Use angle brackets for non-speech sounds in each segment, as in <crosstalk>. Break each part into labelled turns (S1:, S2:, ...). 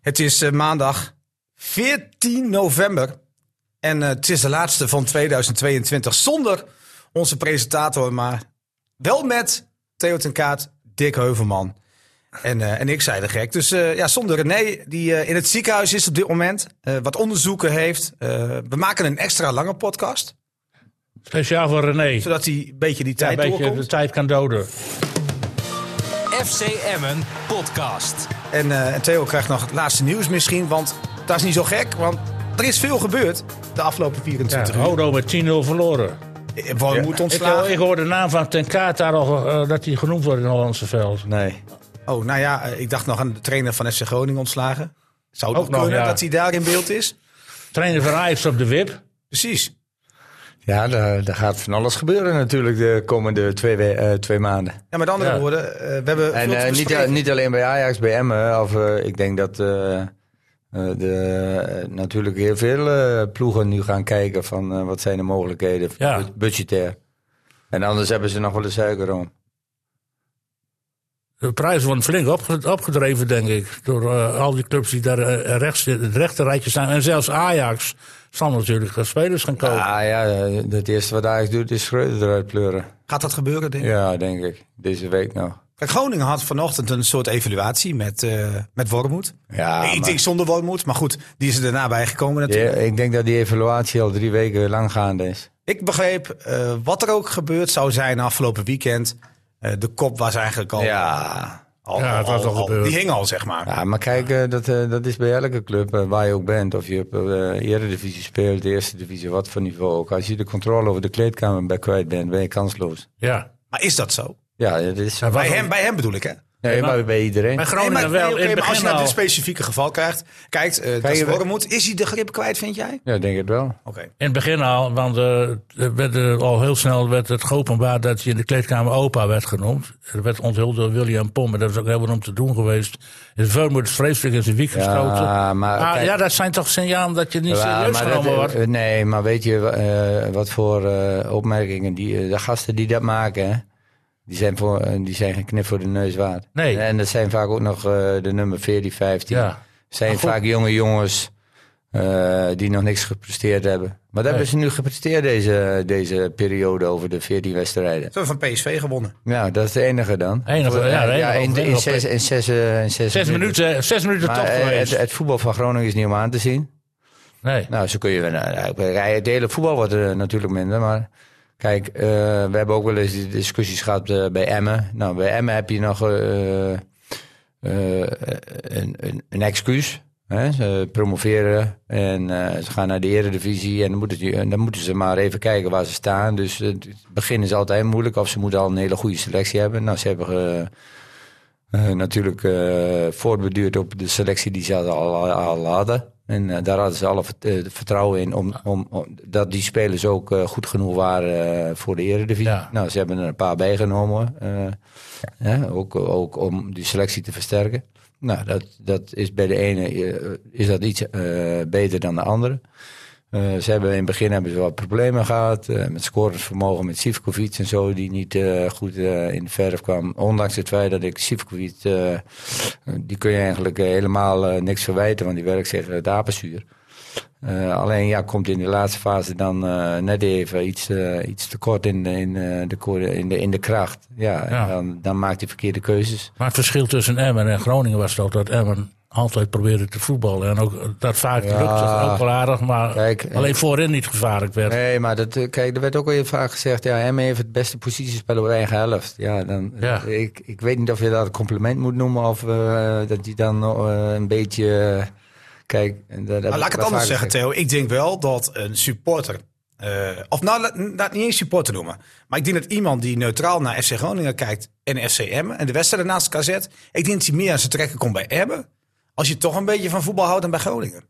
S1: Het is eh, maandag 14 november. En eh, het is de laatste van 2022 zonder onze presentator, maar wel met Theo ten Kaat, Dick Heuvelman. En, eh, en ik zei de gek. Dus eh, ja, zonder René, die eh, in het ziekenhuis is op dit moment, eh, wat onderzoeken heeft. Eh, we maken een extra lange podcast,
S2: Speciaal voor René.
S1: zodat hij een beetje die
S2: Ja,
S1: tijd
S2: een beetje
S1: doorkomt.
S2: de tijd kan doden.
S3: FC Emmen podcast.
S2: dus-
S1: En, eh, en Theo krijgt nog het laatste nieuws misschien, want dat is niet zo gek, want er is veel gebeurd de afgelopen 24
S2: Ja, oh,
S1: uur.
S2: Rodo met 10-0 verloren.
S1: Eh, Waar moet
S2: Ik,
S1: ontslagen?
S2: ik hoor de naam van Ten Kaat daar al, eh, dat hij genoemd wordt in het Hollandse veld.
S4: Nee.
S1: Oh, nou ja, eh, ik dacht nog aan de trainer van FC Groningen ontslagen. Zou het
S2: Ook
S1: nog
S2: nog,
S1: kunnen
S2: ja.
S1: dat hij daar in beeld is?
S2: Trainer van Ajax op de wip.
S1: Precies.
S4: Ja, daar, daar gaat van alles gebeuren natuurlijk de komende twee, we- eh, twee maanden.
S1: Ja, met andere
S2: Ja.
S1: woorden, eh, we hebben
S4: En
S1: veel te
S4: eh, niet,
S1: bespreken.
S4: niet alleen bij Ajax, bij Emmen. Of, eh, ik denk dat eh, eh, de, eh, natuurlijk heel veel eh, ploegen nu gaan kijken van eh, wat zijn de mogelijkheden
S2: Ja.
S4: bud- budgetair. En anders hebben ze nog wel de suiker om.
S2: De prijs wordt flink opge- opgedreven, denk ik. Door eh, al die clubs die daar eh, rechts, het rechterrijtje staan. En zelfs Ajax zal natuurlijk eh, spelers gaan kopen.
S4: Ah ja, eh, het eerste wat Ajax doet is Schreuder eruit pleuren.
S1: Gaat dat gebeuren, denk ik?
S4: Ja, denk ik. Deze week nog.
S1: Kijk, Groningen had vanochtend een soort evaluatie met, eh met Wormoed.
S4: Ja,
S1: ik
S4: maar-
S1: denk zonder Wormoed, maar goed, die is er daarna bijgekomen
S4: Ja,
S1: natuurlijk.
S4: ik denk dat die evaluatie al drie weken lang gaande is.
S1: Ik begreep, eh, wat er ook gebeurd zou zijn afgelopen weekend, eh, de kop was eigenlijk al...
S4: Ja.
S1: al,
S2: Ja, het was al gebeurd.
S1: Die hing al, zeg maar.
S4: Ja, maar kijk, eh, dat, eh, dat is bij elke club, eh, waar je ook bent. Of je op de eredivisie speelt, de eerste divisie, wat voor niveau ook. Als je de controle over de kleedkamer bij kwijt bent, ben je kansloos.
S2: Ja.
S1: Maar is dat zo?
S4: Ja, dat is...
S2: En
S1: Bij
S2: wat-
S1: hem, bij hem bedoel ik, hè?
S4: Nee, maar bij iedereen.
S2: Bij Groningen
S1: Nee, maar-
S2: wel.
S1: nee, oké,
S2: in het
S1: maar als je
S2: begin
S1: naar dit
S2: al.
S1: specifieke geval kijkt, kijkt eh dat
S4: je
S1: is
S4: wel-
S1: Wormoed, is hij de grip kwijt, vind jij?
S4: Ja, ik denk het wel.
S1: Oké.
S2: In het begin al, want eh, er werd, eh, al heel snel werd het openbaar dat hij in de kleedkamer opa werd genoemd. Dat werd onthuld door William Pommer. Dat is ook heel wat om te doen geweest. In Veurmoed is vreselijk in zijn wiek gestoten.
S4: maar
S2: Maar
S4: kijk-
S2: ja, dat zijn toch signalen dat je niet
S4: Ja,
S2: serieus
S4: maar
S2: genomen
S4: dat-
S2: wordt.
S4: eh, Nee, maar weet je eh, wat voor eh, opmerkingen die, eh, de gasten die dat maken, hè, die zijn, voor, eh, die zijn geen knip voor de neus waard.
S2: Nee.
S4: En dat zijn vaak ook nog eh, de nummer 14, 15.
S2: Ja.
S4: Zijn
S2: Maar goed.
S4: vaak jonge jongens eh, die nog niks gepresteerd hebben. Maar dat hebben ze nu gepresteerd deze, deze periode over de 14 wedstrijden.
S1: Ze hebben van PSV gewonnen.
S4: Ja, dat is de enige dan. eh,
S2: Enige, ja, de enige
S4: in, in
S2: overwinning op
S4: zes, in zes, eh, in zes
S2: Zes minuten, zes minuten
S4: Maar,
S2: top
S4: eh,
S2: geweest.
S4: het, het voetbal van Groningen is niet om aan te zien.
S2: nee.
S4: Nou, zo kun je wel. nou, ja, Het hele voetbal wordt eh, natuurlijk minder. Maar kijk, eh, we hebben ook wel eens die discussies gehad eh, bij Emmen. Nou, bij Emmen heb je nog eh, eh, eh, een, een, een excuus. Hè? Ze promoveren en eh, ze gaan naar de Eredivisie. En dan moeten, die- en dan moeten ze maar even kijken waar ze staan. Dus eh, het begin is altijd moeilijk. Of ze moeten al een hele goede selectie hebben. Nou, ze hebben... eh, eh, natuurlijk eh, voortbeduurd op de selectie die ze al, al hadden. En eh, daar hadden ze alle vert- eh, vertrouwen in om, om, om- dat die spelers ook eh, goed genoeg waren eh, voor de Eredivisie.
S2: Ja.
S4: Nou, ze hebben er een paar bijgenomen. eh, hè, ook, ook om die selectie te versterken. Nou, dat, dat is bij de ene eh, is dat iets eh, beter dan de andere. Eh, ze hebben in het begin hebben ze wat problemen gehad. eh, met scorevermogen met Sivkovic en zo, die niet eh, goed eh, in de verf kwam. Ondanks het feit dat ik Sivkovic, eh, die kun je eigenlijk eh, helemaal eh, niks verwijten, want die werkt zich het apenzuur. Eh, alleen ja, komt in de laatste fase dan eh, net even iets, eh, iets te kort in, de- in, eh, de, koor- in, de, in de kracht. Ja,
S2: Ja.
S4: En dan, dan maakt hij verkeerde keuzes.
S2: Maar het verschil tussen Emmen en Groningen was toch dat Emmen altijd probeerde te voetballen. En ook dat vaak
S4: Ja.
S2: lukte, ook wel aardig, maar
S4: Kijk, eh,
S2: alleen voorin niet gevaarlijk werd.
S4: Nee, maar dat, eh, kijk, er werd ook al heel vaak gezegd... ja, hem heeft het beste positiespel op eigen helft. Ja, dan,
S2: Ja.
S4: Ik, ik weet niet of je dat een compliment moet noemen... of eh, dat die dan eh, een beetje... eh, kijk, dat,
S1: Maar
S4: dat
S1: Nou, laat ik het anders zeggen, Theo. Ik denk wel dat een supporter. eh, of nou, laat- laat niet eens supporter noemen. Maar ik denk dat iemand die neutraal naar FC Groningen kijkt en FCM en de wedstrijden naast elkaar zet. Ik denk dat hij meer aan zijn trekken komt bij Emmen. Als je toch een beetje van voetbal houdt dan bij Groningen.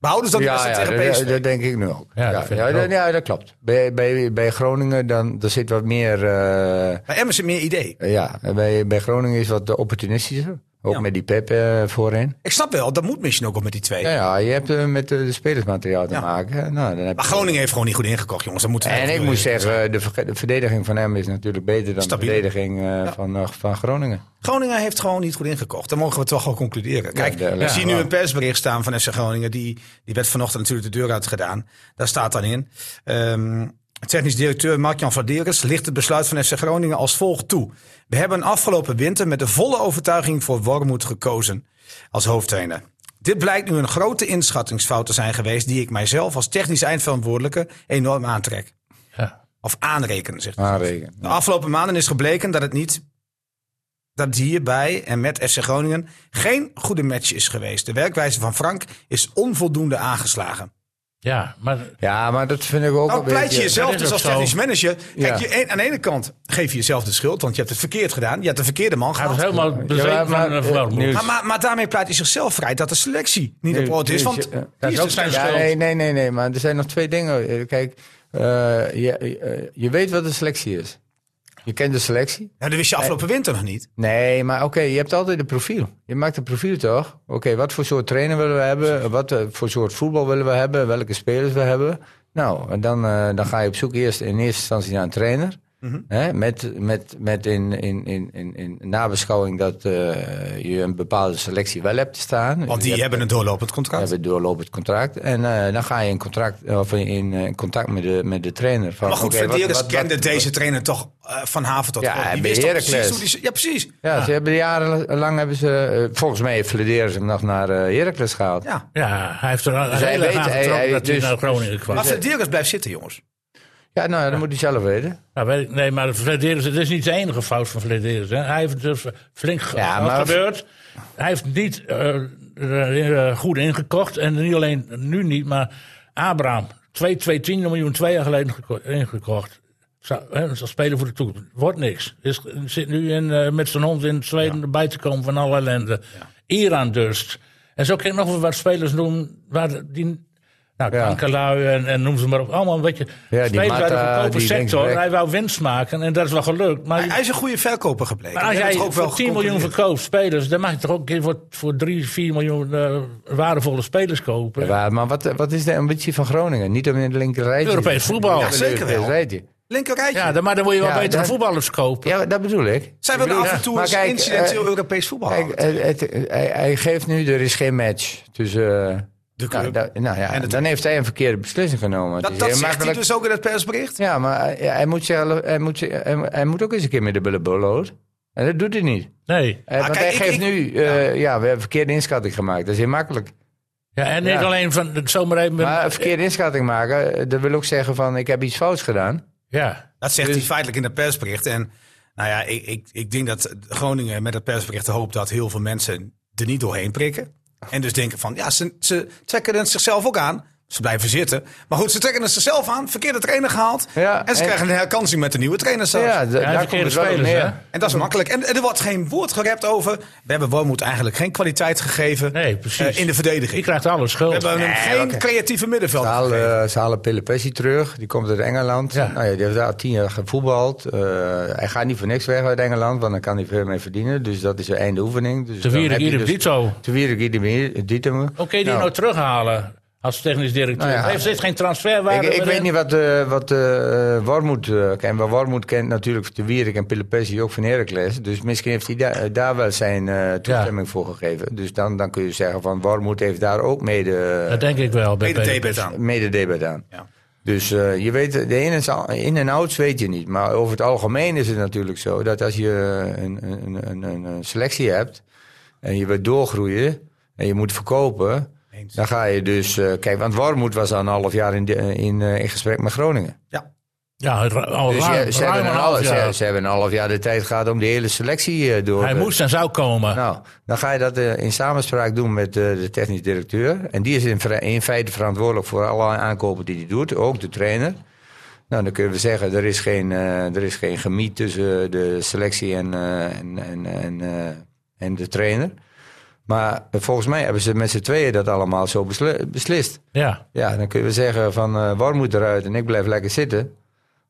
S1: Behouden ze dat
S4: ja,
S1: ja,
S4: ja,
S1: tegen
S4: dat,
S1: PSV?
S4: dat denk ik nu ook.
S2: Ja,
S4: Ja,
S2: dat
S4: ja,
S2: vind ik
S4: dat-
S2: ook.
S4: ja, dat klopt. Bij, bij, bij Groningen dan, er zit wat meer... eh,
S1: Bij Emmen is het meer idee.
S4: ja, bij, bij Groningen is wat opportunistischer. Ook
S1: Ja.
S4: met die Pep eh, voorin.
S1: Ik snap wel, dat moet misschien ook wel met die twee.
S4: Ja, ja, je hebt eh, met eh, de spelersmateriaal te
S1: Ja.
S4: maken. Nou, dan heb
S1: Maar
S4: je-
S1: Groningen heeft gewoon niet goed ingekocht, jongens. Dat moeten we
S4: En
S1: even-
S4: ik moet zeggen, de, ver- de verdediging van hem is natuurlijk beter dan
S1: Stabiel.
S4: de verdediging eh, van, eh, van Groningen.
S1: Groningen heeft gewoon niet goed ingekocht. Dat mogen we toch wel concluderen. Kijk,
S4: de-
S1: we
S4: ja,
S1: zien nu
S4: wel.
S1: een persbericht staan van FC Groningen. Die, die werd vanochtend natuurlijk de deur uit gedaan. Daar staat dan in. ehm, technisch directeur Mark-Jan Vaderes ligt het besluit van FC Groningen als volgt toe. We hebben afgelopen winter met de volle overtuiging voor Wormoed gekozen als hoofdtrainer. Dit blijkt nu een grote inschattingsfout te zijn geweest die ik mijzelf als technisch eindverantwoordelijke enorm aantrek.
S2: Ja.
S1: Of aanreken,
S4: Ah,
S1: zegt
S4: Aanregen.
S1: de afgelopen maanden is gebleken dat het niet. Dat het hierbij en met FC Groningen geen goede match is geweest. De werkwijze van Frank is onvoldoende aangeslagen.
S2: Ja, maar
S4: Ja, maar dat vind ik ook
S1: Nou,
S4: een beetje...
S1: pleit je jezelf
S2: dat is
S1: dus als
S2: ook zo.
S1: technisch manager. Kijk,
S4: Ja.
S1: je, een- aan de ene kant geef je jezelf de schuld, want je hebt het verkeerd gedaan. Je hebt de verkeerde man
S2: hij was
S1: gehad.
S2: helemaal bezeten
S4: maar,
S2: van eh,
S4: eh,
S2: Verwarmond.
S4: Niels-
S1: Maar, maar, maar daarmee pleit hij zichzelf vrij dat de selectie niet op
S4: Nee,
S1: orde is.
S4: nee,
S1: Want
S4: je- eh,
S1: die
S2: dat is ook
S1: dus-
S2: zijn
S4: Ja,
S2: schuld.
S4: nee, nee, nee, nee, maar er zijn nog twee dingen. Eh, Kijk, eh, je, eh, je weet wat de selectie is. Je kent de selectie.
S1: Nou, dat wist je afgelopen winter nog niet.
S4: Nee, maar oké, je hebt altijd een profiel. Je maakt een profiel toch? Oké, wat voor soort trainer willen we hebben? Wat eh, voor soort voetbal willen we hebben? Welke spelers we hebben? Nou, en dan, eh, dan ga je op zoek eerst in eerste instantie naar een trainer.
S1: Mhm.
S4: Hè? Met, met, met in, in, in, in, in nabeschouwing dat eh, je een bepaalde selectie wel hebt staan.
S1: Want die
S4: Je hebt-
S1: hebben een doorlopend contract.
S4: hebben doorlopend contract. En eh, dan ga je in, contract, of in, eh, contact met de, met de trainer. Van,
S1: Maar goed,
S4: oké, wat-
S1: Verderes
S4: wat- wat-
S1: kende
S4: wat-
S1: deze trainer toch eh, van haven tot
S4: Ja,
S1: grond. Die
S4: bij
S1: wist toch precies
S4: Heracles.
S1: hoe die... Ja, precies.
S4: Ja, ze hebben jarenlang hebben ze. eh, volgens mij flirteren ze hem nog naar eh, Heracles gehaald.
S1: Ja.
S2: Ja, hij heeft er al
S4: Dus hij
S2: heel erg
S4: weet-
S2: aan
S4: hij-
S2: getrokken
S4: hij-
S2: dat hij
S4: dus-
S2: naar Groningen kwam.
S1: Maar Verderes blijft zitten, jongens.
S4: Ja, nou, ja, dat moet hij zelf weten.
S2: Nou, weet ik- nee, maar Flederis, het is niet de enige fout van Flederis. hè. Hij heeft dus flink ge-
S4: Ja,
S2: wat
S4: maar-
S2: gebeurd. Hij heeft niet eh, eh, eh, goed ingekocht. En niet alleen nu niet, maar Abraham. 2, 2, 10 miljoen twee jaar geleden geko- ingekocht. Zou, hè, zal spelen voor de toekomst. Wordt niks. Is, zit nu in, eh, met zijn hond in Zweden erbij te komen van alle ellende. Iran dus. En zo kan ik nog wel wat spelers noemen waar die... Nou,
S4: Ja.
S2: Kankerlui en, en noem ze maar op. Allemaal een beetje
S4: Ja, die
S2: spelers uit de
S4: Mata,
S2: goedkope
S4: die
S2: sector.
S4: linksback.
S2: Hij wou winst maken en dat is wel gelukt. Maar,
S1: Hij, hij is een goede verkoper gebleken.
S2: maar als
S1: We hebben
S2: jij
S1: het
S2: voor
S1: ook
S2: 10
S1: wel
S2: miljoen
S1: geconcludeerd.
S2: verkoopt spelers, dan mag je toch ook een keer voor, voor 3, 4 miljoen eh, waardevolle spelers kopen.
S4: Ja, maar wat, eh, wat is de ambitie van Groningen? Niet om in het linker rijtje.
S2: Europees voetbal.
S4: Ja,
S2: Ja,
S1: zeker
S4: Europees
S1: wel.
S4: rijtje.
S1: Linkerrijtje.
S2: dan- maar dan moet je wel
S4: Ja,
S2: betere
S4: dat-
S2: voetballers kopen.
S4: Ja, dat bedoel ik.
S1: Zij willen
S4: Ik
S1: af
S4: bedoel-
S1: en toe
S4: Maar
S1: eens
S4: kijk,
S1: incidenteel
S4: eh,
S1: Europees voetbal
S4: Kijk,
S1: houden.
S4: het- het- hij, hij geeft nu, er is geen match tussen... eh,
S1: De
S4: nou,
S1: club.
S4: da- nou ja,
S1: En de-
S4: dan heeft hij een verkeerde beslissing genomen. Het
S1: Dat,
S4: is
S1: dat
S4: heel
S1: zegt hij
S4: makkelijk-
S1: dus ook in het persbericht.
S4: Ja, maar hij, hij moet, zelf, hij, moet, hij, hij moet ook eens een keer met de billen bloot. En dat doet hij niet.
S2: Nee.
S4: Eh, want
S1: kijk,
S4: hij
S1: ik-
S4: geeft
S1: ik-
S4: nu... eh, ja. we hebben een verkeerde inschatting gemaakt. Dat is heel makkelijk.
S2: Ja, en niet
S4: Ja.
S2: alleen van het zomaar even.
S4: Maar
S1: Eh,
S4: een verkeerde inschatting maken, eh, dat wil ook zeggen van... ik heb iets fouts gedaan.
S2: ja.
S1: Dat zegt hij feitelijk in het persbericht. En nou ja, ik, ik, ik denk dat Groningen met het persbericht hoopt dat heel veel mensen er niet doorheen prikken. En dus denken van, ja, ze, ze trekken het zichzelf ook aan. Ze blijven zitten. Maar goed, ze trekken het zichzelf aan. Verkeerde trainer gehaald.
S4: Ja,
S1: en ze
S4: en-
S1: krijgen een herkansing met de nieuwe trainer zelfs.
S4: Ja, d- daar komt
S2: verkeerde
S4: het wel op
S2: spelers,
S4: neer.
S2: hè?
S1: En dat is makkelijk. En er wordt geen woord gerept over. We hebben Wormoed eigenlijk geen kwaliteit gegeven
S2: Nee, precies.
S1: eh, in de
S2: Je
S1: verdediging. We
S2: krijgt alle schuld.
S1: hebben hem
S4: Nee,
S1: geen
S4: oké.
S1: creatieve middenveld.
S4: Ze halen,
S1: gegeven.
S4: eh, ze halen Pelopessi terug. Die komt uit Engeland.
S2: Ja.
S4: Nou ja, die heeft daar tien jaar gevoetbald. Eh, hij gaat niet voor niks weg uit Engeland, want dan kan hij veel meer verdienen. Dus dat is de einde oefening. Dus
S2: Te
S4: dan
S2: vieren
S4: heb je
S2: Guido
S4: dus-
S2: Dito.
S4: Te vieren Guido Dito.
S2: Oké, die nou. terughalen als technisch directeur.
S4: Nou ja.
S2: Hij heeft steeds geen transferwaarde.
S4: Ik, ik weet
S2: waarin-
S4: niet wat, eh wat eh Wormoed eh, kent. Maar Wormoed kent natuurlijk de Wierik en Pelopessi ook van Heracles. Dus misschien heeft hij daar- daar wel zijn eh, toestemming voor gegeven. Dus dan, dan kun je zeggen van Wormoed heeft daar ook mede, eh,
S2: Dat denk ik wel. bij
S1: Tweede
S2: PSV.
S1: debet aan.
S4: mede debet aan.
S1: Ja.
S4: Dus eh, je weet, de in- en, in- en outs weet je niet. Maar over het algemeen is het natuurlijk zo dat als je een, een, een, een- een selectie hebt en je wilt doorgroeien en je moet verkopen,
S1: Eens.
S4: dan ga je dus. eh, kijk, want Warmoed was al een half jaar in, de- in, eh, in gesprek met Groningen.
S1: Ja.
S2: Ja, ra- al
S4: Dus
S2: ruim,
S4: je- ze,
S2: ruim
S4: hebben
S2: een
S4: een
S2: half
S4: half,
S2: jaar.
S4: ze, ze hebben een half jaar de tijd gehad om de hele selectie eh, door
S2: Hij
S4: te-
S2: moest en zou komen.
S4: nou, dan ga je dat eh, in samenspraak doen met eh, de technisch directeur. En die is in, vre- in feite verantwoordelijk voor alle aankopen die hij doet, ook de trainer. Nou, dan kunnen we zeggen, er is geen, eh, er is geen gemiet tussen de selectie en, eh, en, en, en, eh, en de trainer. Maar eh, volgens mij hebben ze met z'n tweeën dat allemaal zo beslu- beslist.
S2: Ja.
S4: Ja, dan kunnen we zeggen van eh warm moet eruit en ik blijf lekker zitten.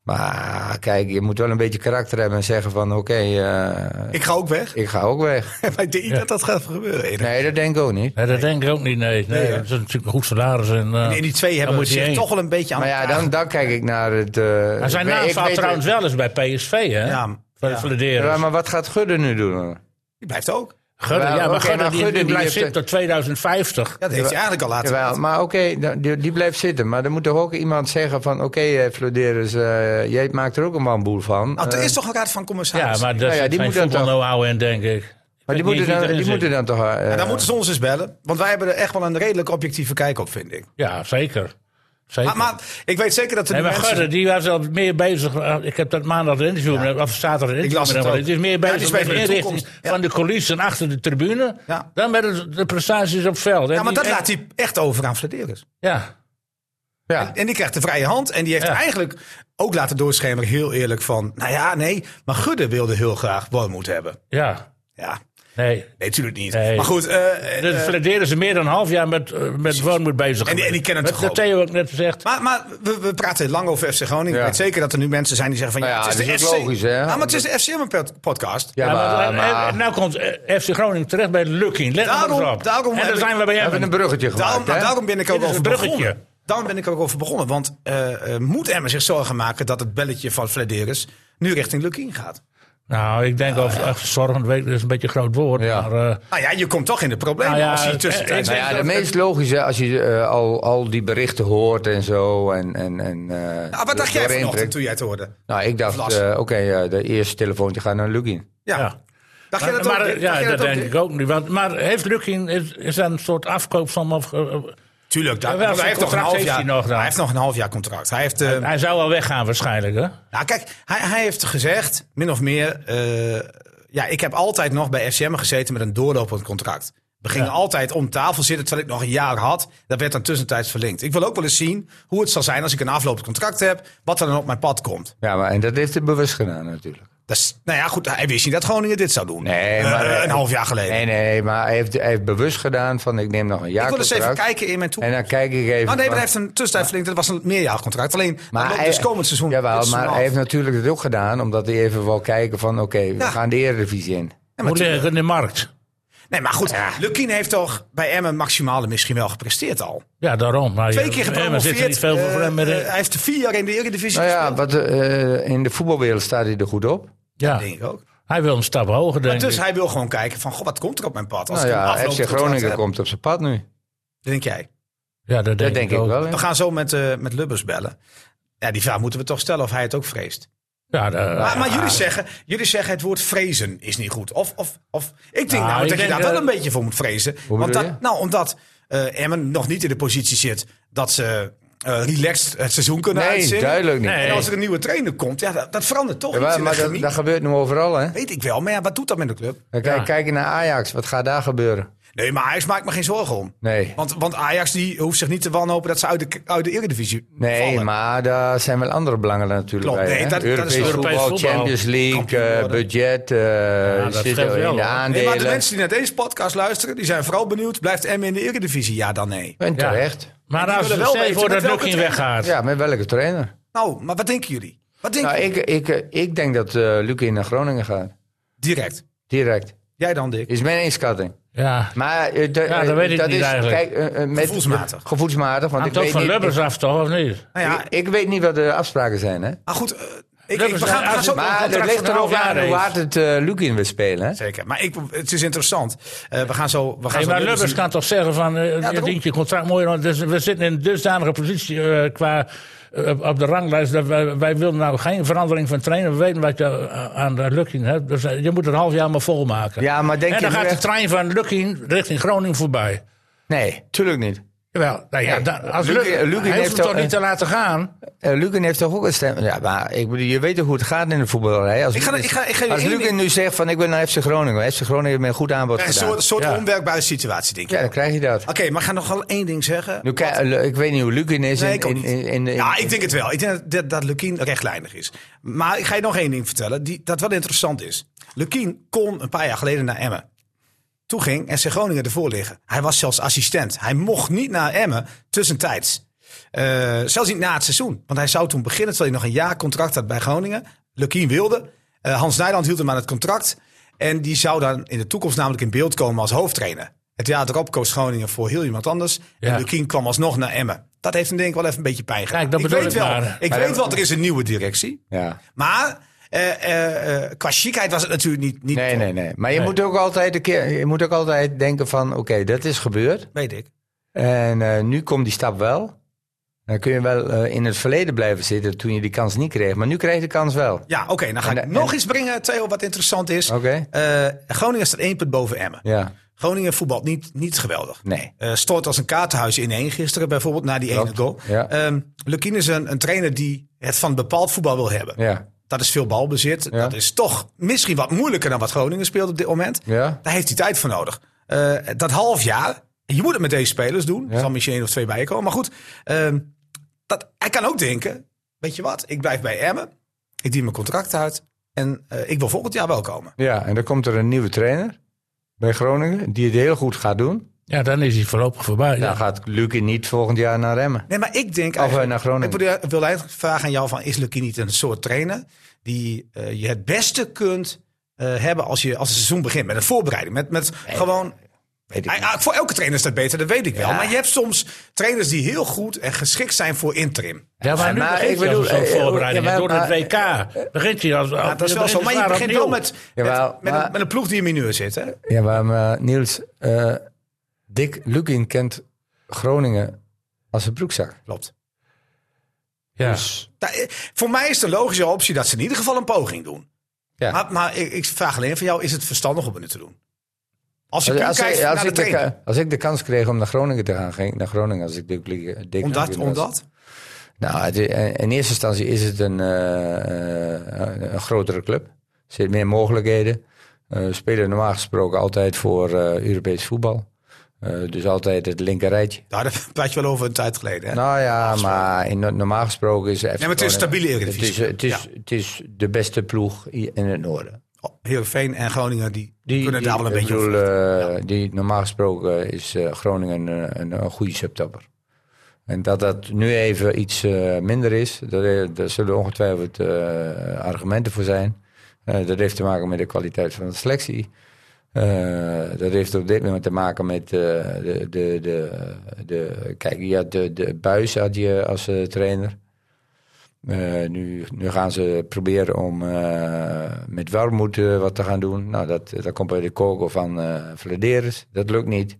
S4: Maar kijk, je moet wel een beetje karakter hebben en zeggen van oké, eh,
S1: Ik ga ook weg. <laughs>
S4: ik ga ook weg.
S1: maar ik denk niet dat dat gaat gebeuren. Erik.
S4: Nee, dat denk ik ook niet.
S2: Nee, dat denk ik ook niet, nee. nee,
S1: hè?
S2: dat is natuurlijk een goed salaris. En, eh,
S1: En in die twee
S2: dan
S1: hebben
S2: moet je
S1: zich
S2: heen.
S1: toch wel een beetje aan
S4: Maar ja,
S1: elkaar
S4: dan, dan kijk ik naar het... eh,
S2: Maar zijn
S4: ik weet-
S2: naam
S4: ik
S2: staat
S4: weet-
S2: trouwens wel eens bij PSV, hè?
S1: Ja,
S2: Bij de
S1: ja.
S2: Vladeres.
S4: Ja, maar wat gaat Gudde nu doen?
S1: Die blijft ook.
S2: Gudde,
S4: Ja,
S2: ja, maar
S4: oké,
S2: Gudde,
S4: maar
S2: die,
S4: Gudde,
S2: die
S4: die
S2: blijft
S4: heeft
S2: zitten
S4: de-
S2: tot 2050.
S1: Ja, dat heeft hij eigenlijk al laten
S4: Jawel,
S1: weten.
S4: maar oké, dan- die, die blijft zitten. Maar er moet toch ook iemand zeggen van... Oké, eh, Floderus, eh, jij maakt er ook een bamboel van.
S1: Nou, er
S4: Eh,
S1: is toch een raad van commissaris.
S2: Ja, maar dat
S4: ja,
S2: is
S4: die
S2: geen
S4: moet dat
S2: voetbal
S4: dan-
S2: know-how in, denk ik. Ik weet
S4: maar die moeten,
S2: niet wie
S4: dan,
S2: erin
S4: die
S2: zit.
S4: moeten dan toch... eh,
S1: En dan moeten ze ons eens bellen. Want wij hebben er echt wel een redelijk objectieve kijk op, vind ik.
S2: Ja, zeker. zeker.
S1: Maar, maar ik weet zeker dat er
S2: Nee,
S1: nu
S2: maar
S1: mensen...
S2: Gudde, die was al meer bezig. eh, Ik heb dat maandag een interview met of zaterdag een interview
S1: las
S2: met
S1: het
S2: hem.
S1: ook.
S2: Het is meer
S1: Ja, die
S2: bezig
S1: is
S2: met
S1: bezig
S2: de
S1: met de
S2: inrichting
S1: toekomst. Ja.
S2: van de coulissen achter de tribune.
S1: Ja.
S2: Dan met het- de prestaties op veld. hè.
S1: ja, maar
S2: Die
S1: dat
S2: echt-
S1: laat hij echt over aan Flederis.
S2: Ja,
S4: ja.
S1: En die krijgt de vrije hand. En die heeft
S2: Ja.
S1: eigenlijk ook laten doorschemeren, heel eerlijk, van... Nou ja, nee, maar Gudde wilde heel graag Wormoed hebben.
S2: ja.
S1: Ja,
S2: Nee.
S1: nee, natuurlijk niet.
S2: Nee.
S1: Maar goed, eh, eh,
S2: Dat fladeren ze meer dan een half jaar met, eh, met Wormoed bezig.
S1: En die- en die kennen het
S2: Wat
S1: toch
S2: Theo ook net gezegd.
S1: maar, maar we, we praten lang over FC Groningen. Ik
S4: Ja.
S1: weet zeker dat er nu mensen zijn die zeggen van... Ja,
S4: Nou ja,
S1: het is
S4: dat
S1: de
S4: is
S1: FC...
S4: ook logisch, hè?
S1: Ja, maar het is de FCM-podcast.
S4: Ja,
S2: Ja, maar,
S4: maar,
S2: en- en-
S4: maar-
S2: en nou komt eh, FC Groningen terecht bij Lucky. Let maar
S1: Daarom-
S2: eens op.
S1: daarom
S2: en
S1: heb
S2: dan
S1: ik-
S2: zijn we bij
S4: we hebben
S2: hem.
S4: een bruggetje gemaakt,
S1: Daarom, nou,
S4: hè?
S1: daarom ben ik ook
S2: Dit is
S1: over
S2: een bruggetje.
S1: begonnen. Daarom ben ik ook over begonnen. Want eh, eh, moet Emmen zich zorgen maken dat het belletje van Flederis nu richting Lukien gaat?
S2: Nou, ik denk over ach, zorgend weet, dat is een beetje een groot woord.
S4: Ja.
S2: Maar, eh,
S1: Nou ja, je komt toch in de problemen
S2: Nou ja,
S1: als je
S2: eh,
S1: tussentijd...
S2: ik-
S4: Nou ja, de meest logische, als je eh, al, al die berichten hoort en zo. En, en, en, eh,
S1: Ah, wat dacht jij
S4: doorheen
S1: vanochtend
S4: prikt.
S1: toen jij het hoorde?
S4: Nou, ik dacht,
S1: Of las?
S4: eh, oké, eh, de eerste telefoontje gaat naar Lugin.
S1: Ja.
S2: ja.
S1: Dacht jij dat
S2: maar,
S1: ook?
S2: eh,
S1: Dick?
S2: ja,
S1: Dacht jij
S2: dat,
S1: ook,
S2: denk
S1: Dick?
S2: ik ook niet. Want, maar heeft Lukin, is, is daar een soort afkoop van? Of, eh, eh,
S1: Tuurlijk, dat,
S2: Ja, wel,
S1: want hij
S2: zijn
S1: heeft nog een
S2: contract
S1: half
S2: heeft
S1: jaar.
S2: hij nog dan.
S1: hij heeft nog een half jaar contract. Hij heeft, eh,
S2: hij zou wel weggaan waarschijnlijk, hè?
S1: nou, kijk, hij, hij heeft gezegd, min of meer, eh, ja, ik heb altijd nog bij FCM gezeten met een doorlopend contract. We gingen
S2: Ja.
S1: altijd om tafel zitten terwijl ik nog een jaar had. Dat werd dan tussentijds verlengd. Ik wil ook wel eens zien hoe het zal zijn als ik een aflopend contract heb, wat er dan op mijn pad komt.
S4: Ja, maar, en dat heeft hij bewust gedaan natuurlijk.
S1: Dat is, nou ja, goed, hij wist niet dat Groningen dit zou doen.
S4: Nee, maar-
S1: Eh, een half jaar geleden.
S4: Nee, nee, maar hij heeft, hij heeft bewust gedaan van ik neem nog een jaar
S1: ik wil eens even
S4: contract.
S1: kijken in mijn
S4: En
S1: toekomst.
S4: dan kijk ik even...
S1: Oh nee, maar
S4: van-
S1: hij heeft een tussentijd verlengd. Dat was een meerjaarcontract. Alleen, maar loopt
S4: hij-
S1: dus komend seizoen.
S4: Jawel,
S1: dit
S4: maar
S1: seizoen af.
S4: hij heeft natuurlijk het ook gedaan, omdat hij even wil kijken van oké, we
S1: Ja.
S4: gaan de Eredivisie in.
S1: Ja, maar
S2: Moet
S1: tuurlijk.
S2: liggen in de markt.
S1: Nee, maar goed, Lukien heeft toch bij Emmen maximale misschien wel gepresteerd al.
S2: Ja, daarom. Maar
S1: Twee
S2: ja,
S1: keer
S2: eh, maar zit er
S1: gepromoveerd.
S2: niet veel voor
S1: Eh,
S2: hem meer in.
S1: eh, hij heeft de vier jaar in de Eredivisie
S4: Nou ja,
S1: gespeeld.
S4: wat, eh, in de voetbalwereld staat hij er goed op.
S2: ja,
S1: Denk ik ook.
S2: hij wil een stap hoger, denk
S1: Dus
S2: ik.
S1: hij wil gewoon kijken van, goh, wat komt er op mijn pad? Als
S4: Nou
S1: ik een
S4: ja,
S1: aflopend
S4: FC
S1: contract
S4: Groningen
S1: heb.
S4: komt op zijn pad nu.
S1: Denk jij?
S2: Ja, dat denk,
S4: Dat denk ik wel. hè.
S1: We gaan zo met, eh, met Lubbers bellen. Ja, die vraag moeten we toch stellen of hij het ook vreest.
S2: Ja, eh, dat-
S1: Maar, maar jullie, zeggen, jullie zeggen het woord vrezen is niet goed. Of, of, of ik denk
S2: Nou,
S1: nou, dat
S2: ik
S1: je
S2: denk
S1: daar
S2: dat-
S1: wel een beetje voor moet vrezen. Want
S4: bedoel
S1: dat-
S4: je?
S1: nou, omdat eh, Emmen nog niet in de positie zit dat ze eh, relaxed het seizoen kunnen
S4: Nee,
S1: uitzingen.
S4: duidelijk niet.
S2: Nee.
S1: En als er een nieuwe trainer komt, ja, dat, dat verandert toch iets
S4: Jawel,
S1: in
S4: maar
S1: de
S4: dat,
S1: chemie.
S4: dat gebeurt nu overal, hè?
S1: Weet ik wel, maar ja, wat doet dat met de club?
S4: Dan Kijk,
S2: Ja.
S4: kijk je naar Ajax, wat gaat daar gebeuren?
S1: Nee, maar Ajax maakt me geen zorgen om.
S4: Nee,
S1: Want, want Ajax die hoeft zich niet te wanhopen dat ze uit de, uit de Eredivisie
S4: nee
S1: vallen.
S4: maar daar zijn wel andere belangen natuurlijk
S1: Klopt,
S4: bij.
S1: nee,
S4: hè?
S1: dat- dat is
S4: Europees
S1: toch-
S4: voetbal,
S2: Europees voetbal.
S4: Champions League,
S1: Kampioen
S4: eh,
S1: worden.
S4: budget, eh
S2: dat
S4: zit
S2: scheelt
S4: er in
S2: wel,
S4: de
S2: hoor.
S1: Nee,
S4: aandelen.
S1: maar de mensen die naar deze podcast luisteren, die zijn vooral benieuwd. Blijft Emmen in de Eredivisie? Ja, dan nee.
S4: En
S2: Ja.
S4: terecht.
S2: Maar
S1: die
S2: als
S1: willen wel
S2: stel je
S1: weten
S2: voor
S1: met
S2: dat
S1: welke
S2: Lukin
S1: trainer.
S2: weggaat.
S4: Ja, met welke trainer?
S1: Nou, maar wat denken jullie? Wat denken
S4: Nou,
S1: jullie?
S4: ik, ik, ik denk dat eh Lucie naar Groningen gaat.
S1: Direct.
S4: Direct.
S1: Jij dan, Dick?
S4: Is mijn inschatting.
S2: Ja.
S4: Maar eh, de-
S2: Ja, dat
S4: eh,
S2: weet ik
S4: dat
S2: niet
S4: is,
S2: eigenlijk.
S4: Kijk, eh, eh, met,
S1: Gevoelsmatig.
S4: Gevoelsmatig, want ik
S2: Hangt ook
S4: weet,
S2: van
S4: niet,
S2: Lubbers af, toch? Of niet?
S1: Nou ja,
S4: ik, ik weet niet wat de afspraken zijn. Hè?
S1: maar goed. eh, ik, ik,
S2: Lubbers,
S1: we gaan, we
S2: als
S1: gaan zo
S2: het
S1: maar,
S4: Maar
S2: contract
S4: het
S2: van
S4: ligt er
S2: een
S4: ook
S2: half jaar
S4: aan hoe
S2: is.
S4: hard het eh Lucie wil spelen. Hè?
S1: Zeker. Maar ik, het is interessant. Eh, we gaan zo. We gaan
S2: Hey,
S1: zo
S2: maar Lubbers kan toch zeggen van, eh, je
S1: daarom.
S2: dient je contract mooi. want dus we zitten in een dusdanige positie eh, qua, eh, op- op de ranglijst. Dat wij, wij willen nou geen verandering van trainer. We weten wat je eh, aan de Lukking hebt. Dus eh, je moet het een half jaar maar volmaken.
S4: Ja, maar denk
S2: en dan
S4: je nu
S2: gaat de
S4: echt-
S2: trein van Lukking richting Groningen voorbij.
S4: Nee, tuurlijk niet.
S2: Jawel, nou ja,
S4: Nee,
S2: dan- als
S4: Luc-
S2: Luk,
S4: Luc
S2: hij
S4: heeft
S2: hoeft hem
S4: al-
S2: toch niet te laten gaan?
S4: Eh Lucie heeft toch ook een stem. Ja, maar ik bedoel, je weet toch hoe het gaat in de voetballerij. Als
S1: Ik ga-
S4: Lucie-
S1: ik ga- ik ga je
S4: als
S1: één
S4: Lucie
S1: ding-
S4: nu zegt van ik wil naar FC Groningen. FC Groningen heeft me een goed aanbod
S1: Een
S4: gedaan.
S1: soort, soort
S2: Ja.
S1: onwerkbare situatie, denk ik.
S4: Ja, dan krijg je dat.
S1: Oké, maar ik ga nog wel één ding zeggen.
S4: Nu, kijk, eh, ik weet niet hoe Lucie is
S1: Nee,
S4: in,
S1: ik ook
S4: in,
S1: niet.
S4: in, in, in-
S1: Ja, ik denk het wel. Ik denk dat- dat, dat Lukien rechtlijnig is. Maar ik ga je nog één ding vertellen die, dat wel interessant is. Lukien kon een paar jaar geleden naar Emmen. Toen ging SC Groningen ervoor liggen. Hij was zelfs assistent. Hij mocht niet naar Emmen tussentijds. Eh, zelfs niet na het seizoen. Want hij zou toen beginnen, terwijl hij nog een jaar contract had bij Groningen. Lukien wilde. Eh, Hans Nijland hield hem aan het contract. En die zou dan in de toekomst namelijk in beeld komen als hoofdtrainer. Het jaar erop koos Groningen voor heel iemand anders.
S2: Ja.
S1: En Lukien kwam alsnog naar Emmen. Dat heeft hem denk ik wel even een beetje pijn gedaan.
S2: Kijk, dat bedoel
S1: weet
S2: ik
S1: wel,
S2: maar.
S1: ik
S4: Maar
S1: weet
S4: ja,
S1: wel, er is een nieuwe directie.
S4: Ja.
S1: Maar eh, eh, eh, qua chicheid was het natuurlijk niet... niet
S4: Nee,
S1: top.
S4: nee, nee. Maar je,
S2: Nee.
S4: Moet ook altijd een keer, je moet ook altijd denken van... Oké, dat is gebeurd.
S1: Weet ik.
S4: En eh, nu komt die stap wel. Dan kun je wel eh, in het verleden blijven zitten toen je die kans niet kreeg. Maar nu krijg je de kans wel. Oké.
S1: Ja, oké. dan ga
S4: En
S1: ik
S4: de-
S1: nog iets brengen, Theo, wat interessant is. Eh, Groningen staat één punt boven Emmen.
S4: Ja.
S1: Groningen voetbalt niet, niet geweldig.
S4: Nee.
S1: Eh, stort als een kaartenhuis ineen gisteren bijvoorbeeld, na die ene
S4: Klopt,
S1: goal.
S4: ja.
S1: Ehm, Lukien is een, een trainer die het van bepaald voetbal wil hebben.
S4: Ja.
S1: Dat is veel balbezit.
S4: Ja.
S1: Dat is toch misschien wat moeilijker dan wat Groningen speelt op dit moment.
S4: Ja.
S1: Daar heeft hij tijd voor nodig. Eh, dat half jaar, en je moet het met deze spelers doen. Er
S4: Ja.
S1: zal misschien één of twee bij je komen. Maar goed, ehm, dat, hij kan ook denken, weet je wat, ik blijf bij Emmen. Ik dien mijn contract uit. En eh, ik wil volgend jaar wel komen.
S4: Ja, en dan komt er een nieuwe trainer bij Groningen. Die het heel goed gaat doen.
S2: Ja, dan is hij voorlopig voorbij.
S4: Dan
S2: Ja.
S4: gaat Lucie niet volgend jaar naar Remmen.
S1: Nee, maar ik denk...
S4: Of eh,
S1: eigenlijk-
S4: naar Groningen.
S1: Ik bedoel, ik wil eigenlijk vragen aan jou: van, is Lucky niet een soort trainer die eh, je het beste kunt eh, hebben als, je, als het seizoen begint? Met een voorbereiding. Met, met gewoon.
S4: Weet ik
S1: Ah,
S4: niet.
S1: ah, voor elke trainer is dat beter, dat weet ik wel.
S4: Ja.
S1: Maar je hebt soms trainers die heel goed en geschikt zijn voor interim.
S2: Ja, maar nu
S4: Maar
S2: begint
S4: ik
S2: hij
S4: bedoel,
S2: als een soort
S4: eh, eh,
S2: voorbereiding.
S4: ja, maar-
S2: Door het WK begint hij als...
S1: Ja, Nou, dat is wel zo. Maar je begint wel met, met,
S4: Jawel,
S1: met, een,
S4: maar-
S1: met een ploeg die in mineur zit. Hè?
S4: Ja, maar eh, Niels, eh Dick Lukin kent Groningen als een broekzak.
S1: Klopt.
S2: Ja.
S4: Dus
S1: Nou, eh, voor mij is het een logische optie dat ze in ieder geval een poging doen.
S4: Ja.
S1: Maar, maar ik, ik vraag alleen van jou: is het verstandig om het nu te doen? Als je
S4: als,
S1: puur
S4: als,
S1: kijkt
S4: ik-
S1: naar
S4: als,
S1: de
S4: ik de,
S1: trainer.
S4: ka- als ik de kans kreeg om naar Groningen te gaan, ging ik naar Groningen als ik Dick Lukin Dick
S1: Omdat,
S4: Lukin was.
S1: omdat?
S4: Nou, het i- in eerste instantie is het een, eh, eh, een grotere club. Er zitten meer mogelijkheden. Eh, We spelen normaal gesproken altijd voor eh, Europees voetbal. Eh, dus altijd het linkerrijtje.
S1: Nou, dat <laughs> praat je wel over een tijd geleden. Hè?
S4: Nou ja, maar in, normaal gesproken is... Ja,
S1: maar het is een stabiele Eredivisie.
S4: Het is, het, is, het is de beste ploeg i- in het noorden.
S1: Oh, Heerenveen en Groningen die,
S4: Die-
S1: kunnen
S4: die-
S1: daar wel een
S4: ik
S1: beetje
S4: bedoel,
S1: over.
S4: eh, die, Normaal gesproken is eh, Groningen een, een, een goede subtopper. En dat dat nu even iets eh, minder is, daar, daar zullen ongetwijfeld eh, argumenten voor zijn. Eh, dat heeft te maken met de kwaliteit van de selectie. Eh, dat heeft op dit moment te maken met eh, de, de, de, de. Kijk, je had de, de buis had je als eh, trainer. Eh, nu, nu gaan ze proberen om eh, met Warmoed eh, wat te gaan doen. Nou, dat, dat komt bij de kogel van eh Vladeris. Dat lukt niet.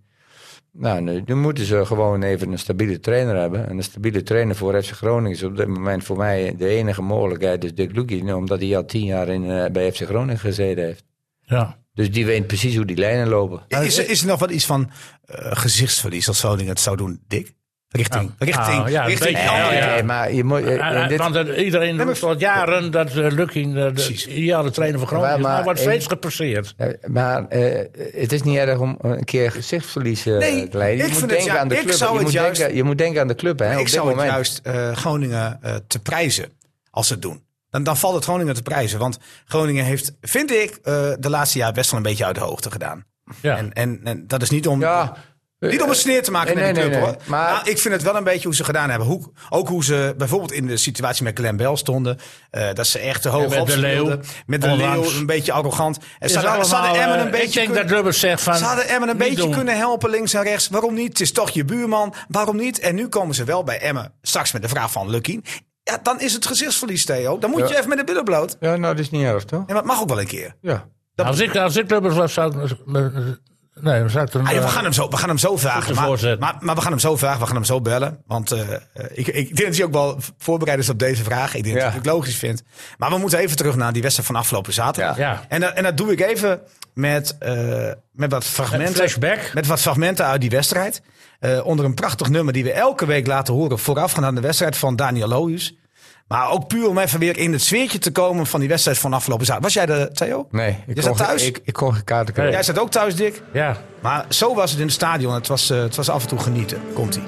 S4: Nou, nu, nu moeten ze gewoon even een stabiele trainer hebben. En een stabiele trainer voor FC Groningen is op dit moment voor mij de enige mogelijkheid. Dus Dick Lukin, omdat hij al tien jaar in, eh, bij FC Groningen gezeten heeft.
S2: Ja.
S4: Dus die weet precies hoe die lijnen lopen.
S1: Is, er- is er nog wat iets van eh, gezichtsverlies als Groningen het zou doen, Dick? Richting, richting,
S2: nou, ja, een
S1: richting.
S2: beetje,
S1: die andere-
S2: ja, ja.
S4: Nee, maar je moet... eh,
S2: Eh, eh,
S4: in dit-
S2: Want eh, iedereen
S1: maar-
S2: doet al jaren dat eh, Lukking eh,
S1: Precies.
S2: de ideale trainer van Groningen
S4: Ja,
S2: is.
S4: maar
S2: Maar wordt
S4: één-
S2: steeds gepasseerd.
S4: Eh, Maar eh, het is niet erg om een keer gezichtsverlies eh,
S1: Nee,
S4: te lijden.
S1: ik
S4: Je moet
S1: vind het
S4: denken
S1: ja-
S4: aan de
S1: ik
S4: club.
S1: zou
S4: je,
S1: het
S4: moet
S1: juist-
S4: denken, je moet denken aan de club, hè,
S1: ik
S4: op
S1: zou
S4: dit
S1: het
S4: moment.
S1: juist eh, Groningen eh, te prijzen als ze het doen. Dan, dan valt het Groningen te prijzen. Want Groningen heeft, vind ik, eh, de laatste jaar best wel een beetje uit de hoogte gedaan.
S2: Ja.
S1: En, en, en dat is niet om,
S4: Ja,
S1: Niet om een sneer te maken
S4: Nee,
S1: met de
S4: nee,
S1: club,
S4: nee,
S1: hoor.
S4: nee.
S1: Maar...
S4: Maar-
S1: ik vind het wel een beetje hoe ze gedaan hebben. Hoe, ook hoe ze bijvoorbeeld in de situatie met Glenn Bell stonden. eh, dat ze echt te hoog
S2: met de
S1: op speelden.
S2: Leeuw,
S1: met de
S2: onlangs.
S1: leeuw, een beetje arrogant. En
S2: Is
S1: ze hadden, ze
S2: allemaal,
S1: hadden Emmen
S2: eh,
S1: een beetje,
S2: ik denk
S1: kunnen,
S2: dat Rubbers zegt van...
S1: ze hadden Emmen een
S2: niet
S1: beetje
S2: doen.
S1: kunnen helpen links en rechts. Waarom niet? Het is toch je buurman. Waarom niet? En nu komen ze wel bij Emmen. Straks met de vraag van Lucky. Ja, dan is het gezichtsverlies, Theo. Dan moet
S4: Ja.
S1: je even met de billen bloot.
S4: Ja, nou, dat is niet erg, toch?
S1: En dat mag ook wel een keer.
S4: Ja.
S2: Nou, Als ik, als ik Rubbers was, zou ik... eh, Nee, dan zou ik... dan,
S1: Ah, ja, we,
S2: eh,
S1: gaan hem zo, we gaan hem zo vragen.
S2: Goed
S1: Maar,
S2: voorzet.
S1: maar, maar we gaan hem zo vragen, we gaan hem zo bellen. Want eh, eh, ik, ik denk dat hij ook wel voorbereid is op deze vraag. Ik denk
S4: Ja.
S1: dat ik het logisch vind. Maar we moeten even terug naar die wedstrijd van afgelopen zaterdag.
S4: Ja.
S2: Ja.
S1: En, dat- en dat doe ik even met, eh, met wat fragmenten.
S2: flashback.
S1: Met wat fragmenten uit die wedstrijd. Eh, onder een prachtig nummer die we elke week laten horen voorafgaand aan de wedstrijd van Daniel Lohuis. Maar ook puur om even weer in het sfeertje te komen van die wedstrijd van afgelopen zaterdag. Was jij er, Theo?
S4: Nee, ik
S1: Je
S4: kon
S1: zat
S4: geen-
S1: thuis?
S4: Ik, ik kon geen kaarten krijgen.
S1: Jij zat ook thuis, Dick?
S2: ja.
S1: Maar zo was het in het stadion. Het was, eh, het was af en toe genieten. Komt-ie.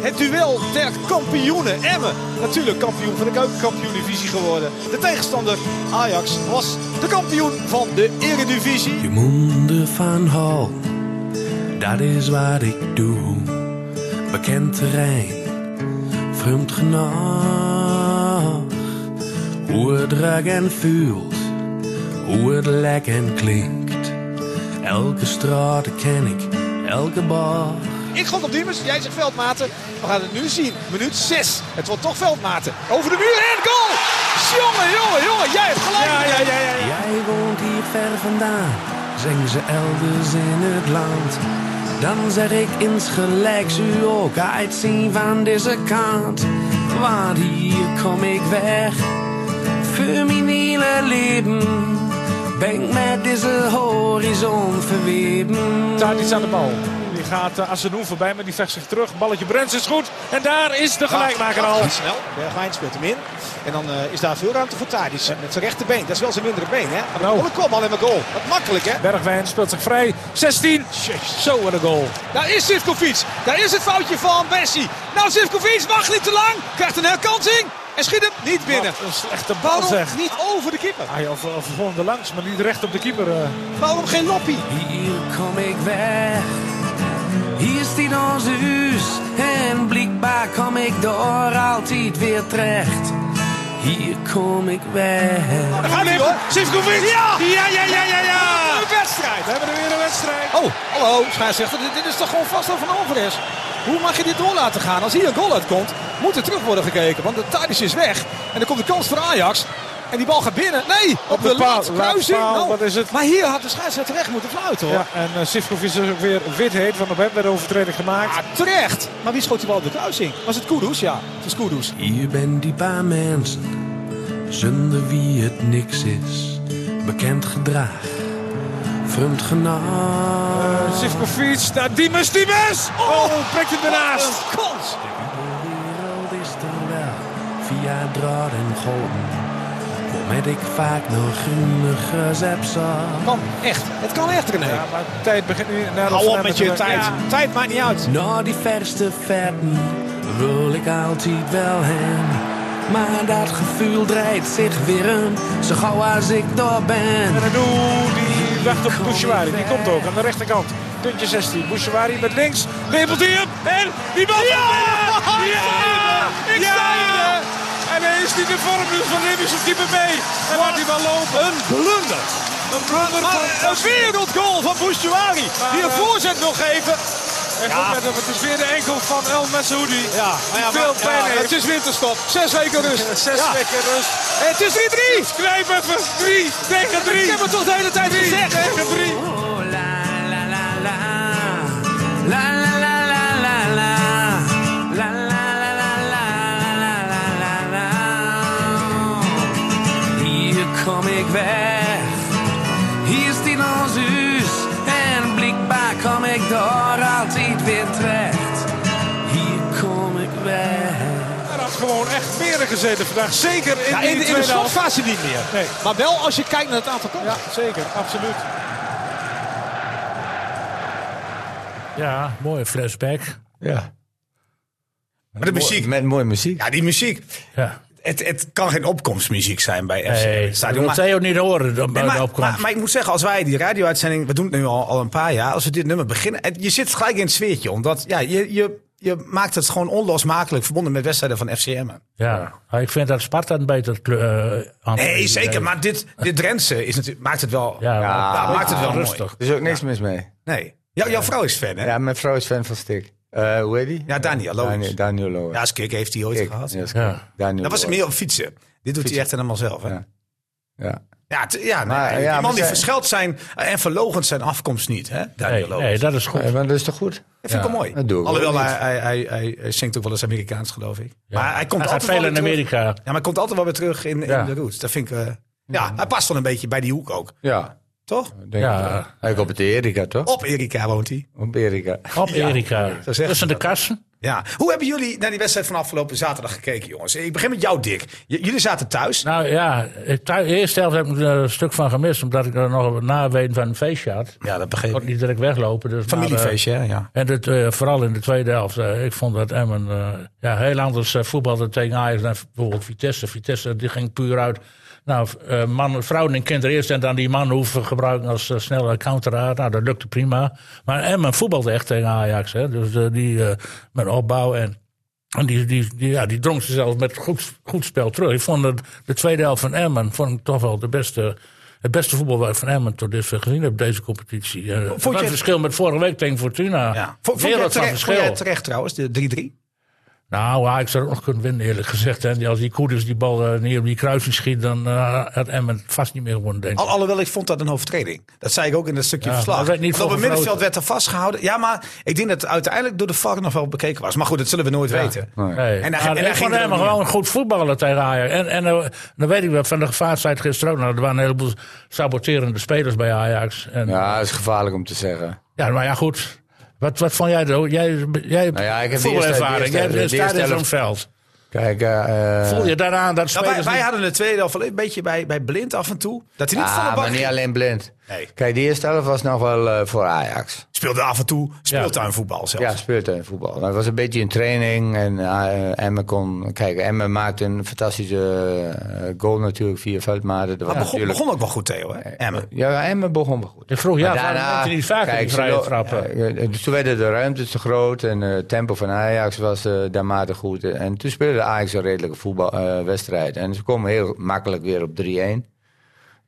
S1: Het duel der kampioenen. Emmen, natuurlijk kampioen van de keukenkampioen-divisie geworden. De tegenstander Ajax was de kampioen van de eredivisie.
S5: Je monden van hal, dat is wat ik doe. Bekend terrein, strömt nach. Oerdragen fühlt, oerlekken klinkt. Elke straat ken ik, elke bar.
S6: Ik gok op Diemers, jij zegt Veldmaten. We gaan het nu zien. Minuut 6. Het wordt toch Veldmaten. Over de muur en goal! Jongen, jongen, jongen, jij hebt gelijk. Ja, ja, ja, ja.
S5: Jij woont hier ver vandaan, zingen ze elders dus in het land. Dan zeg ik insgelijks u ook uitzien van deze kant. Want hier kom ik weg, voor mijn hele leven. Ben ik met deze horizon verweven.
S6: Daar is aan de bal. Die gaat
S7: eh,
S6: uh, voorbij, maar die vecht zich terug. Balletje Brens is goed. En daar is de gelijkmaker al. Snel. Bergwijn speelt hem in. En dan eh, is daar veel ruimte voor Tadic. Met zijn rechterbeen. Dat is wel zijn mindere been, hè? Maar
S7: Nou.
S6: dan kom al in mijn goal. Wat makkelijk, hè?
S7: Bergwijn speelt zich vrij. 16. Zo, wat een goal.
S6: Daar is Sivkovic. Daar is het foutje van Bessie. Nou, Sivkovic wacht niet te lang. Krijgt een herkansing. En schiet hem niet binnen.
S7: Wat een slechte bal
S6: Waarom
S7: zeg.
S6: niet over de keeper?
S7: Hij of, of gewoon er langs, maar niet recht op de keeper. eh.
S6: Waarom geen loppie?
S5: Hier kom ik weg. Hier staat ons huis en blijkbaar kom ik door altijd weer terecht. Hier kom ik weg.
S6: Daar gaat hij hoor. Sivkovic. Ja! Ja, ja, ja, ja, ja. Een wedstrijd.
S7: We hebben er weer een wedstrijd.
S6: Oh, hallo, scheidsrechter. Dit, dit is toch gewoon vast over van Alvarez? Hoe mag je dit door laten gaan? Als hier een goal uitkomt, moet er terug worden gekeken. Want de Tadic is weg. En dan komt de kans voor Ajax. En die bal gaat binnen. Nee, op,
S7: Op de
S6: de,
S7: paal,
S6: laatste kruising.
S7: laatste paal,
S6: Nou,
S7: wat is het?
S6: Maar hier had de scheidsrechter recht moeten fluiten hoor.
S7: Ja, en eh Sivkovic is ook weer wit heet, want op hem werd overtreding gemaakt.
S6: Ah, terecht. Maar wie schoot die bal op de kruising? Was het Kudus? Ja, het was Kudus.
S5: Hier ben die paar mensen, zonder wie het niks is. Bekend gedrag, vreemd
S7: Uh,
S5: genaam.
S7: Sivkovic naar Diemers, Diemers! Oh, prikt hem ernaast.
S6: Een kans.
S5: De wereld is er wel, via draad en golven. Waarmee ik vaak nog groene gezep zag.
S6: Kan echt. Het kan echt, René.
S7: Ja, maar de tijd begint nu naar de
S6: Hou op
S7: Vlaanderen
S6: met
S7: te
S6: je
S7: werken.
S6: tijd.
S7: Ja.
S6: Tijd maakt niet uit.
S5: Naar die verste verden wil ik altijd wel heen. Maar dat gevoel draait zich weer om, zo gauw als ik daar ben.
S7: En Renaud die wacht op Bouchouari. Die komt ook aan de rechterkant. Puntje 16. Bouchouari met links. Lepelt hij hem. En die bal ja! binnen. Ja! Ik sta er! En hij is niet de vorm dus van Limmers of keeper mee. En laat die bal lopen. Een blunder. Een blunder
S6: Maar
S7: van
S6: een wereldgoal van Bouchouari. Die een
S7: eh,
S6: voorzet wil geven.
S7: En goed met hem. Het is weer de enkel van El Messoudi.
S6: Ja, maar ja,
S7: veel
S6: maar-
S7: pijn
S6: ja,
S7: heeft.
S6: Het is winterstop. Zes weken rust.
S7: <laughs> Zes
S6: Ja.
S7: weken rust.
S6: En Het is 3-3.
S7: Knijp even. 3 tegen 3.
S6: Ik heb het toch de hele tijd
S7: 3
S6: gezegd.
S7: tegen 3.
S5: Oh, la, la, la, la. La, la, la, la, la, la. La, la, la, la, la, la, la, la, la. Hier kom ik weg. Hier is die ons huis. En blikbaar kom ik door altijd weer terecht. Hier kom ik weg.
S7: Er had gewoon echt meer gezeten vandaag. Zeker in,
S6: Ja,
S7: die
S6: in, de- in de
S7: tweede helft.
S6: slotfase niet meer.
S7: Nee.
S6: Maar wel als je kijkt naar het aantal kansen.
S7: Ja, zeker. Absoluut.
S2: Ja, mooie flashback.
S4: Ja.
S1: Maar de muziek.
S4: Met mooie muziek.
S1: Ja, die muziek.
S2: Ja.
S1: Het, het kan geen opkomstmuziek zijn bij FC.
S2: Nee, dat
S1: Stadion.
S2: wil
S1: Maar-
S2: Theo niet horen dan bij
S1: Nee,
S2: de
S1: maar,
S2: opkomst.
S1: maar- maar ik moet zeggen, als wij die radio-uitzending, we doen het nu al, al een paar jaar, als we dit nummer beginnen, en je zit gelijk in het sfeertje, omdat ja, je, je, je maakt het gewoon onlosmakelijk verbonden met wedstrijden van FCM.
S2: ja. Ja, Ik vind dat Sparta een beter kleur eh,
S1: Nee, zeker, maar dit, dit Drentse is natuurlijk, maakt het wel, ja,
S2: Ja, maar-
S1: maakt het wel
S2: rustig.
S1: mooi.
S4: Er is ook niks mis mee.
S1: Nee. Jou- jouw vrouw is fan, hè?
S4: Ja, mijn vrouw is fan van Stik. Eh, hoe heet die?
S1: Ja, Daniel Lowens.
S4: Daniel, Daniel Lowens.
S1: Ja, als kick heeft hij ooit
S4: Ik.
S1: gehad.
S4: Ja, is
S2: Ja.
S4: goed. Daniel
S1: Dat was
S4: Lowens.
S1: meer op fietsen. Dit doet hij echt helemaal zelf, hè?
S4: Ja.
S1: Ja,
S4: Ja.
S1: t- ja, nee,
S4: Maar,
S1: die
S4: ja,
S1: man
S4: maar
S1: die
S4: zij-
S1: verscheld zijn en verlogend zijn afkomst niet, hè? Daniel
S2: Nee,
S1: Lowens.
S2: nee, dat is goed.
S4: Eh, maar dat is toch goed?
S1: Dat vind ik
S2: Ja.
S1: wel mooi.
S4: Dat doe ik
S1: Alhoewel,
S4: ook
S1: hij, hij, hij, hij- hij zingt ook wel eens Amerikaans, geloof ik. Maar hij komt
S2: hij gaat
S1: altijd wel
S2: veel
S1: weer
S2: in
S1: terug.
S2: Amerika.
S1: Ja, maar hij komt altijd wel weer terug in, in
S2: Ja.
S1: de roots. Dat vind ik... eh, ja, hij past wel een beetje bij die hoek ook.
S4: Ja.
S1: Toch?
S4: Denk
S2: Ja.
S4: ik wel. Hij komt op de Erika, toch?
S1: Op Erika woont hij.
S4: Op Erika.
S2: Op Erika.
S1: zeggen
S2: Tussen de kassen.
S1: Ja. Hoe hebben jullie naar die wedstrijd van afgelopen zaterdag gekeken, jongens? Ik begin met jou, Dick. J- jullie zaten thuis.
S2: Nou ja, ik thuis, de eerste helft heb ik er een stuk van gemist. Omdat ik er nog een naween van een feestje had.
S1: ja, dat begreep
S2: Kon niet direct weglopen. Dus maar, eh,
S1: Familiefeestje, hè? Ja.
S2: en dit, eh, vooral in de tweede helft. eh, ik vond dat Emmen eh, ja, heel anders eh, voetbalde tegen Ajax dan bijvoorbeeld Vitesse. Vitesse die ging puur uit. Nou, eh, man, vrouwen en kinderen eerst en dan die man hoeven gebruiken als eh, snelle counteraar. Nou, dat lukte prima. Maar Emmen voetbalde echt tegen Ajax. Hè? Dus eh, die eh, met opbouw en En die, die, die- ja, die drong ze zelf met goed, goed spel terug. Ik vond het, de tweede helft van Emmen vond ik toch wel de beste, het beste voetbal waar ik van Emmen tot dusver gezien heb deze competitie. Eh,
S1: Vond
S2: wat
S1: je-
S2: een verschil met vorige week tegen Fortuna.
S1: Ja.
S2: Ja.
S1: Vond, vond, jij
S2: Wereld van
S1: terecht, vond jij
S2: verschil.
S1: het terecht trouwens, de 3-3?
S2: Nou, ja, ik zou het ook nog kunnen winnen eerlijk gezegd. Hè. Die- Als die Koeders die bal eh, niet op die kruising schiet, dan eh, had Emmen het vast niet meer gewonnen denk ik.
S1: Al, alhoewel, ik vond dat een overtreding. Dat zei ik ook in dat stukje
S2: Ja,
S1: verslag.
S2: maar werd niet
S1: Want op
S2: voor
S1: het middenveld
S2: gefloten.
S1: werd er vastgehouden. Ja, maar ik denk dat het uiteindelijk door de VAR nog wel bekeken was. Maar goed, dat zullen we nooit weten.
S2: Nee.
S1: En daar-
S2: En daar,
S1: en daar
S2: ik
S1: ging
S2: vond
S1: er
S2: hem
S1: ook niet
S2: gewoon een goed voetballer tegen Ajax. En, en eh, dan weet ik wel van de gevaarstijd gisteren ook. Nou, er waren een heleboel saboterende spelers bij Ajax. En, ja.
S4: Ja, dat is gevaarlijk om te zeggen.
S2: maar ja, goed. Wat, wat vond jij er? Jij, jij hebt
S4: Nou ja, ik heb de
S2: voetbalervaring.
S4: eerste- de
S2: Jij
S4: eerste-
S2: bent-
S4: de
S2: staat
S4: eerste
S2: in zo'n
S4: helft.
S2: veld.
S4: Kijk, eh, eh,
S2: Voel je daaraan dat
S1: Nou,
S2: spelers...
S1: wij, wij
S2: niet-
S1: hadden het tweede helft wel een beetje bij, bij blind af en toe. Dat hij niet van de
S4: ah,
S1: bank
S4: maar niet
S1: ging.
S4: alleen blind.
S1: Nee.
S4: Kijk, die eerste helft was nog wel eh, voor Ajax.
S1: speelde af en toe speeltuinvoetbal zelfs.
S4: Ja, speeltuinvoetbal. Maar het was een beetje een training. En eh, Emmen kon... Kijk, Emmen maakte een fantastische eh, goal natuurlijk via Veldmaten. Dat was
S1: Maar begon,
S4: natuurlijk...
S1: begon ook wel goed, Theo. Hè? Emmen.
S4: Ja, Emmen begon wel goed.
S2: Ik vroeg, ja,
S4: Maar
S2: waarom maakt hij niet vaker die
S4: ze
S2: vrije
S4: lo-
S2: trappen?
S4: ja, eh, dus toen werden de ruimtes te groot en eh, het tempo van Ajax was eh daarmate goed. En toen speelde Ajax een redelijke voetbalwedstrijd. en ze komen heel makkelijk weer op 3-1.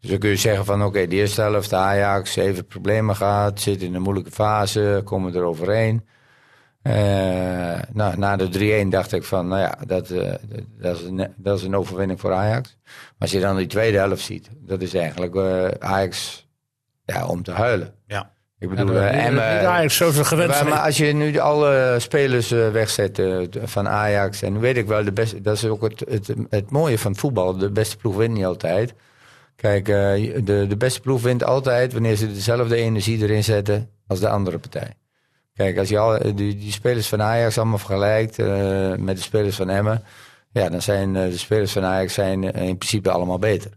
S4: Dus dan kun je zeggen van oké, de eerste helft Ajax even problemen gehad, zit in een moeilijke fase, komen er overheen. Eh, nou, na de 3-1 dacht ik van, nou ja, dat, eh, dat, is een, dat is een overwinning voor Ajax. Maar als je dan die tweede helft ziet, dat is eigenlijk eh, Ajax ja, om te huilen.
S1: Ja.
S4: Ik
S2: Ja,
S4: bedoel,
S2: dat-
S4: eh,
S2: dat- dat
S4: Emmen...
S2: Ajax zo zo gewend
S4: Maar,
S2: zijn.
S4: maar als je nu de- alle spelers eh, wegzet eh, t- van Ajax, en weet ik wel, de beste, dat is ook het, het, het mooie van voetbal. De beste ploeg wint niet altijd. Kijk, eh, de, de beste ploeg wint altijd wanneer ze dezelfde energie erin zetten als de andere partij. Kijk, als je al, die, die spelers van Ajax allemaal vergelijkt eh, met de spelers van Emmen, ja, dan zijn eh, de spelers van Ajax zijn eh, in principe allemaal beter.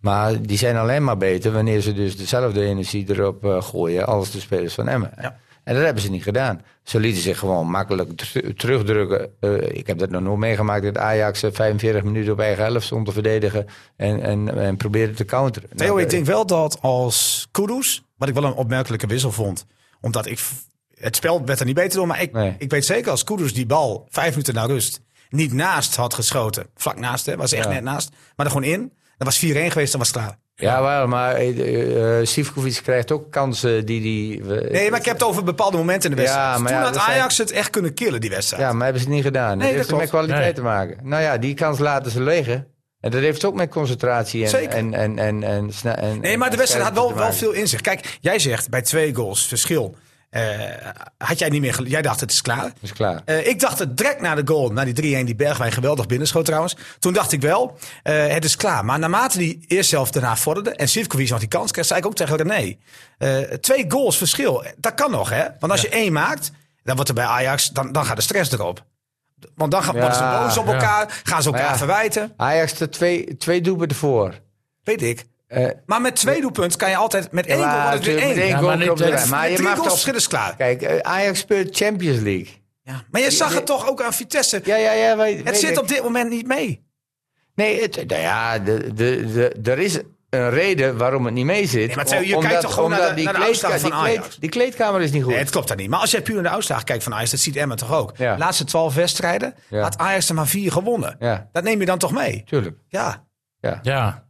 S4: Maar die zijn alleen maar beter wanneer ze dus dezelfde energie erop eh, gooien als de spelers van Emmen. En dat hebben ze niet gedaan. Ze lieten zich gewoon makkelijk ter- terugdrukken. Eh, ik heb dat nog nooit meegemaakt dat Ajax eh, 45 minuten op eigen helft stond te verdedigen en, en, en probeerde te counteren.
S1: Theo,
S4: Nou,
S1: ik denk wel dat als Kudus, wat ik wel een opmerkelijke wissel vond, omdat ik v- het spel werd er niet beter door, maar ik,
S4: Nee.
S1: ik weet zeker als Kudus die bal vijf minuten na rust niet naast had geschoten, vlak naast, hè, was echt net naast, maar er gewoon in, dan was 4-1 geweest, dan was het klaar.
S4: Ja, wel, maar eh, eh, eh, Sivkovic krijgt ook kansen die, die eh, hij...
S1: Nee, maar ik heb het over bepaalde momenten in de
S4: Ja,
S1: wedstrijd.
S4: maar
S1: Toen
S4: ja,
S1: had
S4: er zijn-
S1: Ajax het echt kunnen killen, die wedstrijd.
S4: Ja, maar hebben ze het niet gedaan.
S1: Nee,
S4: dat heeft
S1: dat
S4: er met kwaliteit
S2: Nee.
S4: te maken. Nou ja, die kans laten ze liggen. En dat heeft ook met concentratie en...
S1: Zeker.
S4: En, en, en, en, sne- en
S1: Nee, maar de
S4: en
S1: wedstrijd had wel,
S4: scherpte
S1: wel
S4: te maken.
S1: veel inzicht. Kijk, jij zegt bij twee goals verschil. eh, had jij niet meer. gel- Jij dacht het is klaar.
S4: Is klaar.
S1: Eh, ik dacht het direct na de goal, na die 3-1 die Bergwijn geweldig binnenschoot trouwens. Toen dacht ik wel, eh, het is klaar. Maar naarmate die eerst zelf daarna vorderde en Sivkovic nog die kans kreeg, zei ik ook tegen René. eh, twee goals verschil, eh, dat kan nog hè. Want als je één maakt, dan wordt er bij Ajax, dan, dan gaat de stress erop. Want dan gaan worden ze
S4: Ja,
S1: boos op
S2: ja.
S1: elkaar, gaan ze elkaar
S4: Maar ja.
S1: verwijten.
S4: Ajax er twee, twee doelpunten voor.
S1: Weet ik.
S4: Eh,
S1: Maar met twee doelpunten kan je altijd, met één
S4: ja,
S1: goal wordt het weer
S4: natuurlijk,
S1: één.
S4: met één
S2: Ja,
S4: goal
S2: maar niet,
S4: komt
S2: eh,
S4: het eruit. Maar
S1: Met
S4: je
S1: drie
S4: mag
S1: goals
S4: toch...
S1: verschil is klaar.
S4: Kijk, eh, Ajax speelt Champions League.
S1: Ja. Maar je zag het toch ook aan Vitesse.
S4: Ja, ja, ja. Weet,
S1: het
S4: weet
S1: zit
S4: ik.
S1: op dit moment niet mee.
S4: Nee, het, nou ja, de, de, de, er is een reden waarom het niet mee zit.
S1: Nee, maar Theo, je
S4: Om-
S1: kijkt toch gewoon
S4: omdat
S1: naar de-
S4: die
S1: naar de uitslag
S4: kleedka-
S1: van
S4: die kleed-
S1: Ajax?
S4: Die kleedkamer is niet goed.
S1: Nee, het klopt daar niet. Maar als jij puur naar de uitslag kijkt van Ajax, dat ziet Emmen toch ook.
S4: Ja.
S1: Laatste twaalf wedstrijden
S4: Ja.
S1: had Ajax er maar vier gewonnen.
S4: Ja.
S1: Dat neem je dan toch mee?
S4: Tuurlijk.
S1: Ja.
S2: Ja. Maar,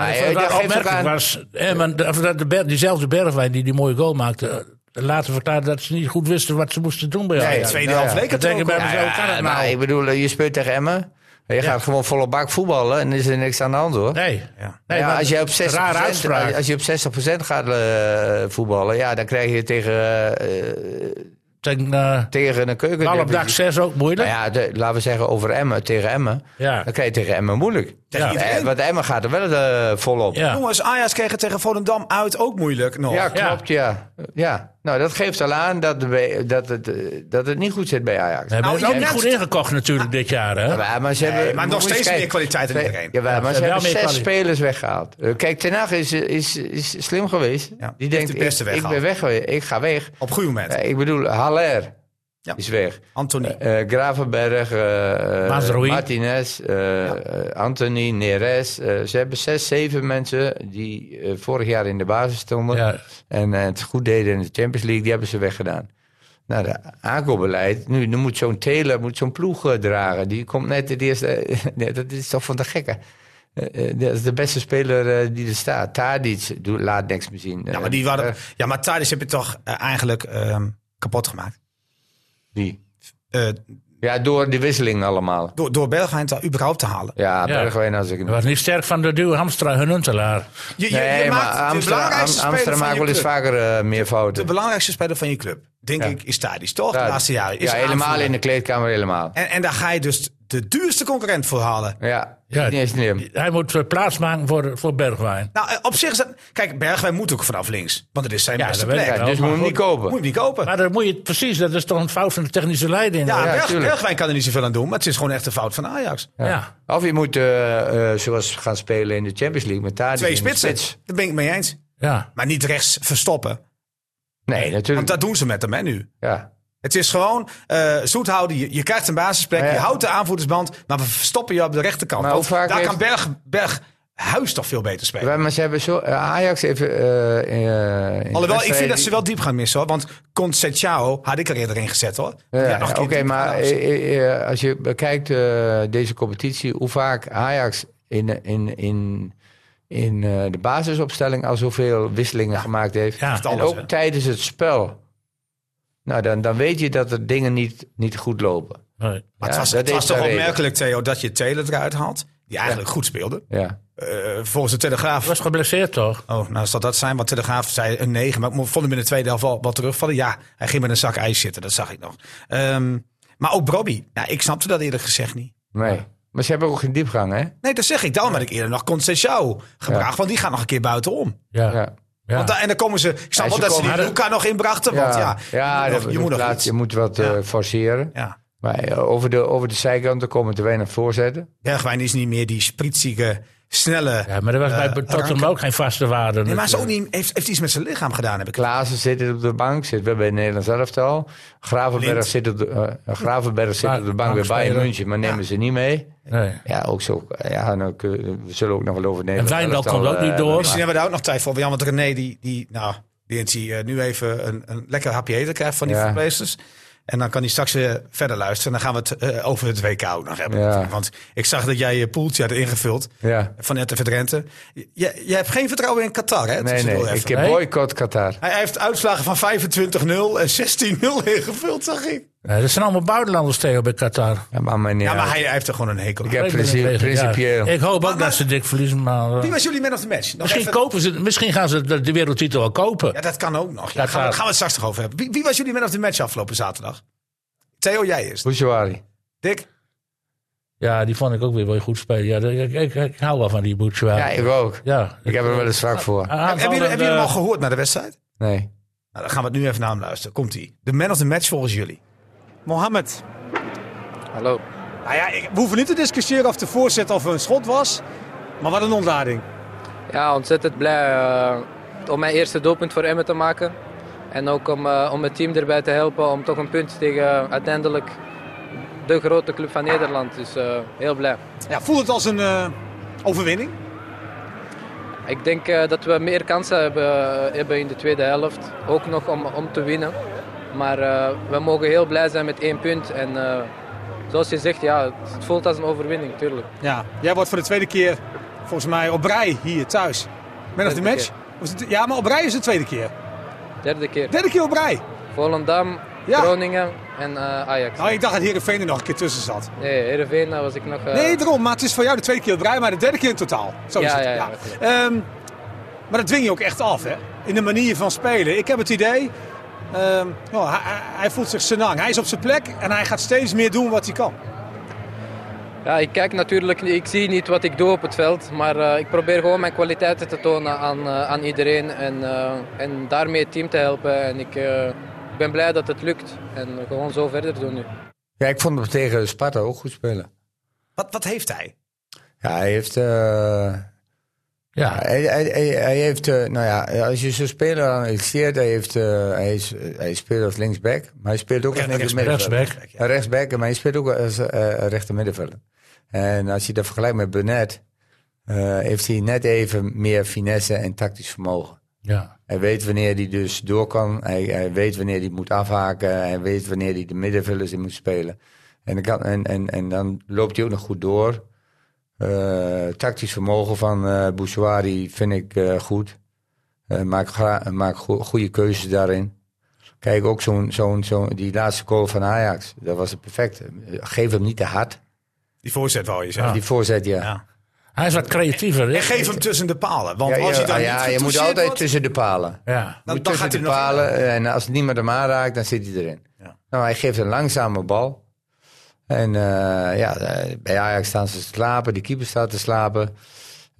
S4: Maar,
S2: ik
S4: eh,
S2: vond
S4: dat
S2: het wel
S4: geeft ook
S2: opmerkelijk
S4: aan-
S2: was, Emmen, de- of dat de Ber- diezelfde Bergwijn die die mooie goal maakte, eh, later verklaarde dat ze niet goed wisten wat ze moesten doen bij Ajax.
S1: tweede
S4: nou
S1: helft
S4: ja.
S1: leek
S2: Dan
S1: het
S2: denk
S1: ook
S2: ik bij
S1: wel.
S2: mezelf, hoe kan het
S4: maar
S2: nou?
S4: ik bedoel, eh, je speelt tegen Emmen. Je gaat gewoon volle bak voetballen en er is er niks aan de hand hoor. Nou
S2: Nee. nee
S4: ja,
S2: maar
S4: als, je op
S2: dat is een Rare
S4: 60%,
S2: uitspraak.
S4: als- als je op 60% gaat eh, voetballen, ja, dan krijg je tegen, eh, eh,
S2: Tegen, eh,
S4: tegen een keuken.
S2: Bal op dak 6 ook moeilijk.
S4: Nou ja, de- laten we zeggen over Emmen, tegen Emmen.
S2: Ja.
S4: Dan krijg je tegen Emmen moeilijk.
S1: Tegen
S2: Ja.
S1: iedereen.
S4: Eh, want Emmen gaat er wel eh, volop.
S2: Ja.
S1: Jongens, Ajax kreeg het tegen Volendam uit ook moeilijk nog.
S4: Ja, klopt, ja. ja. Nou, dat geeft al aan dat, de, bij- dat, het, eh, dat het niet goed zit bij Ajax.
S2: We hebben
S1: Nou,
S2: het ook
S1: je
S2: niet
S1: merkt-
S2: goed ingekocht natuurlijk dit jaar. Hè?
S4: Ja, maar ze hebben,
S1: maar nog
S4: moet je
S1: steeds
S4: eens kijken.
S1: meer kwaliteit dan iedereen.
S4: Ja, maar, maar
S2: ze
S4: ze
S2: hebben
S4: hebben
S2: wel
S4: zes
S2: meer kwaliteit.
S4: spelers weggehaald. Eh, Kijk, Ten Hag is, eh, is, is slim geweest.
S1: Ja,
S4: Die
S1: heeft
S4: denkt,
S1: de beste
S4: ik, ik ben weg, ik ga weg.
S1: Op een goed moment.
S4: Eh, ik bedoel, Haller
S1: Ja.
S4: is weg.
S1: Anthony.
S4: Eh, Gravenberg, eh, eh,
S2: Mazraoui.
S4: Martinez, eh, eh, Anthony, Neres. Eh, ze hebben zes, zeven mensen die eh, vorig jaar in de basis stonden.
S2: Ja.
S4: En eh, het goed deden in de Champions League, die hebben ze weggedaan. naar de aankoopbeleid. Nu, nu moet zo'n teler, moet zo'n ploeg eh, dragen. Die komt net de eerste... <laughs> nee, dat is toch van de gekke. Eh, eh, dat is de beste speler eh, die er staat. Tadic doet, laat niks meer zien. Eh,
S1: Ja, maar, die waren, ja, maar Tadic heb je toch eh, eigenlijk ehm, kapot gemaakt. Eh,
S4: Ja, door die wisseling allemaal.
S1: door, door Bergwijn daar überhaupt te halen.
S4: Ja,
S2: Ja.
S4: Bergwijn als ik hem...
S2: Hij was niet sterk van de duw Hamstra en Huntelaar.
S1: Je, <laughs> je,
S4: Nee,
S1: je
S4: maar
S1: maakt de
S4: Amsterdam,
S1: belangrijkste
S4: Am- Amsterdam
S1: speler van
S4: maakt
S1: je
S4: wel eens
S1: club.
S4: vaker eh, meer
S1: De
S4: fouten.
S1: belangrijkste speler van je club, denk ik, is Tadic, toch?
S4: Ja,
S1: De laatste jaren. Is een
S4: ja, helemaal
S1: aanvoerder.
S4: in de kleedkamer helemaal.
S1: En, en daar ga je dus de duurste concurrent voor halen.
S4: Ja,
S2: Ja.
S4: niet eens slim.
S2: Hij moet eh, plaats maken voor, voor Bergwijn.
S1: Nou, eh, op zich is dat... Kijk, Bergwijn moet ook vanaf links. Want het is zijn
S2: Ja,
S1: beste
S2: dat weet
S1: plek.
S2: ik
S4: Ja,
S2: wel.
S4: dus moet je hem niet
S1: Moet je
S4: kopen.
S1: hem niet kopen.
S2: Maar dan moet je precies, dat is toch een fout van de technische leiding.
S1: ja, Berg-
S4: tuurlijk.
S1: Bergwijn kan er niet zoveel aan doen. Maar het is gewoon echt een fout van Ajax.
S2: ja.
S4: Of je moet, eh, eh, zoals we gaan spelen in de Champions League met Tadic
S1: Twee
S4: in de
S1: spitsen.
S4: spits.
S1: Daar ben ik mee eens.
S2: ja.
S1: Maar niet rechts verstoppen.
S4: Nee,
S1: Want
S4: natuurlijk.
S1: dat doen ze met hem hè, nu.
S4: Ja.
S1: Het is gewoon eh zoet houden. Je, je krijgt een basisplek.
S4: Ja.
S1: Je houdt de aanvoerdersband. Maar we verstoppen je op de rechterkant.
S4: Maar hoe
S1: Want
S4: vaak
S1: daar
S4: heeft-
S1: kan Berg, Berg Huis toch veel beter spelen.
S4: Maar ze hebben zo, eh, Ajax even... eh, eh, in de
S1: Alhoewel, ik
S4: wedstrijd-
S1: vind dat ze wel diep gaan missen hoor. Want Concecao had ik er eerder in gezet hoor. Die
S4: Ja,
S1: had nog een
S4: Oké,
S1: keer diep
S4: maar
S1: gedaan.
S4: eh, eh, eh, als je bekijkt eh, deze competitie, hoe vaak Ajax in, in, in, in eh, de basisopstelling al zoveel wisselingen gemaakt heeft.
S2: Ja.
S4: en
S1: Alles,
S4: ook
S1: hè?
S4: tijdens het spel. Nou, dan, dan weet je dat er dingen niet, niet goed lopen.
S2: Nee.
S1: Maar
S4: Ja,
S1: het was,
S4: dat
S1: het was
S4: is
S1: toch
S4: de reden.
S1: opmerkelijk, Theo, dat je Taylor eruit haalt. Die eigenlijk goed speelde.
S4: Ja.
S1: Eh, volgens de Telegraaf.
S2: Hij was geblesseerd toch?
S1: Oh, nou zal dat zijn. Want Telegraaf zei een 9. Maar ik mo- vond hem in de tweede helft wel wat terugvallen. Ja, hij ging met een zak ijs zitten. Dat zag ik nog. Ehm, maar ook Bobby. Nou, ik snapte dat eerlijk gezegd niet.
S4: Nee. Maar ze hebben ook geen diepgang, hè?
S1: Nee, dat zeg ik. Daarom had ik eerder nog Concecao gebracht. Want die gaat nog een keer buitenom.
S2: Ja. ja.
S4: Ja.
S1: Want da- en dan komen ze... Ik snap
S4: Ja,
S1: wel
S4: ze
S1: dat ze
S4: komen-
S1: die Luca nog inbrachten. Want ja,
S4: Ja,
S1: je moet nog,
S4: dat- dat
S1: je moet nog
S4: plaats-
S1: iets.
S4: je moet wat
S1: Ja.
S4: eh, forceren.
S1: Ja.
S4: Maar eh, over de, over de zijkanten komen te weinig voorzetten.
S1: Bergwijn is niet meer die spritzige, snelle...
S2: maar er was bij
S1: Eh,
S2: Tottenham
S1: Ranke.
S2: ook geen vaste waarde.
S1: Nee, maar
S4: eh,
S1: is ook
S2: natuurlijk.
S1: niet, heeft, heeft iets met zijn lichaam gedaan, heb ik.
S4: Klaassen zit op de bank, zit weer bij het Nederlands elftal. Gravenberg
S1: Blind.
S4: zit op de, eh, Gravenberg zit
S2: Maar-
S4: op de bank weer bij
S2: bankspeler.
S4: München, maar nemen ze niet mee.
S2: Nee.
S4: Ja, ook zo. Ja, nou, kun- we zullen ook nog wel over het Nederlands
S2: Wijndal
S4: elftal,
S2: komt ook
S4: eh,
S2: niet door.
S4: hebben.
S1: Misschien hebben we daar ook nog tijd voor. Ja, want René, die, die, nou, die, denkt die eh, nu even een, een lekker hapje eten krijgt van die
S4: Ja.
S1: voetbalsters. En dan kan hij straks weer verder luisteren. En dan gaan we het eh, over het WK ook nog hebben.
S4: Ja.
S1: natuurlijk. Want ik zag dat jij je poeltje had ingevuld
S4: Ja.
S1: van RTV Drenthe. Je, je hebt geen vertrouwen in Qatar, hè?
S4: Nee,
S1: Tussendoor
S4: nee,
S1: even.
S4: ik heb
S2: Nee?
S4: boycott Qatar.
S1: Hij hij heeft uitslagen van 25-0 en 16-0 ingevuld, zag ik.
S2: Nee, dat zijn allemaal buitenlanders, Theo, bij Qatar.
S4: Ja, maar mijn
S1: Ja, maar hij, hij heeft er gewoon een hekel
S4: Ik
S1: aan.
S4: heb
S2: Ik ben
S4: princi-
S2: er tegen, ja.
S4: principieel.
S2: Ik hoop ook
S1: maar-
S2: dat ze dik verliezen, maar... eh,
S1: Wie was jullie man of the match? Nog
S2: misschien,
S1: even-
S2: kopen ze, misschien gaan ze de, de wereldtitel wel kopen.
S1: Ja, dat kan ook nog. Ja,
S2: Dat
S1: gaan, we,
S2: gaat.
S1: gaan we het straks nog over hebben. Wie, wie was jullie man of the match afgelopen zaterdag? Theo, jij eerst.
S4: Bouchouari.
S1: Dick?
S2: Ja, die vond ik ook weer wel goed spelen. Ja, ik, ik, ik hou wel van die Boetjewa.
S4: Ja,
S2: Ja,
S4: ik ook. Ik heb er wel eens zwak voor.
S2: Aanvallend,
S1: Hebben jullie, hebben jullie
S2: eh,
S1: hem al gehoord naar de wedstrijd?
S4: Nee.
S1: Nou, dan gaan we het nu even naar hem luisteren. Komt-ie. De man of the match volgens jullie.
S6: Mohamed.
S4: Hallo.
S6: Nou ja, ik- we hoeven niet te discussiëren of de voorzet of een schot was. Maar wat een ontlading.
S8: Ja, ontzettend blij eh, om mijn eerste doelpunt voor Emmen te maken. En ook om, eh, om het team erbij te helpen om toch een punt tegen uiteindelijk de grote club van Nederland. Dus eh, heel blij.
S6: Ja, voelt het als een eh, overwinning?
S8: Ik denk eh, dat we meer kansen hebben, eh, hebben in de tweede helft. Ook nog om, om te winnen. Maar eh, we mogen heel blij zijn met één punt. En eh, zoals je zegt, ja, het het voelt als een overwinning, tuurlijk.
S6: Ja. Jij wordt voor de tweede keer, volgens mij, op rij hier thuis. Man of the
S8: Tweede
S6: match? Of is het- ja, maar op rij is de tweede keer.
S8: Derde keer.
S6: Derde keer op rij.
S8: Volendam,
S6: Ja.
S8: Groningen en eh, Ajax.
S6: Nou, ik dacht dat Heerenveen er nog een keer tussen zat.
S8: Nee, Heerenveen daar was ik nog... eh,
S6: Nee, daarom. Maar het is voor jou de tweede keer op rij, maar de derde keer in totaal. Zo is
S8: Ja,
S6: het.
S8: ja, ja,
S6: Ehm, maar dat dwing je ook echt af, hè? In de manier van spelen. Ik heb het idee... ehm, ja, hij, hij- hij voelt zich senang. Hij is op zijn plek en hij gaat steeds meer doen wat hij kan.
S8: Ja, ik kijk natuurlijk, niet- ik zie niet wat ik doe op het veld, maar eh, ik probeer gewoon mijn kwaliteiten te tonen aan, eh, aan iedereen en, eh, en daarmee het team te helpen. En ik eh, ik ben blij dat het lukt en gewoon zo verder doen nu.
S4: Ja, ik vond hem tegen Sparta ook goed spelen.
S1: Wat, wat heeft hij?
S4: Ja, hij heeft... eh, Ja,
S2: ja.
S4: Hij, hij, hij, hij heeft, eh, nou ja, als je zo'n speler analyseert, hij, heeft, eh, hij, is, hij speelt als linksback, maar hij speelt ook als linker middenvelder.
S2: Rechtsback.
S4: Ja, rechtsback, maar hij speelt ook als eh rechter middenvelder. En als je dat vergelijkt met Burnett, eh, heeft hij net even meer finesse en tactisch vermogen.
S2: Ja.
S4: En Hij weet wanneer hij dus door kan. Hij, hij weet wanneer hij moet afhaken. Hij weet wanneer hij de middenvelders in moet spelen. En, dan kan, en, en, en dan loopt hij ook nog goed door. Eh, tactisch vermogen van eh Bouchouari vind ik eh, goed. Eh maak gra- maak go- goede keuzes daarin. Kijk, ook zo'n, zo'n, zo'n, die laatste goal van Ajax. Dat was het perfect. Geef hem niet te hard.
S1: Die voorzet wou je zeggen.
S4: Die voorzet, ja.
S1: Ja.
S2: Hij is wat creatiever. hè?
S1: En geef hem tussen de palen. Want
S4: Ja, ja,
S1: als je dan
S4: ja,
S1: niet
S4: je moet
S1: getoetseerd
S4: altijd
S1: wordt,
S4: tussen de palen.
S2: Ja.
S1: dan,
S4: Moet
S1: dan
S4: tussen
S1: gaat hij
S4: de
S1: er nog in.
S4: palen eh, en als niemand hem aanraakt, dan zit hij erin.
S1: Ja.
S4: Nou, hij geeft een langzame bal. En eh, ja, eh, bij Ajax staan ze te slapen, de keeper staat te slapen.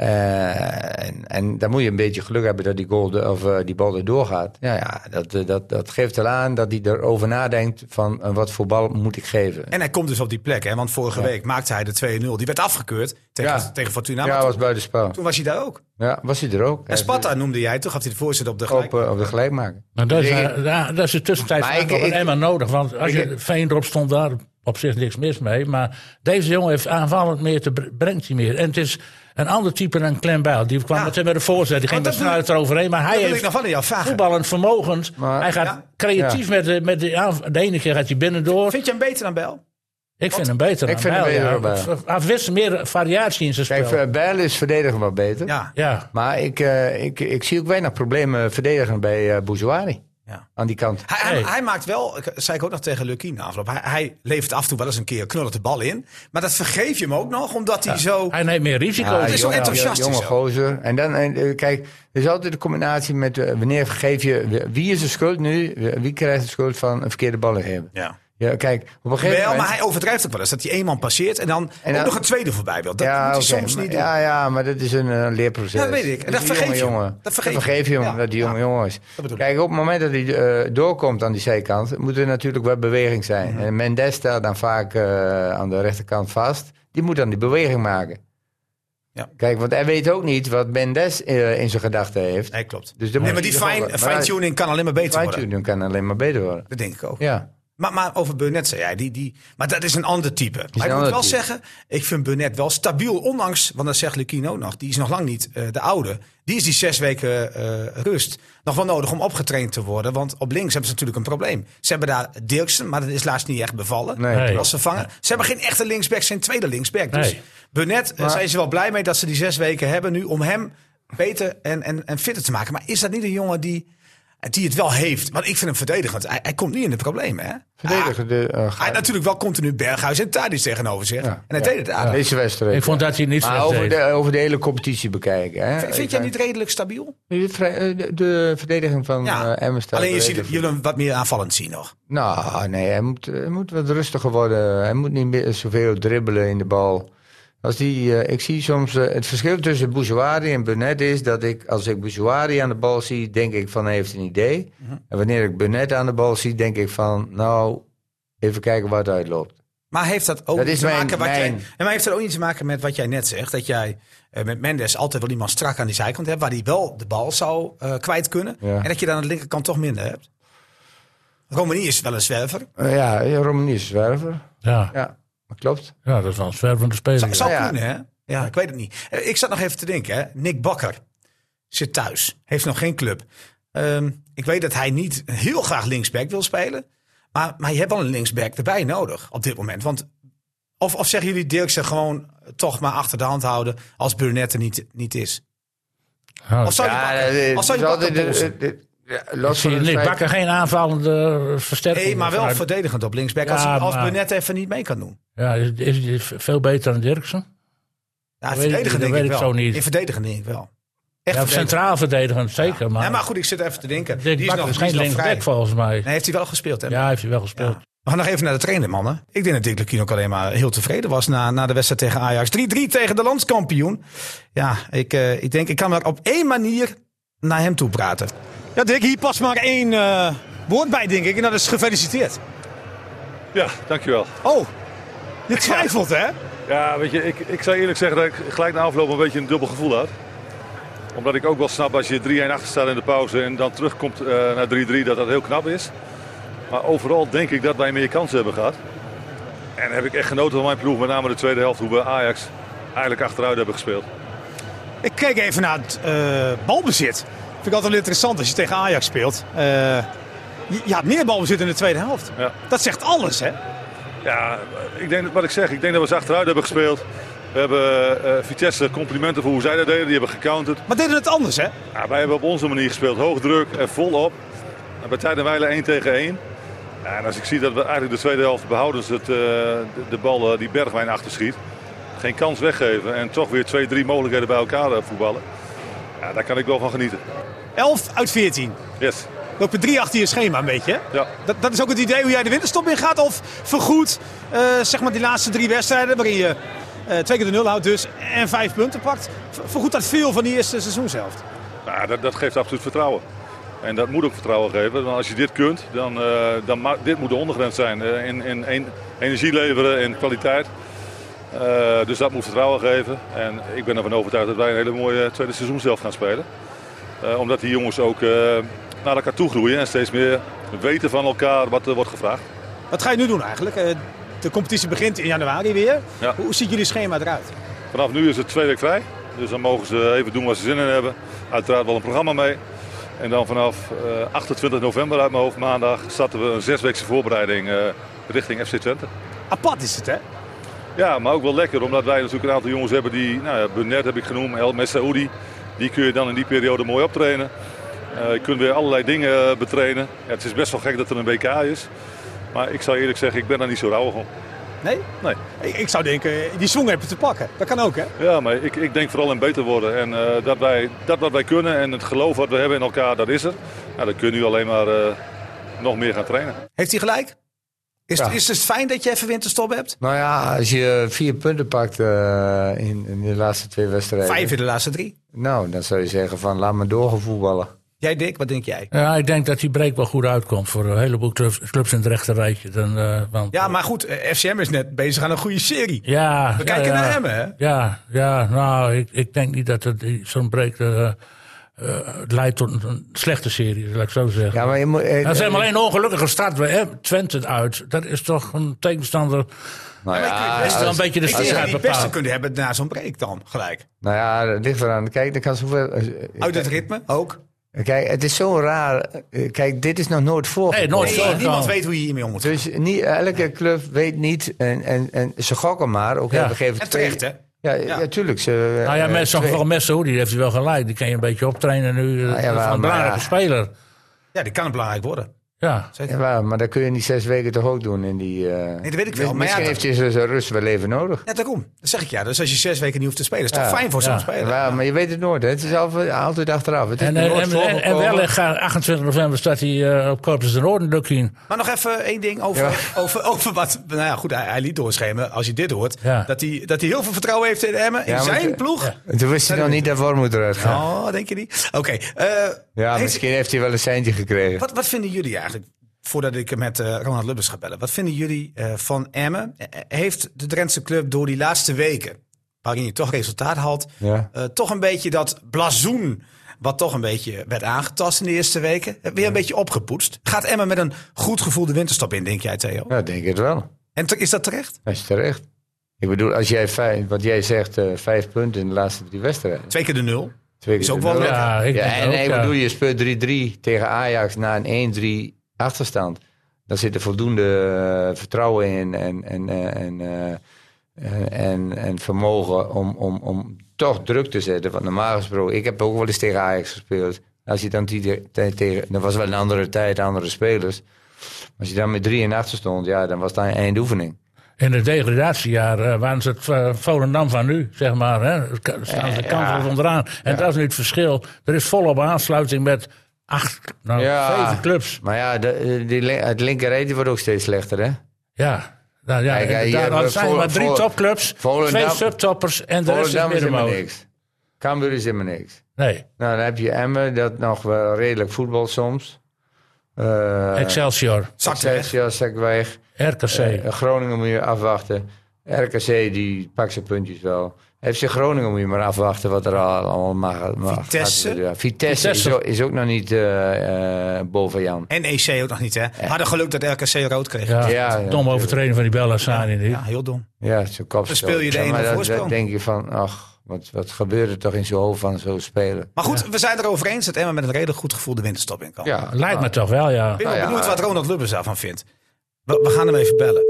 S4: Eh, en, en dan moet je een beetje geluk hebben dat die, goal er- of, eh, die bal erdoor gaat. Ja, ja dat, eh, dat, dat geeft wel aan dat hij erover nadenkt van eh, wat voor bal moet ik geven.
S1: En hij komt dus op die plek. Hè? Want vorige week maakte hij de 2-0. Die werd afgekeurd tegen,
S4: Ja.
S1: tegen Fortuna. maar
S4: ja,
S1: toen-
S4: was buitenspel.
S1: Toen was hij daar ook.
S4: Ja, dus- was hij er ook.
S1: En Sparta noemde jij. Toen gaf hij de voorzet op de
S4: Op,
S1: gelijk.
S4: eh, op de gelijkmaker.
S2: Nou, dat, is,
S4: Dus ik-
S2: eh, daar- dat is de tussentijd
S4: Maar
S2: vaak
S4: ik-
S2: nog een
S4: ik-
S2: Emma nodig. Want als
S4: ik-
S2: je Veen erop stond, daar op zich niks mis mee. Maar deze jongen heeft aanvallend meer, te, br- brengt hij meer. En het is een ander type dan Clem Bijl. Die kwam
S1: Ja.
S2: meteen met de voorzet, die ging
S1: Want
S2: met
S1: dat wil-
S2: snuit eroverheen. Maar hij
S1: Dat wil ik
S2: heeft
S1: nog van jou vragen.
S2: voetballend vermogens.
S4: Maar-
S2: hij gaat
S1: Ja.
S2: creatief met, de, met de aanv- De ene keer gaat hij binnendoor.
S1: Vind je hem beter dan Bel?
S2: ik vind hem beter
S4: Ik
S2: dan
S4: vind hem
S2: Bijl,
S4: beter
S2: ja.
S4: dan Bijl.
S2: Het- Hij wist meer variatie in zijn spel.
S4: Kijk, eh, Bijl is verdediger wat beter.
S1: Ja.
S2: ja.
S4: Maar ik, eh, ik, ik zie ook weinig problemen verdedigen bij eh Bouzouari.
S1: Ja.
S4: Aan die kant. Eh,
S1: Hij, hij,
S2: Nee.
S1: hij maakt wel, ik- zei ik ook nog tegen Lucky na afloop. Hij, hij levert af en toe wel eens een keer een knullen de bal in. Maar dat vergeef je hem ook nog, omdat hij zo.
S2: Hij neemt meer risico's.
S1: is zo
S4: jonge-
S1: enthousiast
S4: Jonge
S1: is ook.
S4: gozer. En dan, en, eh, kijk, er is altijd de combinatie met eh, wanneer geef je. Wie is de schuld nu? Wie krijgt de schuld van een verkeerde bal geven?
S1: Ja.
S4: Ja, kijk, op een gegeven
S1: Wel,
S4: moment.
S1: maar hij overdrijft ook wel eens. Dat hij één man passeert en dan,
S4: En dan-
S1: ook nog een tweede voorbij wil. Dat
S4: ja,
S1: moet hij
S4: oké,
S1: soms
S4: maar-
S1: niet
S4: ja, ja, maar dat is een, eh, leerproces.
S1: Ja, dat weet ik. En dat
S4: is een jonge
S1: vergeef je hem.
S4: jongen.
S1: Dat vergeef je
S4: je hem,
S1: hem.
S4: dat die jonge jongen is.
S1: bedoel ik.
S4: Kijk, op het moment dat hij eh, doorkomt aan die zijkant, moet er natuurlijk wel beweging zijn.
S1: Mhm.
S4: En Mendes staat dan vaak eh, aan de rechterkant vast. Die moet dan die beweging maken.
S1: Ja.
S4: Kijk, want hij weet ook niet wat Mendes eh, in zijn gedachten heeft.
S1: doen. Nee, klopt.
S4: Dus dan
S1: Nee, maar
S4: moet
S1: die
S4: je toch wel-
S1: fine-
S4: maar
S1: fine-tuning kan alleen maar beter worden.
S4: fine-tuning kan alleen maar beter worden.
S1: Dat denk ik ook.
S4: Ja.
S1: Maar, maar over Burnett zei jij, die, die, maar dat is een ander type. Maar ik
S4: een
S1: moet
S4: ander
S1: wel
S4: type.
S1: zeggen, ik vind Burnett wel stabiel. Ondanks, want dat zegt Lukino nog, die is nog lang niet eh, de oude. Die is die zes weken eh, rust nog wel nodig om opgetraind te worden. Want op links hebben ze natuurlijk een probleem. Ze hebben daar Dirksen, maar dat is laatst niet echt bevallen.
S4: Nee.
S2: Nee.
S1: Als ze vangen. Ze hebben geen echte linksback, geen tweede linksback. Dus
S2: Nee.
S1: Burnett, eh, zijn ze wel blij mee dat ze die zes weken hebben nu om hem beter en, en, en fitter te maken. Maar is dat niet een jongen die, die het wel heeft? Want ik vind hem verdedigend. Hij, hij komt niet in de problemen, hè? Ah.
S4: Verdedigen de... eh,
S1: Hij had natuurlijk wel continu Berghuis en Tadic tegenover zich. En hij deed het aardig.
S4: Deze wedstrijd.
S2: Ik vond dat hij niet
S4: maar
S2: slecht
S4: over
S2: deed.
S4: de, over de hele competitie bekijken. Hè?
S1: Vind- Vind jij niet redelijk stabiel?
S4: De, vrij- eh, de- de verdediging van eh
S1: Ja.
S4: Emmen staat
S1: Alleen je
S4: er
S1: ziet
S4: even-
S1: je wil hem wat meer aanvallend zien nog.
S4: Nou, nee, hij moet, hij moet wat rustiger worden. Hij moet niet meer zoveel dribbelen in de bal. Als die, eh, ik zie soms eh, het verschil tussen Bouzouari en Burnett is dat ik, als ik Bouzouari aan de bal zie, denk ik van hij heeft een idee.
S1: Mhm.
S4: En wanneer ik Burnett aan de bal zie, denk ik van nou, even kijken waar het uitloopt.
S1: Maar heeft dat ook
S4: Dat
S1: niet
S4: is
S1: te
S4: mijn-
S1: maken wat jij,
S4: mijn-
S1: en maar heeft dat ook niet te maken met wat jij net zegt? Dat jij eh, met Mendes altijd wel iemand strak aan die zijkant hebt, waar hij wel de bal zou eh, kwijt kunnen.
S4: Ja.
S1: En dat je dan aan de linkerkant toch minder hebt. Romani is wel een zwerver.
S4: Eh, ja, Romani is zwerver.
S2: Ja.
S4: Ja, dat klopt.
S2: ja, dat is wel een zwervende speler.
S1: Zou, zou
S4: Ja.
S1: kunnen, hè? Ja, ik weet het niet. Eh, Ik zat nog even te denken, hè. Nick Bakker zit thuis. Heeft nog geen club. Ehm, ik weet dat hij niet heel graag linksback wil spelen. Maar, maar je hebt wel een linksback erbij nodig op dit moment. Want, of, of zeggen jullie Dirkse gewoon toch maar achter de hand houden als Burnett er niet, niet is?
S2: Ja.
S1: Of zou je Bakker,
S4: eh,
S1: of zou je
S4: het
S1: Bakker
S4: is altijd,
S1: polsen?
S4: eh, eh, ja, los
S2: Zie
S4: van
S2: je
S4: het
S2: Nick
S4: feit-
S2: Bakker geen aanvallende eh, versterking?
S1: Nee, maar wel
S2: Vanuit-
S1: verdedigend op linksback als,
S2: Ja,
S1: als
S2: maar-
S1: Burnett even niet mee kan doen.
S2: Ja, is, is die veel beter dan Dirksen?
S1: Ja,
S2: weet ik
S1: verdedigen
S2: niet, dat
S1: denk ik
S2: weet
S1: wel.
S2: ik zo niet.
S1: In verdedigen denk ik wel. Echt
S2: Ja,
S1: verdedigend.
S2: centraal verdedigend, zeker. Maar,
S1: Ja, maar goed, ik zit even te denken.
S2: Nick
S1: Die is
S2: Bakker
S1: nog,
S2: is
S1: die is
S2: geen
S1: nog vrij.
S2: linksback volgens mij.
S1: Nee, heeft hij wel gespeeld, hè?
S2: Ja, heeft hij wel gespeeld.
S1: We gaan nog even naar de trainer, mannen. Ik denk dat Dick Lukien ook alleen maar heel tevreden was na, na de wedstrijd tegen Ajax. 3-3 tegen de landskampioen. Ja, ik, eh, ik denk, ik kan maar op één manier naar hem toe praten.
S6: Ja, Dick, hier past maar één eh, woord bij, denk ik. En dat is gefeliciteerd.
S9: Ja, dankjewel.
S6: Oh, je twijfelt, hè?
S9: Ja, weet je, ik, ik zou eerlijk zeggen dat ik gelijk na afloop een beetje een dubbel gevoel had. Omdat ik ook wel snap als je 3-1 achter staat in de pauze en dan terugkomt eh, naar 3-3 dat dat heel knap is. Maar overal denk ik dat wij meer kansen hebben gehad. En heb ik echt genoten van mijn ploeg, met name de tweede helft, hoe we Ajax eigenlijk achteruit hebben gespeeld.
S6: Ik keek even naar het eh, balbezit. Vind ik altijd wel interessant als je tegen Ajax speelt. Eh, je- ja, meer balbezit in de tweede helft.
S10: Ja.
S6: Dat zegt alles, hè?
S10: Ja, ik denk dat- wat ik zeg, ik denk dat we ze achteruit hebben gespeeld. We hebben eh, Vitesse complimenten voor hoe zij dat deden. Die hebben gecounterd.
S6: Maar deden het anders, hè?
S10: Ja, wij hebben op onze manier gespeeld. Hoog druk en volop. En bij tijd en wijle 1 tegen 1. Ja, en als ik zie dat we eigenlijk de tweede helft behouden, ze het, eh, de, de bal eh, die Bergwijn achterschiet. Geen kans weggeven en toch weer twee, drie mogelijkheden bij elkaar eh, voetballen. Ja, daar kan ik wel van genieten.
S6: 11 uit 14.
S10: Yes.
S6: Loop je drie achter je schema een beetje, hè?
S10: Ja.
S6: Dat, dat is ook het idee hoe jij de winterstop in gaat. Of vergoed eh, zeg maar die laatste drie wedstrijden waarin je eh, twee keer de nul houdt dus en vijf punten pakt. Ver- Vergoed dat veel van die eerste seizoenshelft.
S10: Nou, dat, dat geeft absoluut vertrouwen. En dat moet ook vertrouwen geven. Want als je dit kunt, dan, eh, dan ma- dit moet de ondergrens zijn. eh, in, in en- energie leveren en kwaliteit. Eh, dus dat moet vertrouwen geven. En ik ben ervan overtuigd dat wij een hele mooie eh, tweede seizoen zelf gaan spelen. Eh, omdat die jongens ook eh, naar elkaar toe groeien en steeds meer weten van elkaar wat er wordt gevraagd.
S6: Wat ga je nu doen eigenlijk? Eh, de competitie begint in januari weer.
S10: Ja.
S6: Hoe ziet jullie schema eruit?
S10: Vanaf nu is het twee weken vrij. Dus dan mogen ze even doen wat ze zin in hebben. Uiteraard wel een programma mee. En dan vanaf eh, 28 november uit mijn hoofd maandag starten we een zesweekse voorbereiding eh, richting FC Twente.
S6: Apart is het, hè?
S10: Ja, maar ook wel lekker omdat wij natuurlijk een aantal jongens hebben die, nou ja, Burnett heb ik genoemd, El Messaoudi. Die kun je dan in die periode mooi optrainen. Eh je kunt weer allerlei dingen eh, betrainen. Ja, het is best wel gek dat er een WK is. Maar ik zou eerlijk zeggen, ik ben daar niet zo rauw om.
S6: Nee?
S10: Nee.
S6: Ik, ik zou denken, eh, die zong hebben te pakken. Dat kan ook, hè?
S10: Ja, maar ik, ik denk vooral in beter worden. En eh, dat, wij, dat wat wij kunnen en het geloof wat we hebben in elkaar, dat is er. Nou, dan kun je nu alleen maar eh, nog meer gaan trainen.
S1: Heeft hij gelijk? Is,
S4: Ja.
S1: is het fijn dat je even winterstop hebt?
S4: Nou ja, als je vier punten pakt eh, in, in de laatste twee wedstrijden.
S1: Vijf in de laatste drie.
S4: Nou, dan zou je zeggen van laat me doorgevoetballen.
S1: Jij Dick, wat denk jij?
S2: Ja, ik denk dat die break wel goed uitkomt voor een heleboel clubs, clubs in het rechterrijtje. Dan, eh, want,
S1: Ja, maar goed, eh, FCM is net bezig aan een goede serie.
S2: ja,
S1: We kijken
S2: ja,
S1: naar hem, hè?
S2: Ja, ja nou, ik, ik denk niet dat het die- zo'n break eh, eh, leidt tot een- een slechte serie, laat ik zo zeggen.
S4: Ja, maar je moet. eh,
S2: Nou, ze hebben alleen een ongelukkige start bij hè, Twente uit. Dat is toch een tegenstander.
S4: nou ja,
S2: Best wel een beetje de
S1: Ik denk
S2: sfeer
S1: dat
S2: gaat
S1: die het beste
S2: bepalen.
S1: kunnen hebben na zo'n break dan, gelijk.
S4: nou ja, dat ligt eraan. Kijk, dan kan zoveel. eh,
S1: Uit het ritme ook.
S4: Kijk, het is zo raar. Eh, Kijk, dit is nog nooit voorgekomen.
S2: Nee, nooit
S1: Nee,
S2: zo.
S1: niemand weet hoe je hiermee om moet.
S4: Dus niet, elke club weet niet. En, en, en ze gokken maar. Ook
S2: Ja.
S4: hebben gegeven
S1: En terecht, hè?
S4: Ja, ja. tuurlijk. Ze,
S2: Nou ja,
S4: eh,
S2: met zo'n
S4: twee-
S2: geval Messen, die heeft hij wel gelijk. Die kan je een beetje optrainen nu. eh, dat is
S4: Ah, ja, maar-
S2: wel een belangrijke
S4: maar-
S2: speler.
S1: Ja, die kan belangrijk worden.
S2: Ja.
S4: Ja, maar- maar dat kun je in die zes weken toch ook doen. In die, eh,
S1: Nee, dat weet ik wel,
S4: Misschien
S1: maar ja,
S4: heeft hij zijn rust wel even nodig.
S1: Net daarom. Dat zeg ik ja. Dus als je zes weken niet hoeft te spelen, is toch
S4: Ja,
S1: fijn voor
S2: ja.
S1: zo'n speler.
S4: Ja, maar je weet het nooit. Hè. Het is altijd, altijd achteraf. Het is
S2: En, eh,
S4: nog
S2: en,
S4: nooit
S2: en, en, en
S4: voorgekomen.
S2: Wellicht gaat 28 november staat hij eh, op Corpus de Noorden in.
S1: Maar nog even één ding over, <laughs> over, over wat. Nou ja, goed, hij, hij liet doorschemen. Als je dit hoort,
S2: Ja.
S1: dat, hij, dat hij heel veel vertrouwen heeft in Emmen. In
S4: Ja, maar
S1: zijn
S4: het-
S1: ploeg.
S4: En Toen wist hij nog niet dat Wormoed eruit gaat.
S1: Oh, denk je niet? Oké. eh,
S4: Ja,
S1: heeft-
S4: misschien heeft hij wel een seintje gekregen.
S1: wat, wat vinden jullie eigenlijk? Voordat ik met eh, Ronald Lubbers ga bellen. Wat vinden jullie eh, van Emmen? Eh, eh, Heeft de Drentse club door die laatste weken, waarin je toch resultaat had,
S4: Ja.
S1: eh, toch een beetje dat blazoen, wat toch een beetje werd aangetast in de eerste weken, eh, weer een beetje opgepoetst? Gaat Emmen met een goed gevoel de winterstap in, denk jij Theo?
S4: Ja, denk ik het wel.
S1: En te- is dat terecht?
S4: Dat is terecht. Ik bedoel, als jij vijf, wat jij zegt, eh, vijf punten in de laatste drie wedstrijden.
S1: Twee keer de nul.
S4: Twee
S1: Is
S4: keer
S1: ook
S4: de
S1: wel
S4: nul.
S1: lekker.
S2: Ja, ik
S4: Ja,
S2: denk
S4: en
S2: ook,
S4: ik
S2: ja.
S4: bedoel, je speelt 3-3 tegen Ajax na een 1-3 achterstand. Daar zit er voldoende eh, vertrouwen in en, en, eh, en, eh, en, en, en vermogen om, om, om toch druk te zetten. Want normaal gesproken, ik heb ook wel eens tegen Ajax gespeeld. Als je dan die tijd tegen, dat was wel een andere tijd, andere spelers. Als je dan met 3 in achter stond, ja, dan was dat een eindoefening.
S2: In het degradatiejaar eh, waren ze het eh, Volendam van nu, zeg maar. Hè. Ka- Staan ze kansels onderaan. En dat is nu het verschil. Er is volop aansluiting met acht, nou,
S4: Ja.
S2: zeven clubs.
S4: Maar ja, de, eh, die, lin- het linkerrijtje wordt ook steeds slechter, hè?
S2: Ja. Nou, ja,
S4: Kijk, hè, hier
S2: inderdaad.
S4: hebben
S2: er
S4: we
S2: zijn
S4: Vol-
S2: maar drie
S4: Vol-
S2: topclubs, twee
S4: Volendam-
S2: subtoppers en de rest is
S4: Volendam is helemaal
S2: middenmoot.
S4: niks. Cambuur is helemaal niks.
S2: Nee,
S4: Nou, dan heb je Emmen, dat nog wel redelijk voetbal soms. Eh
S2: Excelsior,
S1: Zakt weg.
S4: Excelsior, Zakweg.
S2: RKC.
S4: Eh, Groningen moet je afwachten. RKC, die pakt zijn puntjes wel. FC Groningen moet je maar afwachten wat er al- allemaal mag. mag
S1: Vitesse?
S4: gaat gebeuren. Vitesse,
S2: Vitesse.
S4: Is, ook, is ook nog niet eh, eh, boven Jan.
S1: En EC ook nog niet, hè? Hadden geluk dat RKC rood kreeg. Ja,
S2: ja,
S4: ja, ja,
S2: dom overtreden van die Bella Sani nu.
S1: heel dom.
S4: Ja, zo'n kopstoot.
S1: speel je de
S4: Ja, maar
S1: 1-0
S4: dat- dat
S1: voorsprong.
S4: denk je van, ach, Wat, wat gebeurt er toch in zijn hoofd van zo'n speler?
S1: Maar goed, we zijn erover eens dat Emma met een redelijk goed gevoel de winterstop in kan.
S4: Ja,
S2: Lijkt me toch wel, ja.
S1: Ik ben wel
S4: Nou ja,
S1: benieuwd wat Ronald Lubbers daarvan vindt. We, we gaan hem even bellen.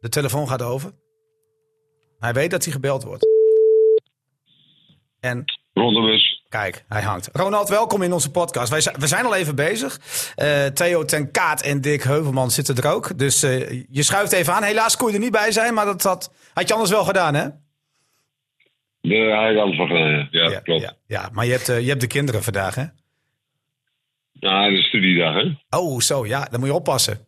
S1: De telefoon gaat over. Hij weet dat hij gebeld wordt. En
S10: Rondebus.
S1: kijk, hij hangt. Ronald, welkom in onze podcast. Wij zijn, we zijn al even bezig. Eh, Theo ten Kaat en Dick Heuvelman zitten er ook. Dus eh, je schuift even aan. Helaas kon je er niet bij zijn, maar dat had, had je anders wel gedaan, hè?
S10: De, hij had het van gedaan, ja. Ja, klopt.
S1: ja, ja. maar je hebt, eh, je hebt de kinderen vandaag, hè?
S10: Ja, de studiedag, hè?
S1: Oh, zo, ja. Dan moet je oppassen.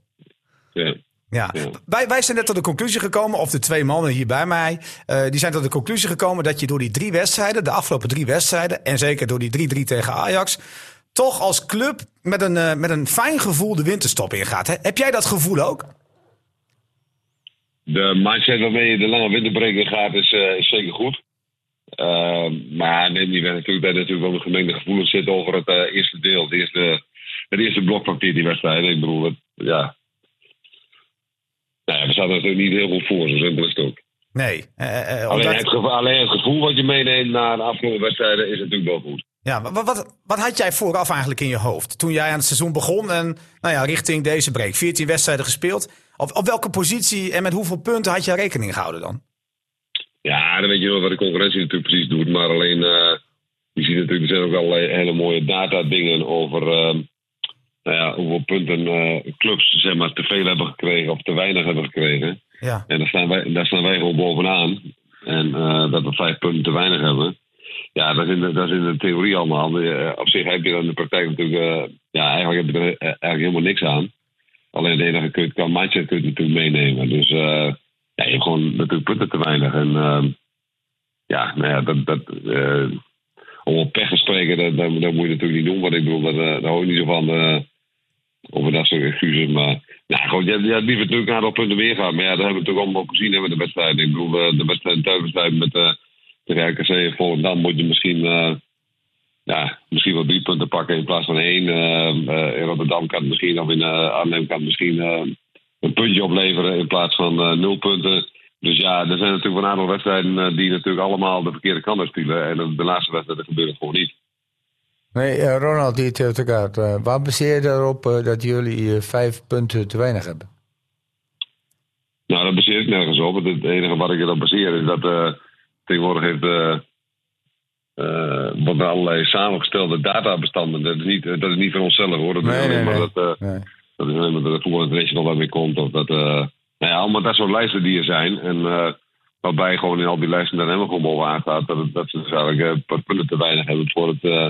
S10: Ja.
S1: Ja,
S10: Ja.
S1: Wij, wij zijn net tot de conclusie gekomen, of de twee mannen hier bij mij, eh, die zijn tot de conclusie gekomen dat je door die drie wedstrijden, de afgelopen drie wedstrijden, en zeker door die 3-3 tegen Ajax, toch als club met een, eh, met een fijn gevoel de winterstop ingaat. Hè? Heb jij dat gevoel ook?
S10: De mindset waarmee je de lange winterbreker gaat is, eh, is zeker goed. Eh, maar neem niet weg natuurlijk dat er natuurlijk wel een gemengde gevoelens zit over het eh, eerste deel. Het eerste, het eerste blokpartier die wedstrijd. Ik bedoel, het, ja. Nou ja, we zaten natuurlijk niet heel goed voor, zo simpel is het ook.
S1: Nee. eh, eh,
S10: Alleen
S1: omdat-
S10: het, gevo- alleen het gevoel wat je meeneemt na de afgelopen wedstrijden is natuurlijk wel goed.
S1: ja, wa- wa- wat, wat, had jij vooraf eigenlijk in je hoofd toen jij aan het seizoen begon en nou ja, richting deze break? 14 wedstrijden gespeeld. Op, op welke positie en met hoeveel punten had jij rekening gehouden dan?
S10: Ja, dan weet je wel wat de concurrentie natuurlijk precies doet. Maar alleen, eh, je ziet natuurlijk, er zijn ook allerlei hele mooie datadingen over ehm, nou ja, hoeveel punten eh, clubs zeg maar, te veel hebben gekregen of te weinig hebben gekregen.
S1: Ja,
S10: En daar staan wij, daar staan wij gewoon bovenaan. En eh, dat we vijf punten te weinig hebben. Ja, dat is in de, dat is in de theorie allemaal. Eh, op zich heb je dan in de praktijk natuurlijk... eh, ja, eigenlijk heb je er eh, eigenlijk helemaal niks aan. Alleen de enige kun je, kan mindset kun je natuurlijk meenemen. Dus eh, ja, je hebt gewoon natuurlijk punten te weinig. En ehm, ja, nou ja, dat... dat eh, om op pech te spreken, dat, dat, dat moet je natuurlijk niet doen. Want ik bedoel, dat, eh, daar hou ik niet zo van... eh, over dat soort excuses. Maar nou, goed, je, je hebt liever natuurlijk een aantal punten meer gehad. Maar ja, dat hebben we natuurlijk allemaal gezien hè, met de wedstrijd. Ik bedoel, eh, de wedstrijd, de thuiswedstrijd met eh de RKC en Volendam moet je misschien, eh, ja, misschien wel drie punten pakken in plaats van één. Eh, eh, in Rotterdam kan het misschien, of in eh, Arnhem kan het misschien eh, een puntje opleveren in plaats van eh, nul punten. Dus ja, er zijn natuurlijk wel een aantal wedstrijden eh, die natuurlijk allemaal de verkeerde kant uit spelen. En de, de laatste wedstrijden gebeurt het gewoon niet.
S4: Nee, eh, Ronald, die het elkaar. eh waar baseer je daarop eh, dat jullie eh, vijf punten te weinig hebben?
S10: Nou, dat baseer ik nergens op. Het het enige wat ik erop baseer is dat eh, tegenwoordig heeft. eh eh wat allerlei samengestelde databestanden. Dat is niet, eh, dat is niet van onszelf hoor. Dat
S4: Nee,
S10: is
S4: nee,
S10: alleen maar
S4: nee.
S10: dat. eh,
S4: Nee.
S10: dat is alleen maar dat het Voetbal International daarmee komt. Of dat, eh, nou ja, allemaal dat soort lijsten die er zijn. En eh, waarbij gewoon in al die lijsten dan helemaal gewoon bovenaan staat. Dat, het- dat ze dus eigenlijk eh, een paar punten te weinig hebben voor het eh,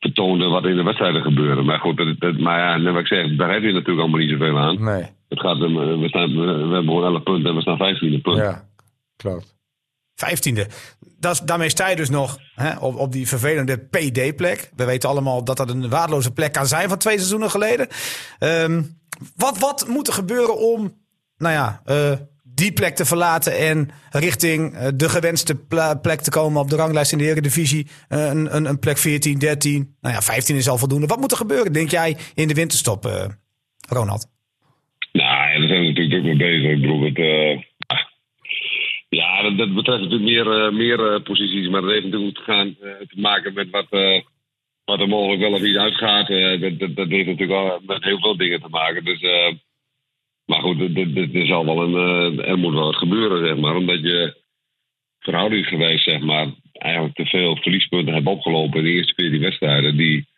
S10: vertonen wat in de wedstrijden gebeurde. Maar goed, dat, dat, maar ja, net wat ik zeg, daar heb je natuurlijk allemaal niet zoveel aan.
S4: Nee,
S10: Het gaat, om, eh, we, staan, we, we hebben gewoon 11 punten en we staan 15 <laughs> punten.
S4: ja, klopt.
S1: 15e. Dat, is- daarmee sta je dus nog hè, op, op die vervelende PD-plek. We weten allemaal dat dat een waardeloze plek kan zijn van twee seizoenen geleden. Ehm, wat, wat moet er gebeuren om nou ja, eh, die plek te verlaten en richting eh, de gewenste pla- plek te komen op de ranglijst in de Eredivisie? Eh, een, een, een plek 14, 13, nou ja, 15 is al voldoende. Wat moet er gebeuren, denk jij, in de winterstop, eh, Ronald?
S10: Nou, ja, daar zijn we natuurlijk ook mee bezig. Ik bedoel, het, eh, ja, dat, dat betreft natuurlijk meer, eh, meer eh, posities. Maar dat heeft natuurlijk te, gaan, eh, te maken met wat, eh, wat er mogelijk wel of niet uitgaat. Eh, dat, dat, dat heeft natuurlijk al met heel veel dingen te maken. Dus, eh, maar goed, er- er- er- er zal wel een, eh, er moet wel wat gebeuren, zeg maar. Omdat je verhoudingsgewijs, zeg maar, eigenlijk te veel verliespunten hebt opgelopen in de eerste 14 wedstrijden. Die,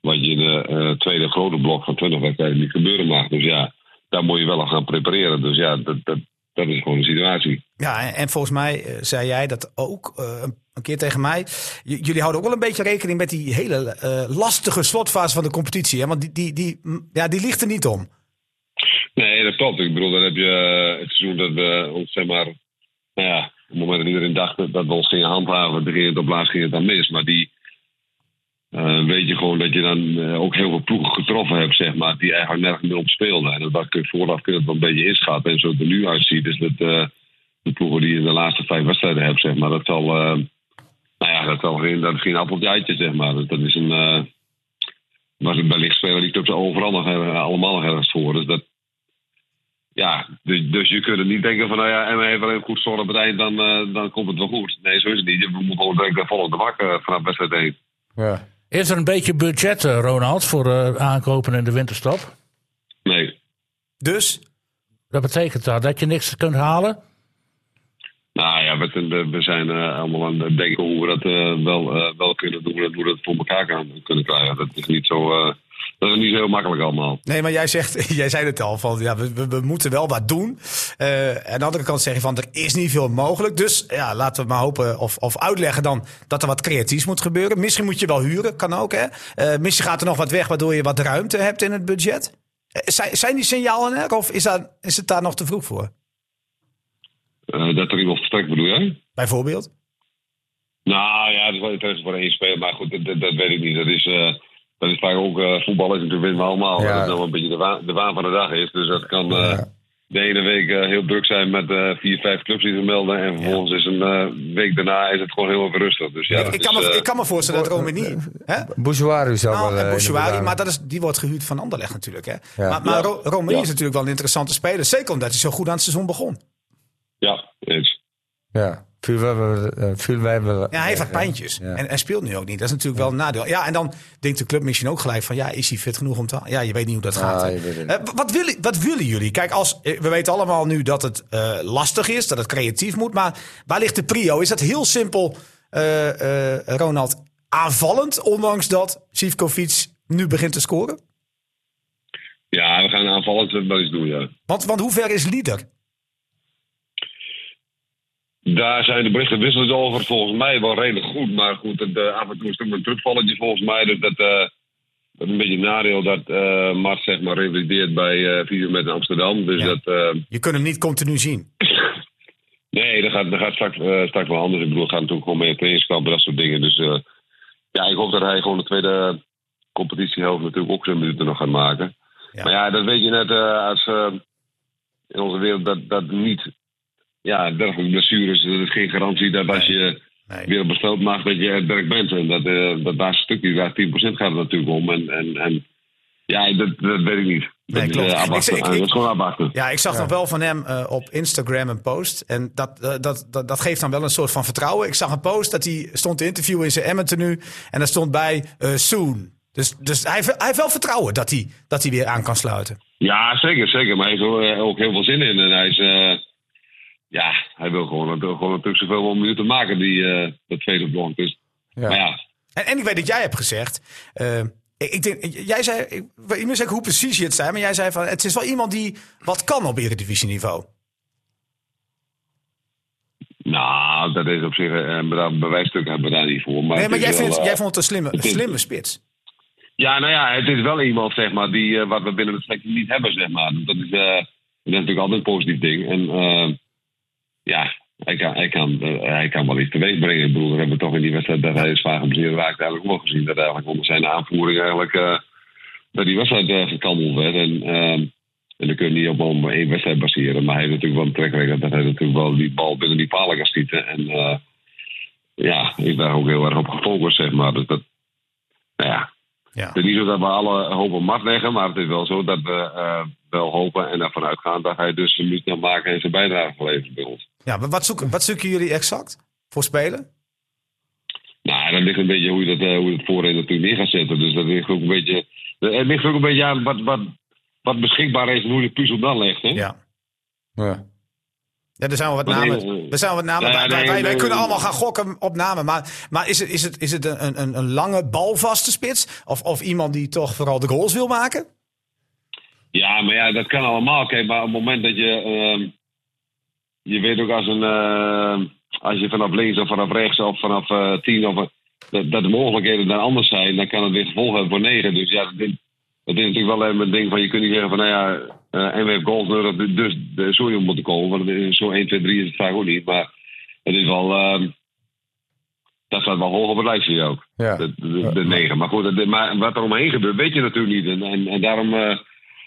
S10: wat je in de eh, tweede grote blok van 20 wedstrijden niet gebeuren mag. Dus ja, daar moet je wel aan gaan prepareren. Dus ja, dat, dat, dat is gewoon de situatie.
S1: Ja, en, en volgens mij eh, zei jij dat ook eh, een keer tegen mij. J- jullie houden ook wel een beetje rekening met die hele eh, lastige slotfase van de competitie. Hè? Want die, die, die, mm, ja, die ligt er niet om.
S10: Nee, dat klopt. Ik bedoel, dan heb je eh, het seizoen dat we ons, zeg maar... Nou ja, op het moment dat iedereen dacht dat we ons gingen handhaven, dan ging het op laatst ging het dan mis. Maar die eh, weet je gewoon dat je dan eh, ook heel veel ploegen getroffen hebt, zeg maar, die eigenlijk nergens meer op speelden. En dat kun je vooraf kun je dat wel een beetje inschatten. En zo het er nu uitziet, is dat eh, de ploegen die je in de laatste vijf wedstrijden hebt, zeg maar, dat zal... eh, nou ja, dat zal geen, dat is geen appeltje eitje, zeg maar. Dat, dat is een... eh, maar wellicht spelen die clubs overal nog eh, allemaal nog ergens voor. Dus dat, ja, dus, dus je kunt er niet denken van, nou ja, en heeft wel even goed zorg op het eind, dan, eh, dan komt het wel goed. Nee, zo is het niet. Je moet gewoon denken, vol op de bak eh, vanaf wedstrijd 1.
S4: Ja.
S2: Is er een beetje budget, eh, Ronald, voor eh, aankopen in de winterstop?
S10: Nee.
S1: Dus,
S2: Dat betekent dat, dat je niks kunt halen?
S10: Nou ja, we, zijn- we zijn eh, allemaal aan het denken hoe we dat eh, wel, eh, wel kunnen doen en hoe we dat voor elkaar gaan, kunnen krijgen. Dat is niet zo, eh, dat is niet zo heel makkelijk allemaal.
S1: nee, maar jij, zegt, <laughs> jij zei het al, van, ja, we, we, we moeten wel wat doen. Eh, en aan de andere kant zeg je van, er is niet veel mogelijk. Dus ja, laten we maar hopen of, of uitleggen dan dat er wat creatiefs moet gebeuren. Misschien moet je wel huren, kan ook. Hè? Eh, misschien gaat er nog wat weg, waardoor je wat ruimte hebt in het budget. Eh, zijn, zijn die signalen er of is, dat, is het daar nog te vroeg voor?
S10: Eh, dat er iemand vertrekt, bedoel jij?
S1: Bijvoorbeeld?
S10: Nou ja, dat is wel interesse voor één speler. Maar goed, dat, dat- dat weet ik niet. Dat is, eh, dat is vaak ook... eh, voetbal is natuurlijk winnen we allemaal.
S4: Ja.
S10: Dat het nou een beetje de waan, de waan van de dag is. Dus dat kan eh, de ene week eh, heel druk zijn met eh, vier, vijf clubs die zich melden. En vervolgens is een eh, week daarna is het gewoon heel even rustig. Dus ja, dat
S1: ik, kan
S10: is,
S1: me,
S10: eh,
S1: ik kan me voorstellen dat Romani... hè?
S4: Bouzouari zou
S1: Nou,
S4: wel...
S1: en
S4: eh,
S1: Bouchouari,
S4: inderdaad-
S1: maar dat is, die wordt gehuurd van Anderlecht natuurlijk. Hè?
S4: Ja.
S1: Maar, maar
S10: Ja.
S1: Ro- Romani
S10: Ja.
S1: is natuurlijk wel een interessante speler. Zeker omdat hij zo goed aan het seizoen begon.
S10: ja, eens.
S4: Ja, eh, vuurwijven.
S1: Ja, hij heeft wat pijntjes.
S4: Ja.
S1: En, en speelt nu ook niet. Dat is natuurlijk wel een nadeel. Ja, en dan denkt de club misschien ook gelijk van... ja, is hij fit genoeg om te... Ja, je weet niet hoe dat gaat. hè.
S4: Ah, je weet het niet.
S1: Eh, w- wat, willen, wat willen jullie? Kijk, als, eh, we weten allemaal nu dat het eh, lastig is, dat het creatief moet. Maar waar ligt de prio? Is dat heel simpel, eh, eh, Ronald, aanvallend? Ondanks dat Sivkovic nu begint te scoren?
S10: Ja, we gaan aanvallend eh, wel iets doen, ja.
S1: Want, want hoe ver is Lieder?
S10: Daar zijn de berichten wisselend over. Volgens mij wel redelijk goed. Maar goed, het, eh, af en toe is het ook een terugvalletje volgens mij. Dus dat, eh, dat is een beetje een nadeel dat eh Mart zeg maar revalideert bij eh Visum met Amsterdam. Dus
S1: Ja.
S10: dat... eh,
S1: Je kunt hem niet continu zien.
S10: nee, dat gaat, dat gaat straks, eh, straks wel anders. Ik bedoel, we gaan natuurlijk gewoon mee in trainingskampen, dat soort dingen. Dus eh, ja, ik hoop dat hij gewoon de tweede competitiehelft natuurlijk ook zijn minuten nog gaat maken.
S1: Ja.
S10: Maar ja, dat weet je net eh, als eh, in onze wereld dat, dat niet... Ja, dergelijke blessures, dat is geen garantie dat als je
S1: Nee.
S10: weer op besteld mag dat je het werk bent. En dat, eh dat laatste stukje, daar 10% gaat het natuurlijk om. En, en, en ja, dat, dat weet ik niet.
S1: Nee,
S10: dat, is,
S1: klopt.
S10: eh, afwachten.
S1: Ik- ik-
S10: Ah, dat is gewoon afwachten.
S1: Ja, ik zag nog wel van hem eh, op Instagram een post. En dat, eh, dat, dat, dat geeft dan wel een soort van vertrouwen. Ik zag een post dat hij stond te interviewen in zijn Emmen-tenue. En daar stond bij eh, soon. Dus, dus hij, heeft- hij heeft wel vertrouwen dat hij, dat hij weer aan kan sluiten.
S10: Ja, zeker, zeker. Maar hij heeft er eh, ook heel veel zin in. En hij is, eh, ja, hij wil gewoon, natu- gewoon natuurlijk zoveel mogelijk minuten maken, die, eh dat tweede blok. Dus,
S4: Ja.
S10: Maar ja,
S1: En, en ik weet dat jij hebt gezegd. eh, ik, ik denk, jij zei, ik weet niet meer zeker hoe precies je het zei. Maar jij zei van het is wel iemand die wat kan op eredivisieniveau.
S10: nou, dat is op zich eh, een beda- bewijsstuk hebben we daar niet voor. Maar
S1: Nee,
S10: het
S1: maar
S10: is
S1: jij,
S10: wel,
S1: vindt,
S10: eh,
S1: jij vond het een slimme,
S10: het is-
S1: slimme spits.
S10: Ja, nou ja, het is wel iemand, zeg maar, die eh, wat we binnen de selectie niet hebben, zeg maar. Dat is, eh, dat is natuurlijk altijd een positief ding. En eh, ja, hij kan, hij, kan, eh, hij kan wel iets teweeg brengen. Ik bedoel, we hebben toch in die wedstrijd dat hij zwaar geblesseerd raakte eigenlijk ook wel gezien. Dat eigenlijk onder zijn aanvoering eigenlijk eh, dat die wedstrijd eh, gekandeld werd. En, eh, en dan kun je niet op om één wedstrijd baseren. Maar hij heeft natuurlijk wel een track record dat hij natuurlijk wel die bal binnen die palen kan schieten. En eh, ja, ik ben daar ook heel erg op gefocust, zeg maar. Dus dat, nou ja, het is niet zo dat we alle hoop op mat leggen, maar het is wel zo dat we eh, wel hopen en ervan uitgaan dat hij dus een minuut kan maken en zijn bijdrage geleverd bij ons.
S1: Ja, maar wat zoeken, wat zoeken jullie exact voor spelen?
S10: Nou, dat ligt een beetje hoe je dat, eh, hoe je het voorheen natuurlijk neer gaat zetten. Dus dat ligt ook een beetje, eh, het ligt ook een beetje aan wat, wat, wat beschikbaar is en hoe de puzzel dan ligt. Hè?
S1: Ja.
S4: Ja.
S1: Ja, er zijn wel wat
S10: Want
S1: namen.
S10: nee,
S1: Er zijn wel wat namen.
S10: ja,
S1: wij, wij,
S10: nee,
S1: wij, wij
S10: nee,
S1: kunnen
S10: nee.
S1: allemaal gaan gokken op namen. Maar, maar is het, is het, is het een, een, een lange balvaste spits? Of, of iemand die toch vooral de goals wil maken?
S10: Ja, maar ja, dat kan allemaal. Kijk, maar op het moment dat je. ehm, je weet ook als een. ehm, als je vanaf links of vanaf rechts of vanaf eh, tien. Of, een- dat, dat de mogelijkheden dan anders zijn, dan kan het weer gevolgen hebben voor negen. Dus ja, dat, is- dat is natuurlijk wel even een ding van. Je kunt niet zeggen van. Nou ja, eh en we hebben goals nodig, dus de Sorium moeten komen. Want het is zo 1, 2, 3 is het vaak ook niet. Maar het is wel. ehm, dat staat wel hoog op het lijstje ook.
S4: Ja.
S10: De, de, de negen. Maar goed, de- maar wat er omheen gebeurt, weet je natuurlijk niet. En, en, en daarom. eh,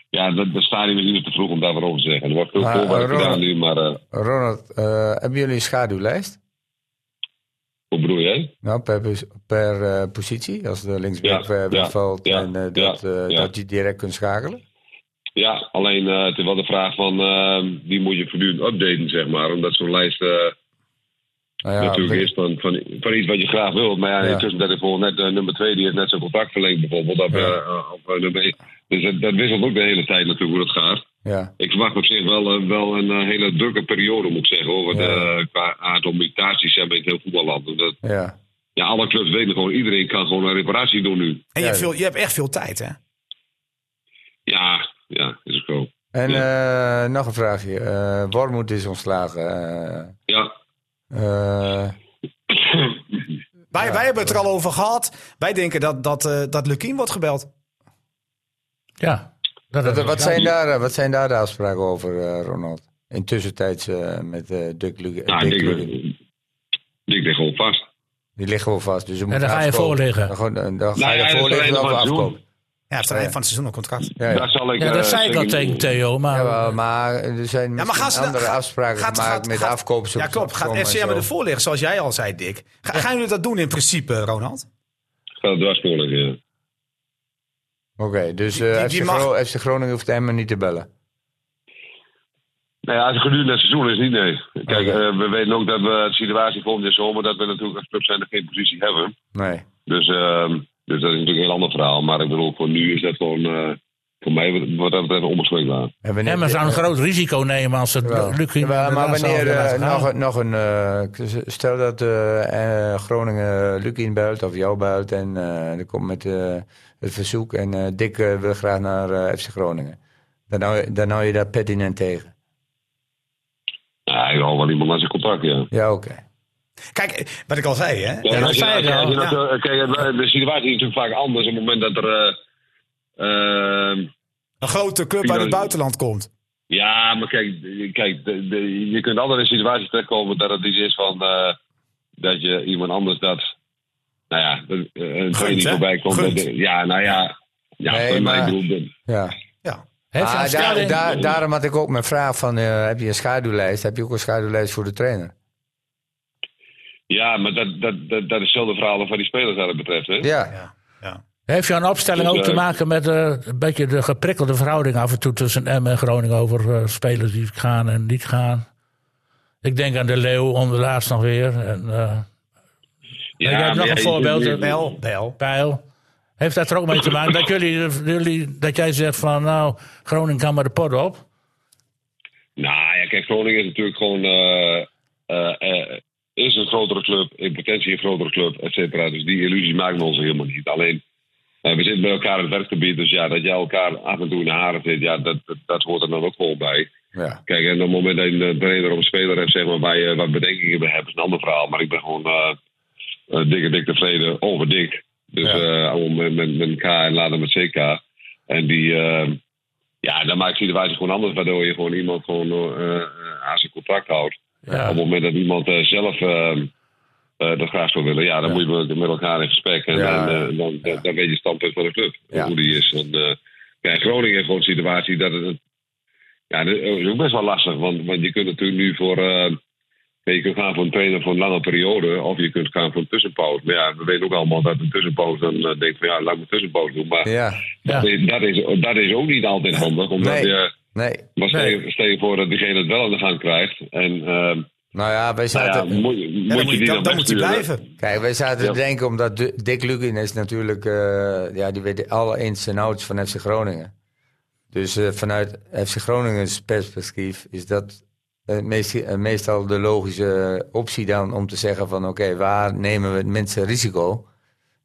S10: ja, dat, dat stadium is nu te vroeg om daarover over te zeggen. Er wordt veel
S4: Maar,
S10: voorwerk
S4: eh,
S10: gedaan
S4: Ronald-
S10: nu, maar eh
S4: Ronald, eh, hebben jullie een schaduwlijst?
S10: wat bedoel jij?
S4: Nou, per, pos- per eh, positie, als de linksback
S10: Ja,
S4: eh,
S10: ja,
S4: wegvalt
S10: ja,
S4: en eh,
S10: ja,
S4: dat, eh,
S10: ja.
S4: dat je direct kunt schakelen.
S10: Ja, alleen eh, het is wel de vraag van eh, die moet je voortdurend updaten, zeg maar. Omdat zo'n lijst eh,
S4: Nou ja,
S10: natuurlijk
S4: we-
S10: is van, van, van iets wat je graag wilt. Maar ja,
S4: Ja.
S10: intussen dat is bijvoorbeeld net eh, nummer 2, die heeft net zijn contact verlengd bijvoorbeeld. Dat, eh, eh, of, eh, nummer één. Dus dat, dat wisselt ook de hele tijd natuurlijk hoe dat gaat.
S4: ja.
S10: Ik verwacht op zich wel, eh, wel een eh, hele drukke periode, moet ik zeggen. Hoor. Want,
S4: Ja.
S10: eh, qua aard om mutaties hebben in het heel voetballand. Omdat,
S4: ja.
S10: ja, alle clubs weten gewoon, iedereen kan gewoon een reparatie doen nu.
S1: En je, hebt veel, je hebt echt veel tijd, hè?
S10: Ja, ja, is ook zo.
S4: En eh, nog een vraagje. Eh Wormoed is ontslagen. eh.
S10: Ja, <clears throat>
S4: Eh,
S1: Wij, wij hebben het er al over gehad. Wij denken dat, dat, eh dat Lukien wordt gebeld.
S2: Ja. Dat
S4: wat,
S2: hebben we
S4: wat, zijn daar, eh, wat zijn daar de afspraken over, eh, Ronald? Intussentijds eh, met eh Dick Lugan.
S10: nou, ik denk,
S2: eh,
S10: ik denk gewoon vast.
S4: Die liggen wel vast. Dus
S2: En dan ga je voorliggen.
S4: Dan, gewoon- eh, dan, ga
S10: Nou
S4: je
S10: ja, dat
S4: voor liggen
S10: is
S4: dan
S10: alleen
S4: voor
S10: maar
S4: afkoop.
S10: doen.
S1: Ja, het is het einde van het seizoen een contract.
S4: Ja, ja.
S10: Daar zal ik,
S2: Ja, dat
S10: eh,
S2: zei ik al
S10: zeker-
S2: tegen Theo, maar...
S4: Jawel, maar er
S1: Ja,
S4: zijn misschien
S1: maar gaan ze
S4: andere
S1: gaat-
S4: afspraken
S1: gaat-
S4: gemaakt
S1: gaat-
S4: met
S1: gaat-
S4: afkoop.
S1: Ja, klopt. Gaat
S4: en
S1: FCM
S4: zo.
S1: ervoor liggen, zoals jij al zei, Dick. Ga, Gaan jullie dat doen in principe, Ronald?
S10: Ik ga het dwars doorleggen, ja.
S4: Oké, dus
S1: Die- die-
S4: eh,
S1: die
S4: FC,
S1: mag-
S4: Gro- FC Groningen hoeft Emmen niet te bellen.
S10: Nou ja, het gedurende het seizoen is niet, nee. Kijk,
S2: Oh,
S4: Oké.
S10: eh, we weten ook dat we de situatie volgende zomer... dat we natuurlijk als club zijn er geen positie hebben.
S4: Nee.
S10: Dus, ehm, dus dat is natuurlijk een heel ander verhaal. Maar ik bedoel, voor nu is dat gewoon... eh, voor mij wat- wat dat betreft onbespreekbaar.
S4: En wanneer-
S2: Ja, maar ze zouden een groot risico nemen als het
S4: Jawel.
S2: lukt.
S4: Jawel, maar wanneer eh, nog, een- nog een. eh, stel dat eh, eh, Groningen Lukien built of jou built en eh er komt met eh, het verzoek en eh, Dick eh, wil graag naar eh, FC Groningen. Dan hou, je- dan hou je daar pertinent tegen.
S10: Ja, ik hou wel iemand aan zijn contact, ja.
S4: Ja, oké.
S1: Kijk, eh, wat ik al zei, hè?
S10: Kijk, als je-
S2: zei ik
S10: als je- als je
S1: al,
S10: dat, eh, Kijk, eh, de situatie is natuurlijk vaak anders op het moment dat er... eh, ehm,
S1: Een grote club uit het buitenland komt.
S10: Ja, maar kijk, kijk de- de- je kunt altijd in een situatie terechtkomen dat het iets is van eh, dat je iemand anders dat, nou ja, een- een training
S1: hè?
S10: voorbij komt.
S1: Gunt.
S10: Dat- ja, nou ja, ja,
S4: Nee,
S10: voor mij
S4: maar-
S10: bedoel ik-
S4: Ja.
S1: Ja.
S4: Ah, daar- daar- daarom had ik ook mijn vraag van, eh, heb je een schaduwlijst? Heb je ook een schaduwlijst voor de trainer?
S10: Ja, maar dat, dat, dat, dat is hetzelfde verhaal als wat die spelers dat betreft. Hè?
S4: Ja,
S2: Heeft jouw opstelling ook te
S10: Ja.
S2: maken met eh, een beetje de geprikkelde verhouding af en toe tussen M en Groningen over eh, spelers die gaan en niet gaan? Ik denk aan de Leeuw onderlaatst nog weer. En, eh, jij hebt nog
S10: maar
S2: een voorbeeld, eh, hè?
S4: Oh,
S1: Bel, bel.
S2: Pijl. Heeft dat er ook mee te maken? Dat, jullie, eh, jullie, dat jij zegt van nou, Groningen kan maar de pot op.
S10: Nou ja, kijk, Groningen is natuurlijk gewoon. eh, eh, eh, is een grotere club, in potentie een grotere club, et cetera. Dus die illusie maken we ons helemaal niet. Alleen, eh, we zitten bij elkaar in het werkgebied, dus ja, dat jij elkaar af en toe in de haren zit, ja, dat, dat, dat hoort er dan ook gewoon bij.
S4: ja.
S10: Kijk, en op het moment dat je een trainer of een speler hebt, zeg maar, waar je wat bedenkingen bij hebt, is een ander verhaal. Maar ik ben gewoon eh eh, dikke, dik tevreden over dik. Dus eh allemaal met, met, met een K en later met CK. En die, eh, ja, dan maakt de situatie gewoon anders, waardoor je gewoon iemand gewoon eh, eh, aan zijn contract houdt. Op
S2: Ja.
S10: het moment dat iemand eh, zelf eh, eh, dat graag zou willen, ja, dan moet je met elkaar in gesprek. En
S4: Ja,
S10: dan, eh, dan, dan, dan weet je het standpunt van de club,
S4: Ja.
S10: hoe die is. En, eh, ja, in Groningen heeft gewoon een situatie dat het... Ja, dat is ook best wel lastig, want, want je kunt natuurlijk nu voor... eh, ja, je kunt gaan voor een trainer voor een lange periode, of je kunt gaan voor een tussenpauze. Maar ja, we weten ook allemaal dat een tussenpauze dan eh, denkt van ja, laat ik een tussenpauze doen. Maar
S4: ja.
S10: dat, is, dat, is, dat is ook niet altijd handig, omdat
S4: Nee.
S10: je...
S4: Nee.
S10: Maar stel, je- stel je voor dat diegene het wel aan de gang krijgt. En ehm,
S4: Nou ja, wij
S10: nou ja,
S4: zaten,
S10: moet, je- moet
S1: Ja,
S10: je
S1: dan
S10: die
S1: moet, dan,
S10: dan
S1: dan moet hij
S10: wegsturen?
S1: blijven.
S4: Kijk, wij zaten
S10: Ja.
S4: te denken, omdat Du- Dick Lugin is natuurlijk, eh, ja, die weet alle ins en outs van FC Groningen. Dus eh, vanuit FC Groningens perspectief is dat eh, meest, eh, meestal de logische optie dan om te zeggen van, oké, waar nemen we het minste risico?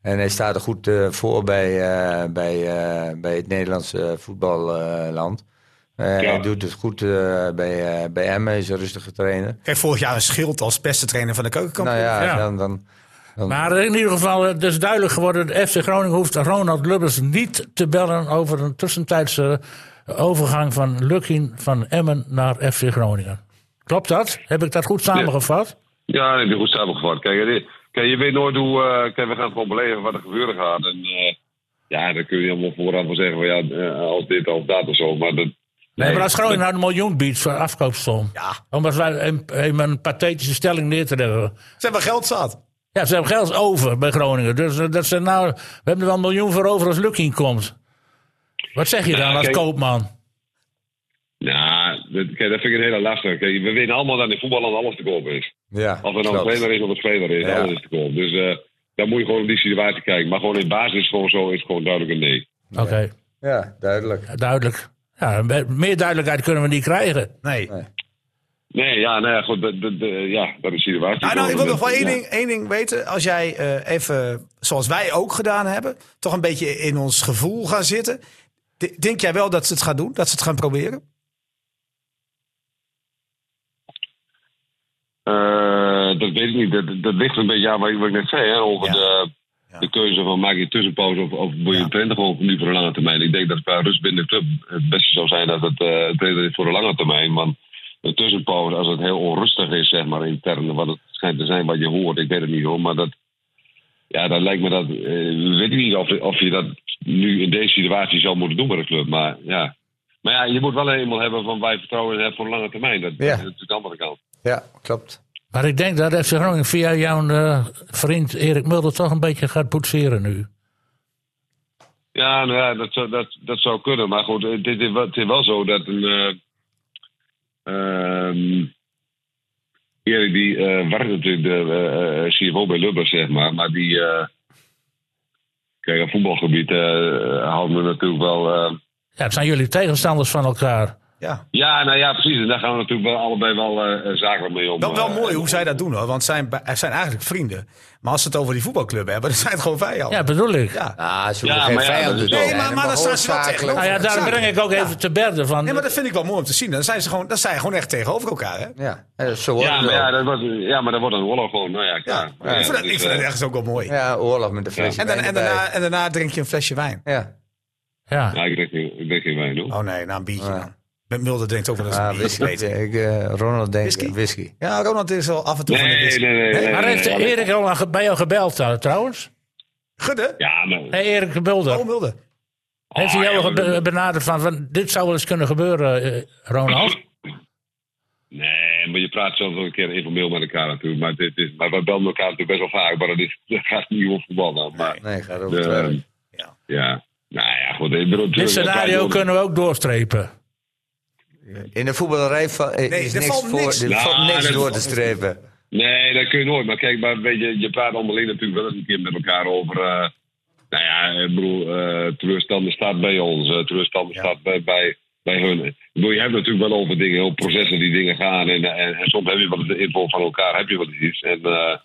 S4: En hij staat er goed eh, voor bij, eh, bij, eh, bij het Nederlandse voetballand. Eh,
S10: Ja.
S4: Hij doet het goed eh, bij, eh, bij Emmen, hij is een rustige trainer.
S1: Kijk, vorig jaar een schild als beste trainer van de keukenkampioen.
S4: Nou ja,
S2: Ja.
S4: dan... dan
S2: Maar in ieder geval, het is duidelijk geworden: FC Groningen hoeft Ronald Lubbers niet te bellen over een tussentijdse overgang van Lukien van Emmen naar FC Groningen. Klopt dat? Heb ik dat goed samengevat?
S10: Ja, dat heb je goed samengevat. Kijk, en dit- kijk, je weet nooit hoe. eh, kijk, we gaan gewoon beleven wat er gebeuren gaat. En eh, ja, dan kun je helemaal vooraf wel zeggen van ja, eh, als dit of dat of zo. Maar dat.
S2: Nee, maar als Groningen nou een miljoen biedt voor afkoopsom. Omdat wij een, een pathetische stelling neer te hebben.
S1: Ze hebben geld zat.
S2: Ja, ze hebben geld over bij Groningen. Dus eh, dat ze nou, we hebben er wel een miljoen voor over als Lukien komt. Wat zeg je dan als
S10: kijk-
S2: koopman?
S10: dat, kijk, dat vind ik een hele lastige. Kijk, we winnen allemaal dat in voetbal als alles te koop is.
S4: Ja,
S10: Of er nou
S4: klopt.
S10: een trainer is of een speler is,
S4: Ja.
S10: alles is te koop. Dus eh dan moet je gewoon op die situatie kijken. Maar gewoon in basis gewoon zo is gewoon duidelijk een nee.
S2: Oké,
S4: Ja, duidelijk.
S2: duidelijk. Ja, me- meer duidelijkheid kunnen we niet krijgen.
S1: Nee.
S10: Nee, ja, nou ja, goed, dat, dat, eh, ja, dat is de situatie.
S1: Nou, nou, ik wil nog wel één,
S10: Ja.
S1: ding, één ding weten. Als jij eh, even, zoals wij ook gedaan hebben, toch een beetje in ons gevoel gaan zitten. D- Denk jij wel dat ze het gaan doen? Dat ze het gaan proberen?
S10: Eh, dat weet ik niet. Dat, dat ligt een beetje aan wat ik, wat ik net zei. Hè, over
S1: Ja.
S10: de, de keuze van maak je een tussenpauze of, of wil je een trainer gewoon nu voor de lange termijn. Ik denk dat qua rust binnen de club het beste zou zijn dat het eh, een trainer is voor de lange termijn. Want een tussenpauze, als het heel onrustig is, zeg maar, intern, wat het schijnt te zijn wat je hoort, ik weet het niet hoor, maar dat... Ja, dan lijkt me dat... eh, weet ik niet of, of je dat nu in deze situatie zou moeten doen met de club, maar ja... Maar ja, je moet wel eenmaal hebben van wij vertrouwen in hebben voor de lange termijn. Dat,
S4: Ja.
S10: dat is natuurlijk de andere kant.
S4: Ja, klopt.
S2: Maar ik denk dat FC Groningen via jouw eh, vriend Erik Mulder toch een beetje gaat poetseren nu.
S10: Ja, nou ja dat, zou, dat, dat zou kunnen. Maar goed, het, is wel- het is wel zo dat een. eh ehm, Erik, die eh werkt natuurlijk de eh, eh, CFO bij Lubbers, zeg maar. Maar die. eh, kijk, op voetbalgebied eh houdt me natuurlijk wel. eh,
S2: Ja, het zijn jullie tegenstanders van elkaar.
S1: Ja.
S10: ja, nou ja, precies. En daar gaan we natuurlijk wel allebei wel eh, eh, zakelijk mee om.
S1: Wel, wel
S10: eh,
S1: mooi hoe zij dat doen hoor. Want zij zijn eigenlijk vrienden. Maar als ze het over die voetbalclub hebben, <laughs> dan zijn het gewoon vijanden.
S2: Ja, bedoel ik.
S1: Ja.
S4: Ah, ze
S10: Ja,
S4: hoeven geen
S10: maar ja,
S4: vijand
S10: dat
S4: te
S10: is- Ah,
S4: zijn.
S1: Nee, maar- maar
S4: Helemaal
S1: dan staan ze wel
S4: hoofdzakelijk.
S1: tegenover.
S2: Nou ja, daar
S1: Zakelijk.
S2: breng ik ook even te berden van.
S1: Nee, maar dat vind ik wel mooi om te zien. Dan zijn ze gewoon, dan zijn ze gewoon echt tegenover elkaar. Hè?
S4: Ja, eh, zo wordt
S10: Ja,
S4: het
S10: maar
S4: ook.
S10: ja, dat was, ja, maar dat wordt een oorlog gewoon. Nou ja,
S1: Ja.
S10: klaar.
S1: ik vind dat,
S10: dus,
S1: ik vind dat
S10: eh,
S1: ergens ook wel mooi.
S4: Ja, oorlog met de Fransen.
S1: En, dan, en, daarna, en daarna drink je een flesje wijn.
S4: Ja,
S2: Ja.
S10: ja, ik drink geen- ik drink geen wijn, hoor.
S1: Oh nee, nou een biertje
S4: Ja.
S1: dan. Met Mulder drinkt ook wel eens een
S4: ah,
S1: biertje.
S4: whisky.
S1: weet ik.
S4: Ik, eh, Ronald denkt
S1: Whisky?
S4: whisky. whisky.
S1: Ja, Ronald is al af en toe
S10: Nee,
S1: van de
S10: nee,
S1: whisky.
S10: nee. nee, nee,
S2: Maar heeft
S10: nee, nee.
S2: Erik al aan- bij jou gebeld eh, trouwens?
S1: Gudde?
S10: Ja, maar.
S2: Hey, Erik Mulder.
S1: Oh, Mulder.
S2: Heeft hij jou
S10: oh, ja,
S2: al
S10: maar-
S2: be- benaderd van, van dit zou wel eens kunnen gebeuren, eh, Ronald?
S10: Nee, maar je praat zelfs wel een keer informeel met elkaar natuurlijk. Maar, dit is, maar we bellen elkaar natuurlijk best wel vaak. Maar dat, is, <laughs> dat gaat niet om voetbal dan. Maar,
S4: Nee, gaat
S10: eh,
S4: over het werk.
S1: Ja.
S10: ja. Nou ja, goed. Ik bedoel,
S2: Dit scenario kunnen we ook doorstrepen.
S4: In de voetballerij va- eh,
S1: Nee,
S4: is
S1: er
S4: niks,
S1: valt
S4: voor,
S1: niks.
S4: er
S10: Nou,
S4: valt niks
S10: dat- Oh,
S4: door te strepen.
S10: Nee, dat kun je nooit. Maar kijk, maar weet je, je praat onderling natuurlijk wel eens een keer met elkaar over. eh, nou ja, ik bedoel, eh teleurstaande staat bij ons, eh teleurstaande staat bij, bij, bij hun. Ik bedoel, je hebt natuurlijk wel over dingen, over processen die dingen gaan. En, en, en soms heb je wel eens de info van elkaar, heb je wel eens iets. En, eh,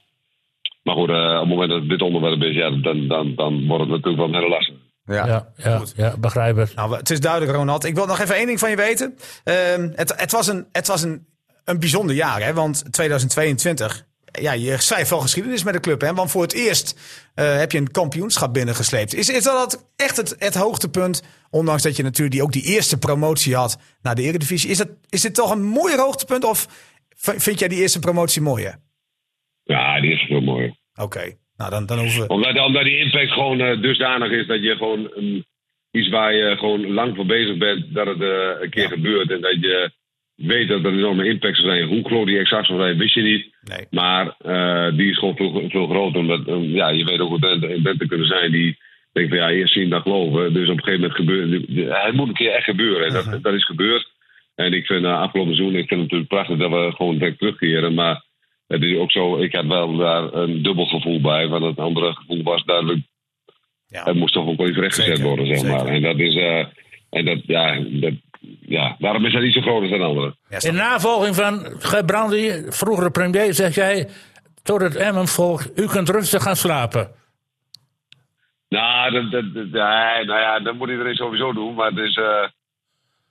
S10: maar goed, eh, op het moment dat dit onderwerp is, ja, dan, dan, dan wordt het natuurlijk wel heel lastig.
S4: Ja.
S2: Ja, ja, ja begrijp het.
S1: Nou, het is duidelijk, Ronald. Ik wil nog even één ding van je weten. Ehm, het, het was, een, het was een, een bijzonder jaar, hè? want 2022... Ja, je schrijft wel geschiedenis met de club, hè? Want voor het eerst eh, heb je een kampioenschap binnengesleept. Is, is dat echt het, het hoogtepunt? Ondanks dat je natuurlijk die, ook die eerste promotie had naar de Eredivisie. Is, dat, is dit toch een mooier hoogtepunt? Of v- vind jij die eerste promotie mooier?
S10: Ja, die is veel mooier.
S1: Oké, nou dan, dan hoeven we...
S10: Omdat, omdat die impact gewoon eh, dusdanig is dat je gewoon een- iets waar je gewoon lang voor bezig bent, dat het eh, een keer gebeurt. En dat je weet dat er een enorme impact zal zijn. Hoe groot die exact zal zijn, wist je niet.
S1: Nee.
S10: Maar eh, die is gewoon veel, veel groter. Omdat eh, ja, je weet ook hoe Drenthe- Drenthe kunnen zijn die denkt van ja, eerst zien dan geloven. Dus op een gegeven moment gebeurt het moet een keer echt gebeuren. En
S1: Mhm.
S10: dat, dat is gebeurd. En ik vind eh, afgelopen seizoen, ik vind het natuurlijk prachtig dat we gewoon direct terugkeren. Maar het is ook zo, ik had wel daar een dubbel gevoel bij. Want het andere gevoel was duidelijk
S1: Ja.
S10: het moest toch ook wel iets rechtgezet
S1: Zeker,
S10: worden, zeg
S1: zeker.
S10: maar. En dat is, eh, en dat, ja, dat, ja, daarom is dat niet zo groot als dan anderen.
S1: Ja,
S2: In navolging van Gebrandi, vroegere premier, zeg jij tot het Emmenvolk, u kunt rustig gaan slapen.
S10: Nou, dat, dat, dat- nee, nou ja, dat moet iedereen sowieso doen, maar het is, eh,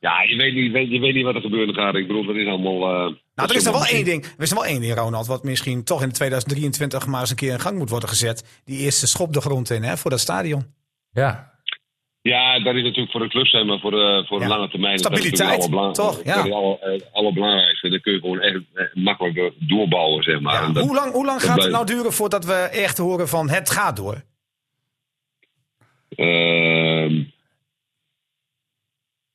S10: ja, je weet, niet, weet- je weet niet wat er gebeuren gaat. Ik bedoel, dat is allemaal... eh,
S1: Nou, er is nog wel
S10: misschien-
S1: één ding. Er is nog wel één ding, Ronald, wat misschien toch in 2023 maar eens een keer in gang moet worden gezet. Die eerste schop de grond in, hè, voor dat stadion.
S2: Ja,
S10: Ja, dat is natuurlijk voor de club zijn, maar voor de, voor de
S1: Ja.
S10: lange termijn... is
S1: Stabiliteit,
S10: dat natuurlijk
S1: toch?
S10: toch? Ja. Dat is
S1: Ja.
S10: het aller- eh, allerbelangrijkste. Dan kun je gewoon echt eh, makkelijker doorbouwen, zeg maar. En dat-
S1: hoe lang, hoe lang
S10: dat
S1: gaat het
S10: blijft-
S1: nou duren voordat we echt horen van het gaat door?
S10: ehm,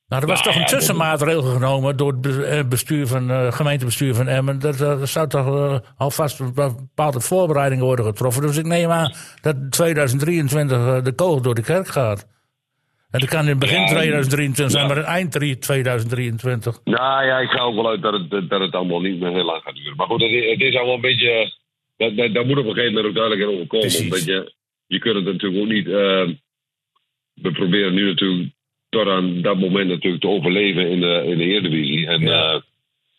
S2: nou, er was toch een
S10: ja, dat-
S2: tussenmaatregel genomen door het be- eh, bestuur van, eh, gemeentebestuur van Emmen. Dat, eh, er zou toch eh, alvast een bepaalde voorbereidingen worden getroffen. Dus ik neem aan dat 2023 eh, de kogel door de kerk gaat. En dat kan in begin
S10: Ja,
S2: 2023 zijn,
S10: ja.
S2: maar in eind drie- 2023.
S10: Nou ja, ik ga ook wel uit dat het, dat het allemaal niet meer heel lang gaat duren. Maar goed, het, is- het is allemaal een beetje. eh, Daar, daar, daar moet op een gegeven moment ook duidelijkheid over komen.
S1: Precies.
S10: Omdat je, je kunt het natuurlijk ook niet. eh, we proberen nu natuurlijk tot aan dat moment natuurlijk te overleven in de, in de Eredivisie. En, eh,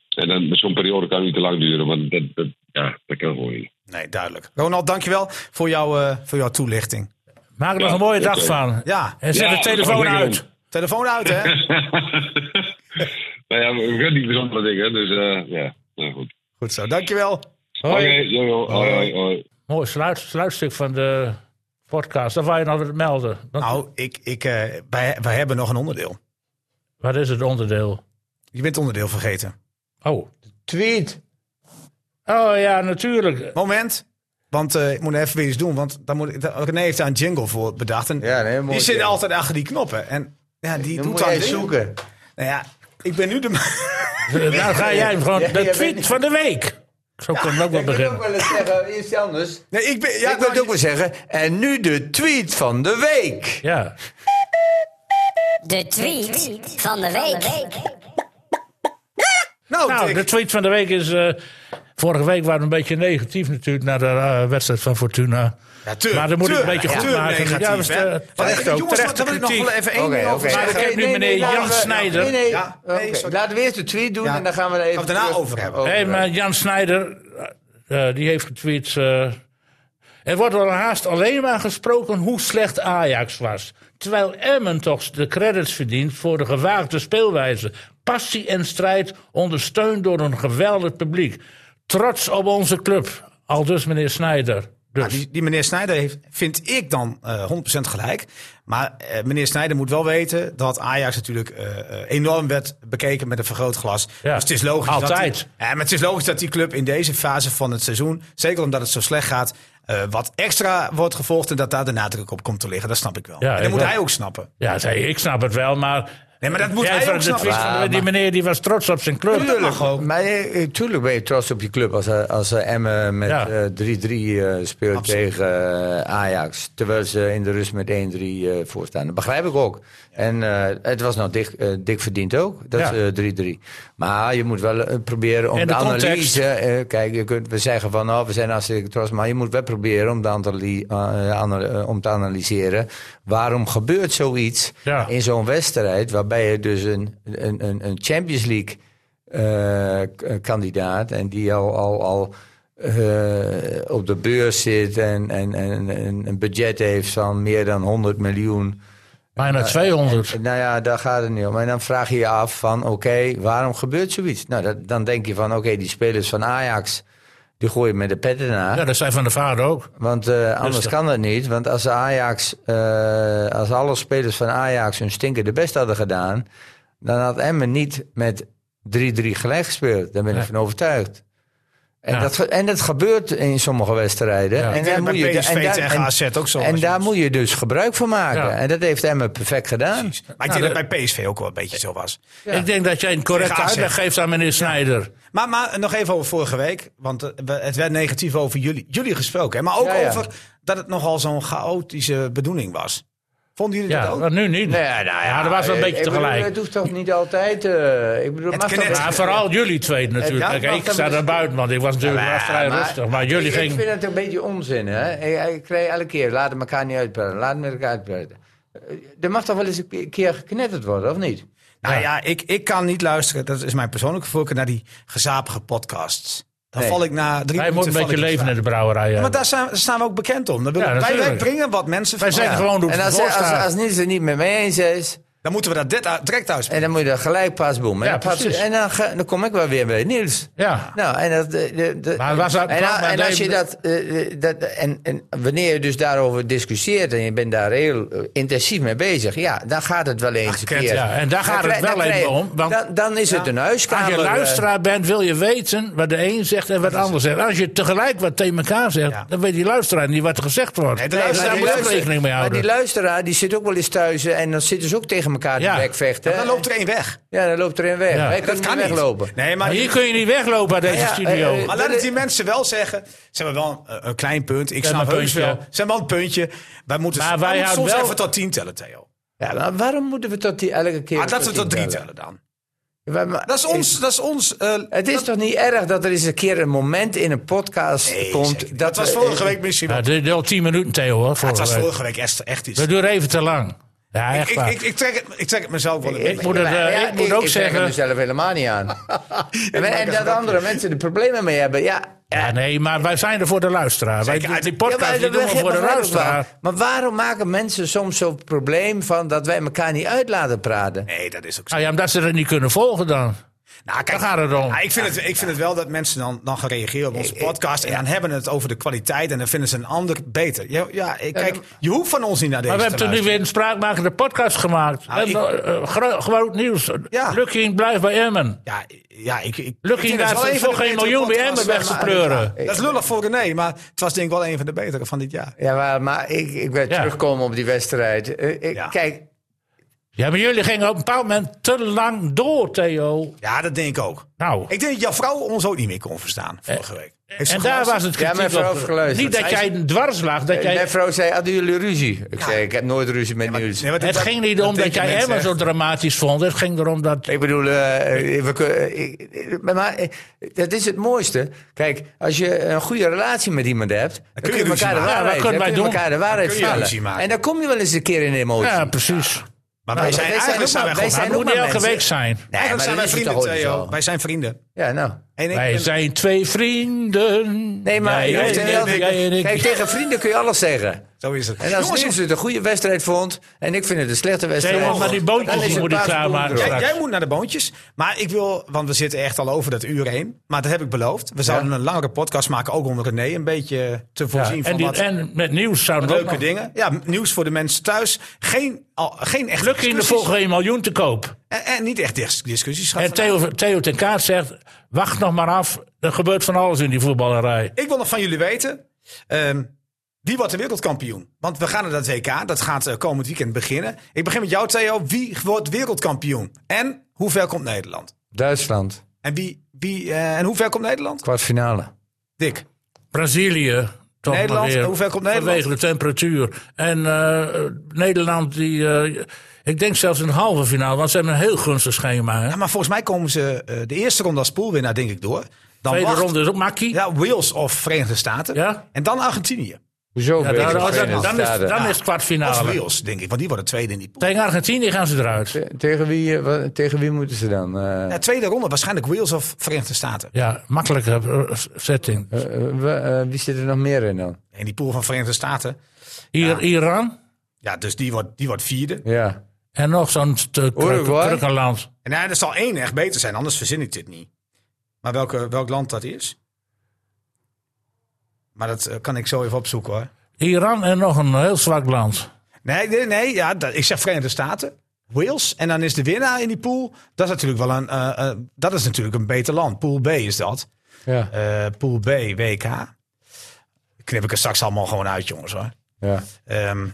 S10: en dan zo'n periode kan niet te lang duren, want dat, dat, ja, dat kan gewoon niet.
S1: Nee, duidelijk. Ronald, dankjewel voor, jou, eh, voor jouw toelichting.
S2: Maak er
S10: Ja,
S2: nog een mooie dag
S10: oké.
S2: van.
S1: Ja,
S2: En zet
S10: Ja,
S2: de
S10: dat
S2: telefoon
S10: ga ik
S2: uit.
S1: telefoon uit hè.
S10: <laughs> nou ja, we kunnen niet bijzondere dingen, dus eh, ja, nou goed.
S1: Goed zo, dankjewel.
S10: Oké,
S2: Hoi.
S10: jojo, hoi, hoi, hoi.
S2: Mooi sluit, sluitstuk van de podcast. Dat wou je nog wat melden. Dat-
S1: Nou, ik, ik, eh, wij, wij hebben nog een onderdeel.
S2: Wat is het onderdeel?
S1: Je bent het onderdeel vergeten.
S2: Oh.
S4: Tweet.
S2: Oh ja, natuurlijk.
S1: Moment. Want eh, ik moet even weer iets doen. Want daar moet, ik- daar- René heeft daar een jingle voor bedacht. En
S4: Ja, nee, mooi.
S1: die zit
S4: ja.
S1: altijd achter die knoppen. En ja, die
S4: Dan
S1: doet
S4: moet
S1: dan
S4: jij
S1: dingen.
S4: zoeken.
S1: Nou ja, ik ben nu de... ma- <laughs>
S2: Nou ga jij hem gewoon.
S4: Ja, jij
S2: De
S4: weet
S2: tweet
S4: niet.
S2: van de week. Zo kan ik ook wel
S4: Ik wil ook
S2: beginnen.
S4: wel eens zeggen, iets anders.
S1: Nee, ik ben... Ja,
S4: ik wil
S1: nou,
S4: het ook wel zeggen. En nu de tweet van de week.
S2: Ja.
S11: De tweet van de week.
S1: nou,
S2: Nou,
S1: ik-
S2: de tweet van de week is. eh, vorige week waren we een beetje negatief natuurlijk naar de eh, wedstrijd van Fortuna.
S1: Ja, tuur,
S2: maar dan moet ik
S1: tuur,
S2: een beetje goed
S1: tuur
S2: maken.
S1: negatief,
S2: Ja, dat is,
S1: hè.
S2: eh,
S1: Maar
S2: terecht
S1: jongens,
S2: ook, terechte
S1: daar wil ik nog
S2: kritiek.
S1: wel even één
S4: Oké,
S1: ding over
S4: oké.
S1: zeggen.
S2: ik heb nu meneer Jan Snijder.
S4: Nee, nee.
S1: Ja,
S4: Oké,
S1: nee, sorry.
S4: Laten we eerst de tweet doen
S1: Ja.
S4: en dan gaan we er even
S1: Gaan we daarna
S4: terug-
S1: over hebben.
S2: Hé, maar Jan Snijder, eh, eh, die heeft getweet. eh, er wordt al haast alleen maar gesproken hoe slecht Ajax was. Terwijl Emmen toch de credits verdient voor de gewaagde speelwijze. Passie en strijd, ondersteund door een geweldig publiek. Trots op onze club. Al dus meneer Snijder.
S1: Nou,
S2: Dus.
S1: die, die meneer Snijder heeft, vind ik dan eh 100% gelijk. Maar eh, meneer Snijder moet wel weten dat Ajax natuurlijk eh, eh, enorm werd bekeken met een vergrootglas.
S2: Ja,
S1: dus het is logisch Dat
S2: altijd.
S1: die, ja, maar het is logisch dat die club in deze fase van het seizoen, zeker omdat het zo slecht gaat, eh, wat extra wordt gevolgd en dat daar de nadruk op komt te liggen. Dat snap ik wel.
S2: Ja,
S1: en dat
S2: ik
S1: moet
S2: wel.
S1: hij ook snappen.
S2: Ja, zei, ik snap het wel, maar.
S1: Nee, maar dat moet
S2: Jij
S1: hij
S2: van
S1: ook
S2: de
S1: snappen.
S2: tweet van de- die meneer die was trots op zijn club.
S4: Maar eh, eh, tuurlijk ben je trots op je club als, eh, als eh, Emmen met
S2: Ja.
S4: eh, 3-3 eh, speelt tegen eh, Ajax. Terwijl ze in de rust met 1-3 eh, voorstaan. Dat begrijp ik ook. En eh, het was nou dik, eh, dik verdiend ook, dat
S2: Ja.
S4: eh, 3-3. maar je moet wel eh, proberen om
S2: En
S4: de,
S2: de context.
S4: analyse... eh, kijk, je kunt, we zeggen van oh, we zijn hartstikke trots. Maar je moet wel proberen om, de anali- eh, ana- eh, om te analyseren... waarom gebeurt zoiets
S2: Ja.
S4: in zo'n wedstrijd... waarbij je dus een, een, een, een Champions League eh, k- kandidaat en die al, al, al eh, op de beurs zit en, en, en, en een budget heeft van meer dan 100 miljoen.
S2: Bijna 200.
S4: Nou ja, daar gaat het niet om. En dan vraag je je af van oké, waarom gebeurt zoiets? Nou, dat, dan denk je van oké, die spelers van Ajax, die gooien met de petten na.
S2: Ja, dat zei Van de Vader ook.
S4: Want eh, anders
S2: Rustig.
S4: kan dat niet. Want als, de Ajax, eh, als alle spelers van Ajax hun stinker de best hadden gedaan... dan had Emmen niet met 3-3 gelijk gespeeld. Daar ben ik
S2: Ja.
S4: van overtuigd. En,
S2: Ja.
S4: dat, ge- en dat gebeurt in sommige wedstrijden.
S2: Ja. Ik
S4: En,
S1: denk
S4: daar
S1: dat
S4: moet
S1: bij
S4: je,
S1: PSV
S4: en, daar,
S1: tegen AZ
S4: en,
S1: ook zo
S4: en
S1: was.
S4: daar moet je dus gebruik van maken.
S2: Ja.
S4: En dat heeft Emmen perfect gedaan.
S1: Maar ik
S2: Nou,
S1: denk
S2: dat-
S1: dat bij PSV ook wel een beetje zo was.
S2: Ik denk dat jij een correcte
S1: Tegen AZ.
S2: uitleg geeft aan meneer Snijder.
S1: Maar, maar eh, nog even over vorige week. Want eh, we- het werd negatief over jullie, jullie gesproken. hè? Maar ook
S4: Ja, ja.
S1: over dat het nogal zo'n chaotische bedoeling was. Vonden jullie dat
S2: Ja,
S1: ook?
S2: maar nu niet.
S4: ja, nou
S2: Ja, dat was wel een
S4: eh,
S2: beetje
S4: ik bedoel,
S2: tegelijk.
S4: Het hoeft toch niet altijd... eh, ik bedoel,
S1: Het
S4: mag toch
S1: knet-
S4: wel-
S2: Maar vooral jullie twee natuurlijk.
S4: Ja,
S2: Kijk,
S4: maar-
S2: ik sta daar buiten, want ik was natuurlijk
S4: Ja,
S2: wel vrij rustig. Maar jullie
S4: ik, Ik
S2: gingen...
S4: vind het een beetje onzin, hè. Ik, ik krijg elke keer, laten elkaar niet uitpraten, laten met elkaar uitpraten. Eh, Er mag toch wel eens een ke- keer geknetterd worden, of niet?
S1: Nou ja, ik, ik kan niet luisteren. Dat is mijn persoonlijke voorkeur naar die gezapige podcasts. Dan
S4: Nee.
S1: val ik na drie
S2: Wij moeten
S1: minuten...
S2: een
S1: val
S2: beetje
S1: ik in
S2: leven in
S1: slaap.
S2: de brouwerij.
S1: Maar
S2: hebben.
S1: daar staan, daar staan we ook bekend om. Dan willen
S2: Ja,
S1: wij- wij,
S2: natuurlijk.
S1: brengen wat mensen
S2: Wij
S1: van.
S2: zeggen
S1: Ja.
S2: gewoon hoe
S4: En
S2: het
S4: als,
S2: ervoor
S4: als, als,
S2: staat.
S4: niet ze niet met mij eens is,
S1: Dan moeten we dat dit uit- direct thuis
S4: en dan moet je dat gelijk pas boem. En,
S2: Ja,
S4: dan pas-
S2: precies.
S4: en dan, ga- dan kom ik wel weer bij Niels.
S2: Ja.
S4: Nou, en dat... De, de, de-
S2: Maar was dat-
S4: en,
S2: kwam-
S4: en
S2: maar
S4: als je
S2: nee,
S4: dat... eh, eh, dat en, en wanneer je dus daarover discussieert en je bent daar heel eh, intensief mee bezig, ja, dan gaat het wel eens een
S2: kent,
S4: keer.
S2: ja. En daar gaat het
S4: krijg-
S2: wel
S4: krijg-
S2: even om, want-
S4: dan, dan is het een huiskamer.
S2: Als je
S4: eh,
S2: luisteraar bent, wil je weten wat de een zegt en wat de ander zegt. Als je tegelijk wat tegen elkaar zegt,
S1: Ja.
S2: dan weet die luisteraar niet wat er gezegd wordt.
S1: Nee, de
S4: Nee,
S1: luisteraar
S2: daar
S4: maar
S2: moet
S4: die
S2: je ook
S4: luister-
S2: rekening mee
S4: Maar
S2: houden.
S4: die luisteraar die zit ook wel eens thuis eh, en dan zitten ze ook tegen elkaar
S2: Ja.
S4: te bekvechten.
S1: Dan loopt er één weg.
S4: Ja, dan loopt er een weg.
S2: Ja.
S4: Wij
S2: Dat
S4: kunnen
S1: Dat kan
S4: niet
S1: niet.
S4: weglopen.
S1: Nee,
S2: Maar
S1: maar
S2: hier kun je niet weglopen uit deze
S4: Ja,
S2: studio.
S4: eh, eh,
S1: Maar laat het die mensen wel zeggen. Ze hebben wel een, een klein punt. Ik
S2: hebben
S1: snap
S2: een
S1: heus
S2: puntje.
S1: wel. Ze hebben wel een puntje. Wij moeten, wij
S2: Maar wij
S1: moeten
S2: houden
S1: soms
S2: wel-
S1: even tot tien tellen, Theo.
S4: Ja, maar waarom moeten we tot die elke keer...
S1: Ah, laten we tot drie
S4: tellen?
S1: tellen dan.
S4: Ja, maar-
S1: Dat is ons... Dat is ons eh,
S4: Het is toch niet erg dat er eens een keer een moment in een podcast
S1: nee,
S4: komt...
S1: zeker niet.
S4: dat
S1: Het was
S4: we-
S1: vorige week misschien
S2: Ja,
S1: wel.
S2: dit is al tien minuten, Theo, hoor.
S1: Het
S2: vorige
S1: was
S2: week.
S1: vorige week echt, echt iets.
S2: We
S1: Ik,
S2: doen even te lang. Ja, echt
S1: ik,
S2: waar.
S1: ik, ik, trek het, ik trek het mezelf wel een
S2: Ik
S1: beetje.
S2: moet, het, eh,
S4: Ja, ja,
S2: ik moet ook
S4: ik trek
S2: zeggen...
S4: er mezelf helemaal niet
S2: <laughs>
S4: aan. en,
S1: maak een
S4: en dat
S1: grapje.
S4: andere mensen er problemen mee hebben, ja...
S2: Ja, nee, maar wij zijn er voor de luisteraar. Wij,
S1: Zeker,
S2: doen
S1: uit-
S2: die podcast
S4: Ja, maar
S2: die
S4: dat
S2: doen we
S4: begrijp-
S2: voor de
S4: begrijp ik wel.
S2: luisteraar.
S4: Maar waarom maken mensen soms zo'n probleem van dat wij elkaar niet uit laten praten?
S1: Nee, dat is ook zo.
S2: Nou ja, omdat ze dat niet kunnen volgen dan.
S1: Nou, kijk,
S2: Daar gaat het om.
S1: ja, ik, vind het, ik vind het wel dat mensen dan, dan gaan reageren op onze podcast. En dan hebben we het over de kwaliteit. En dan vinden ze een ander beter. Ja, ja ik- kijk, je hoeft van ons niet naar deze
S2: Maar we
S1: te
S2: hebben toen nu
S1: luisteren.
S2: weer een spraakmakende podcast gemaakt.
S1: Nou,
S2: we hebben eh, gro- groot nieuws.
S1: Ja.
S2: Lucky blijft bij Emmen.
S1: Ja, ja, ik, ik, ik
S2: Lucky
S1: vind het
S2: daar
S1: wel een
S2: is
S1: van
S2: voor
S1: de
S2: geen
S1: betere
S2: miljoen bij
S1: podcasts
S2: Emmen weg
S1: van-
S2: te pleuren.
S1: Dat is lullig voor René, maar het was denk ik wel een van de betere van dit jaar.
S4: Ja, maar, maar ik, ik wil
S2: Ja.
S4: terugkomen op die wedstrijd. Eh, ik-
S1: Ja.
S4: Kijk,
S2: Ja, maar jullie gingen op een bepaald moment te lang door, Theo.
S1: Ja, dat denk ik ook.
S2: Nou,
S1: Ik denk dat jouw vrouw ons ook niet meer kon verstaan vorige week. Heeft ze
S2: Eh, en daar
S1: geluisterd?
S2: was het
S4: Ja, mijn
S2: kritiek
S4: vrouw
S2: op.
S4: heeft geluisterd.
S2: Niet dat
S4: Zij
S2: jij een dwars lag. Dat jij,
S4: mijn vrouw zei, hadden jullie ruzie? Ik zei, ik heb nooit ruzie met nieuws.
S1: Nee, maar dit-
S2: het ging niet
S1: dat
S2: om dat
S1: denken
S2: jij
S1: mensen
S2: Emmen zo
S1: echt.
S2: dramatisch vond. Het ging erom dat...
S4: Ik bedoel, eh, eh, we kun- eh, ik- eh, maar- maar eh, dat is het mooiste. Kijk, als je een goede relatie met iemand hebt, dan, kun je,
S1: ruzie
S4: elkaar de
S1: maken.
S2: Ja,
S4: waarheid,
S2: dat kunnen wij
S4: dan kun je
S2: doen.
S4: elkaar de waarheid
S1: kun je
S4: vertellen.
S1: ruzie maken.
S4: En dan kom je wel eens een keer in de emotie.
S2: Ja, precies.
S1: Maar wij zijn
S4: wij zijn
S1: eigenlijk
S4: ook
S1: zijn wij
S4: maar- wij
S1: gewoon-
S2: Maar
S4: zijn
S2: het moet
S4: ook
S2: niet
S4: maar
S2: elke
S4: mensen.
S2: week zijn.
S4: Nee, maar
S1: Eigenlijk zijn wij
S4: dat is het
S1: vrienden,
S4: toch ook
S1: Theo.
S4: zo?
S1: Wij zijn vrienden.
S4: Ja, nou.
S1: En ik
S2: Wij
S1: ben-
S2: zijn twee vrienden.
S4: Nee, maar
S2: Jij
S4: je hoeft
S2: en
S4: heel
S2: ik,
S4: veel-
S2: jij en ik.
S4: kijk, tegen vrienden kun je alles zeggen.
S1: Zo is het.
S4: En als
S1: Jongens,
S4: Niels het een goede wedstrijd vond en ik vind het een slechte wedstrijd...
S2: Theo, maar die bootjes
S4: dan is
S2: die
S4: het
S2: moet ik
S4: paaspoel
S2: klaarmaken.
S4: erop.
S1: Jij,
S2: straks.
S1: jij moet naar de boontjes. Maar ik wil, want we zitten echt al over dat uur heen. Maar dat heb ik beloofd. We zouden een langere podcast maken, ook om René een beetje te
S2: Ja,
S1: voorzien
S2: en,
S1: van
S2: die-
S1: wat
S2: en met nieuws zouden we ook
S1: leuke
S2: nog-
S1: dingen. Ja, nieuws voor de mensen thuis. Geen, al, geen echt
S2: Lucky in de volgende een miljoen te koop.
S1: En, en niet echt dis- discussies. Gaat
S2: En
S1: vandaag.
S2: Theo, Theo ten Kaat zegt, wacht nog maar af. Er gebeurt van alles in die voetballerij.
S1: Ik wil nog van jullie weten. ehm, wie wordt de wereldkampioen? Want we gaan naar dat WK. Dat gaat eh, komend weekend beginnen. Ik begin met jou, Theo. Wie wordt wereldkampioen? En hoe ver komt Nederland?
S4: Duitsland,
S1: En, wie, wie, eh, en hoe ver komt Nederland?
S4: kwartfinale.
S1: Dik.
S2: Brazilië. Toch
S1: Nederland,
S2: maar weer,
S1: hoe ver komt Nederland?
S2: Vanwege de temperatuur. En eh, Nederland, die, eh, ik denk zelfs een halve finale. Want ze hebben een heel gunstig schema. Hè?
S1: Ja, maar volgens mij komen ze eh, de eerste ronde als poolwinnaar, denk ik, door. Dan
S2: Tweede
S1: wacht-
S2: ronde is ook makkie. Ja,
S1: Ja, Wales of Verenigde Staten.
S2: Ja.
S1: En dan Argentinië.
S4: Hoezo? weet
S2: daar-
S4: ik
S2: als-
S4: geen
S2: dan, is,
S4: resultaten?
S2: dan is het
S1: Of
S2: kwartfinale.
S1: Wales, denk ik. Want die worden tweede in die pool.
S2: Tegen Argentinië gaan ze eruit.
S4: Te- tegen, wie, eh, wa- tegen wie moeten ze dan? Eh,
S1: Ja, tweede ronde waarschijnlijk Wales of Verenigde Staten.
S2: Ja, makkelijke eh, setting.
S4: eh, eh, we- eh, wie zit er nog meer in dan?
S1: In die pool van Verenigde Staten.
S2: Hier, Iran.
S1: Ja, dus die wordt, die wordt vierde.
S4: Ja.
S2: En nog zo'n te- kruk-
S4: Uruguay?
S2: krukkenland.
S1: En ja, er zal één echt beter zijn, anders verzin ik dit niet. Maar welke, welk land dat is? Maar dat eh, kan ik zo even opzoeken hoor.
S2: Iran en nog een heel zwak land.
S1: Nee, nee, nee ja, dat, ik zeg Verenigde Staten. Wales. En dan is de winnaar in die pool. Dat is natuurlijk wel een, eh, eh, dat is natuurlijk een beter land. Pool B is dat.
S4: Ja.
S1: Eh, pool B, WK. Knip ik er straks allemaal gewoon uit, jongens hoor.
S4: Ja.
S1: Ehm,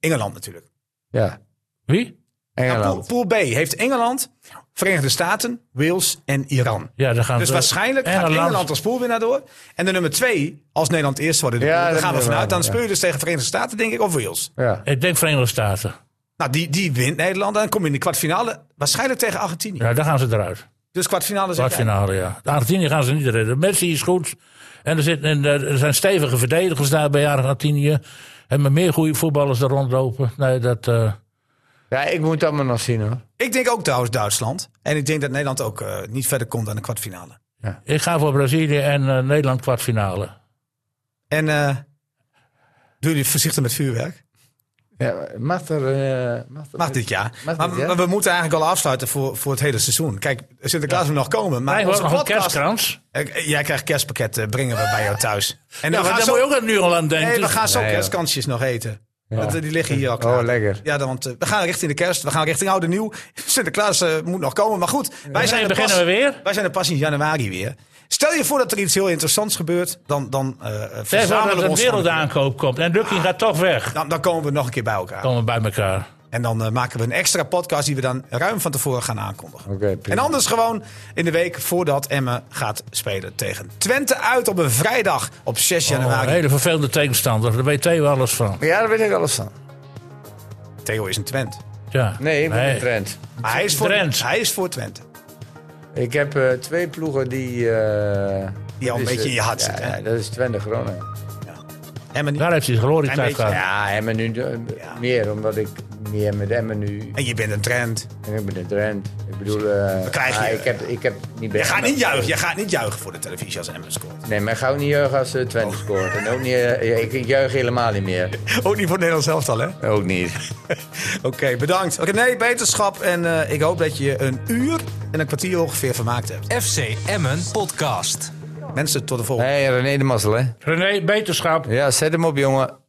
S1: Engeland natuurlijk.
S4: ja.
S2: Wie?
S1: Ja, pool,
S4: Engeland.
S1: pool B heeft Engeland, Verenigde Staten, Wales en Iran.
S2: Ja, daar gaan
S1: Dus
S2: ze-
S1: waarschijnlijk gaat
S2: Engeland.
S1: Engeland als poolwinnaar door. En de nummer twee, als Nederland eerst wordt in de
S4: Ja,
S1: pool, daar
S4: dat
S1: gaan we
S4: doen we
S1: vanuit. Dan
S4: wel, ja.
S1: speel je dus tegen Verenigde Staten, denk ik, of Wales.
S4: Ja.
S2: Ik denk Verenigde Staten.
S1: Nou, die, die wint Nederland. Dan kom je in de kwartfinale, waarschijnlijk tegen Argentinië.
S2: Ja, daar gaan ze eruit.
S1: Dus kwartfinale zeg jij.
S2: Kwartfinale, ja. De Argentinië gaan ze niet redden. Messi is goed. En er, zit, en eh, er zijn stevige verdedigers daar bij Argentinië. En met meer goede voetballers er rondlopen. Nee, dat... eh,
S4: ja, ik moet dat maar nog zien hoor.
S1: Ik denk ook trouwens Duitsland. En ik denk dat Nederland ook eh, niet verder komt dan de kwartfinale.
S2: ik ga voor Brazilië en eh, Nederland kwartfinale.
S1: En eh, doen jullie voorzichtig met vuurwerk?
S4: Ja, mag er... eh, mag er-
S1: Mag dit jaar.
S4: Mag dit
S1: maar,
S4: jaar?
S1: maar we moeten eigenlijk al afsluiten voor, voor het hele seizoen. Kijk, Sinterklaas moet nog komen. Maar
S2: Wij
S1: onze
S2: hebben nog een
S1: podcast-
S2: kerstkrans.
S1: Eh, Jij krijgt kerstpakket, eh, brengen we bij jou thuis. En
S2: Ja,
S1: we
S2: maar
S1: gaan
S2: daar
S1: zo,
S2: moet je ook nu al aan denken.
S1: nee, we gaan zo
S4: Nee, joh.
S1: kerstkansjes nog eten. Want, eh, die liggen hier al klaar.
S4: Oh, lekker.
S1: Ja, dan, want eh, we gaan richting de kerst. We gaan richting oude nieuw. <laughs> Sinterklaas eh, moet nog komen. Maar goed, wij zijn,
S2: Nee,
S1: er
S2: beginnen
S1: pas,
S2: we weer?
S1: wij zijn er pas in januari weer. Stel je voor dat er iets heel interessants gebeurt. Dan, dan eh,
S2: Zeg maar
S1: verzamelen
S2: dat
S1: we
S2: er een
S1: ons gewoon-
S2: wereldaankoop komt. En Lucky gaat toch weg.
S1: Dan, dan komen we nog een keer bij elkaar.
S2: Komen bij elkaar.
S1: En dan eh, maken we een extra podcast die we dan ruim van tevoren gaan aankondigen.
S4: Oké, prima.
S1: en anders gewoon in de week voordat Emmen gaat spelen tegen Twente uit op een vrijdag op 6
S2: Oh, een
S1: januari.
S2: hele vervelende tegenstander. Daar weet Theo alles van.
S4: Ja, daar weet ik alles van.
S1: Theo, Theo is een Twent.
S2: Ja.
S4: Nee, ik ben eh,
S2: Nee.
S4: een trend.
S1: Maar hij is voor,
S2: Drent.
S1: hij is voor Twente.
S4: Ik heb eh, twee ploegen die... eh
S1: Die al een
S4: dus,
S1: beetje in je
S4: eh,
S1: hart
S4: ja,
S1: zitten, hè?
S4: ja, dat is Twente Groningen.
S1: Emmen niet.
S2: Daar heeft hij zijn glorietijd
S1: Een beetje,
S2: gehad.
S4: Ja, Emmen nu eh,
S1: Ja.
S4: meer, omdat ik meer met Emmen nu...
S1: En je bent een Trent.
S4: En ik ben een trend. Ik bedoel... eh,
S1: krijgen
S4: maar
S1: je-
S4: ik, heb, ik heb niet bij
S1: Je gaat
S4: Emmen-
S1: niet juichen, je gaat niet juichen voor de televisie als Emmen scoort.
S4: Nee, maar ik ga ook niet juichen als eh, Twente scoort. En ook niet, eh, ik, ik juich helemaal niet meer.
S1: <laughs> Ook niet voor Nederland zelf al, hè?
S4: Ook niet.
S1: <laughs> Oké, bedankt. Oké, nee, beterschap. En eh, ik hoop dat je een uur en een kwartier ongeveer vermaakt hebt.
S3: FC Emmen Podcast.
S1: Mensen, tot de volgende.
S4: Hé, hey, René de Mazzel, hè?
S2: René, beterschap.
S4: Ja, zet hem op, jongen.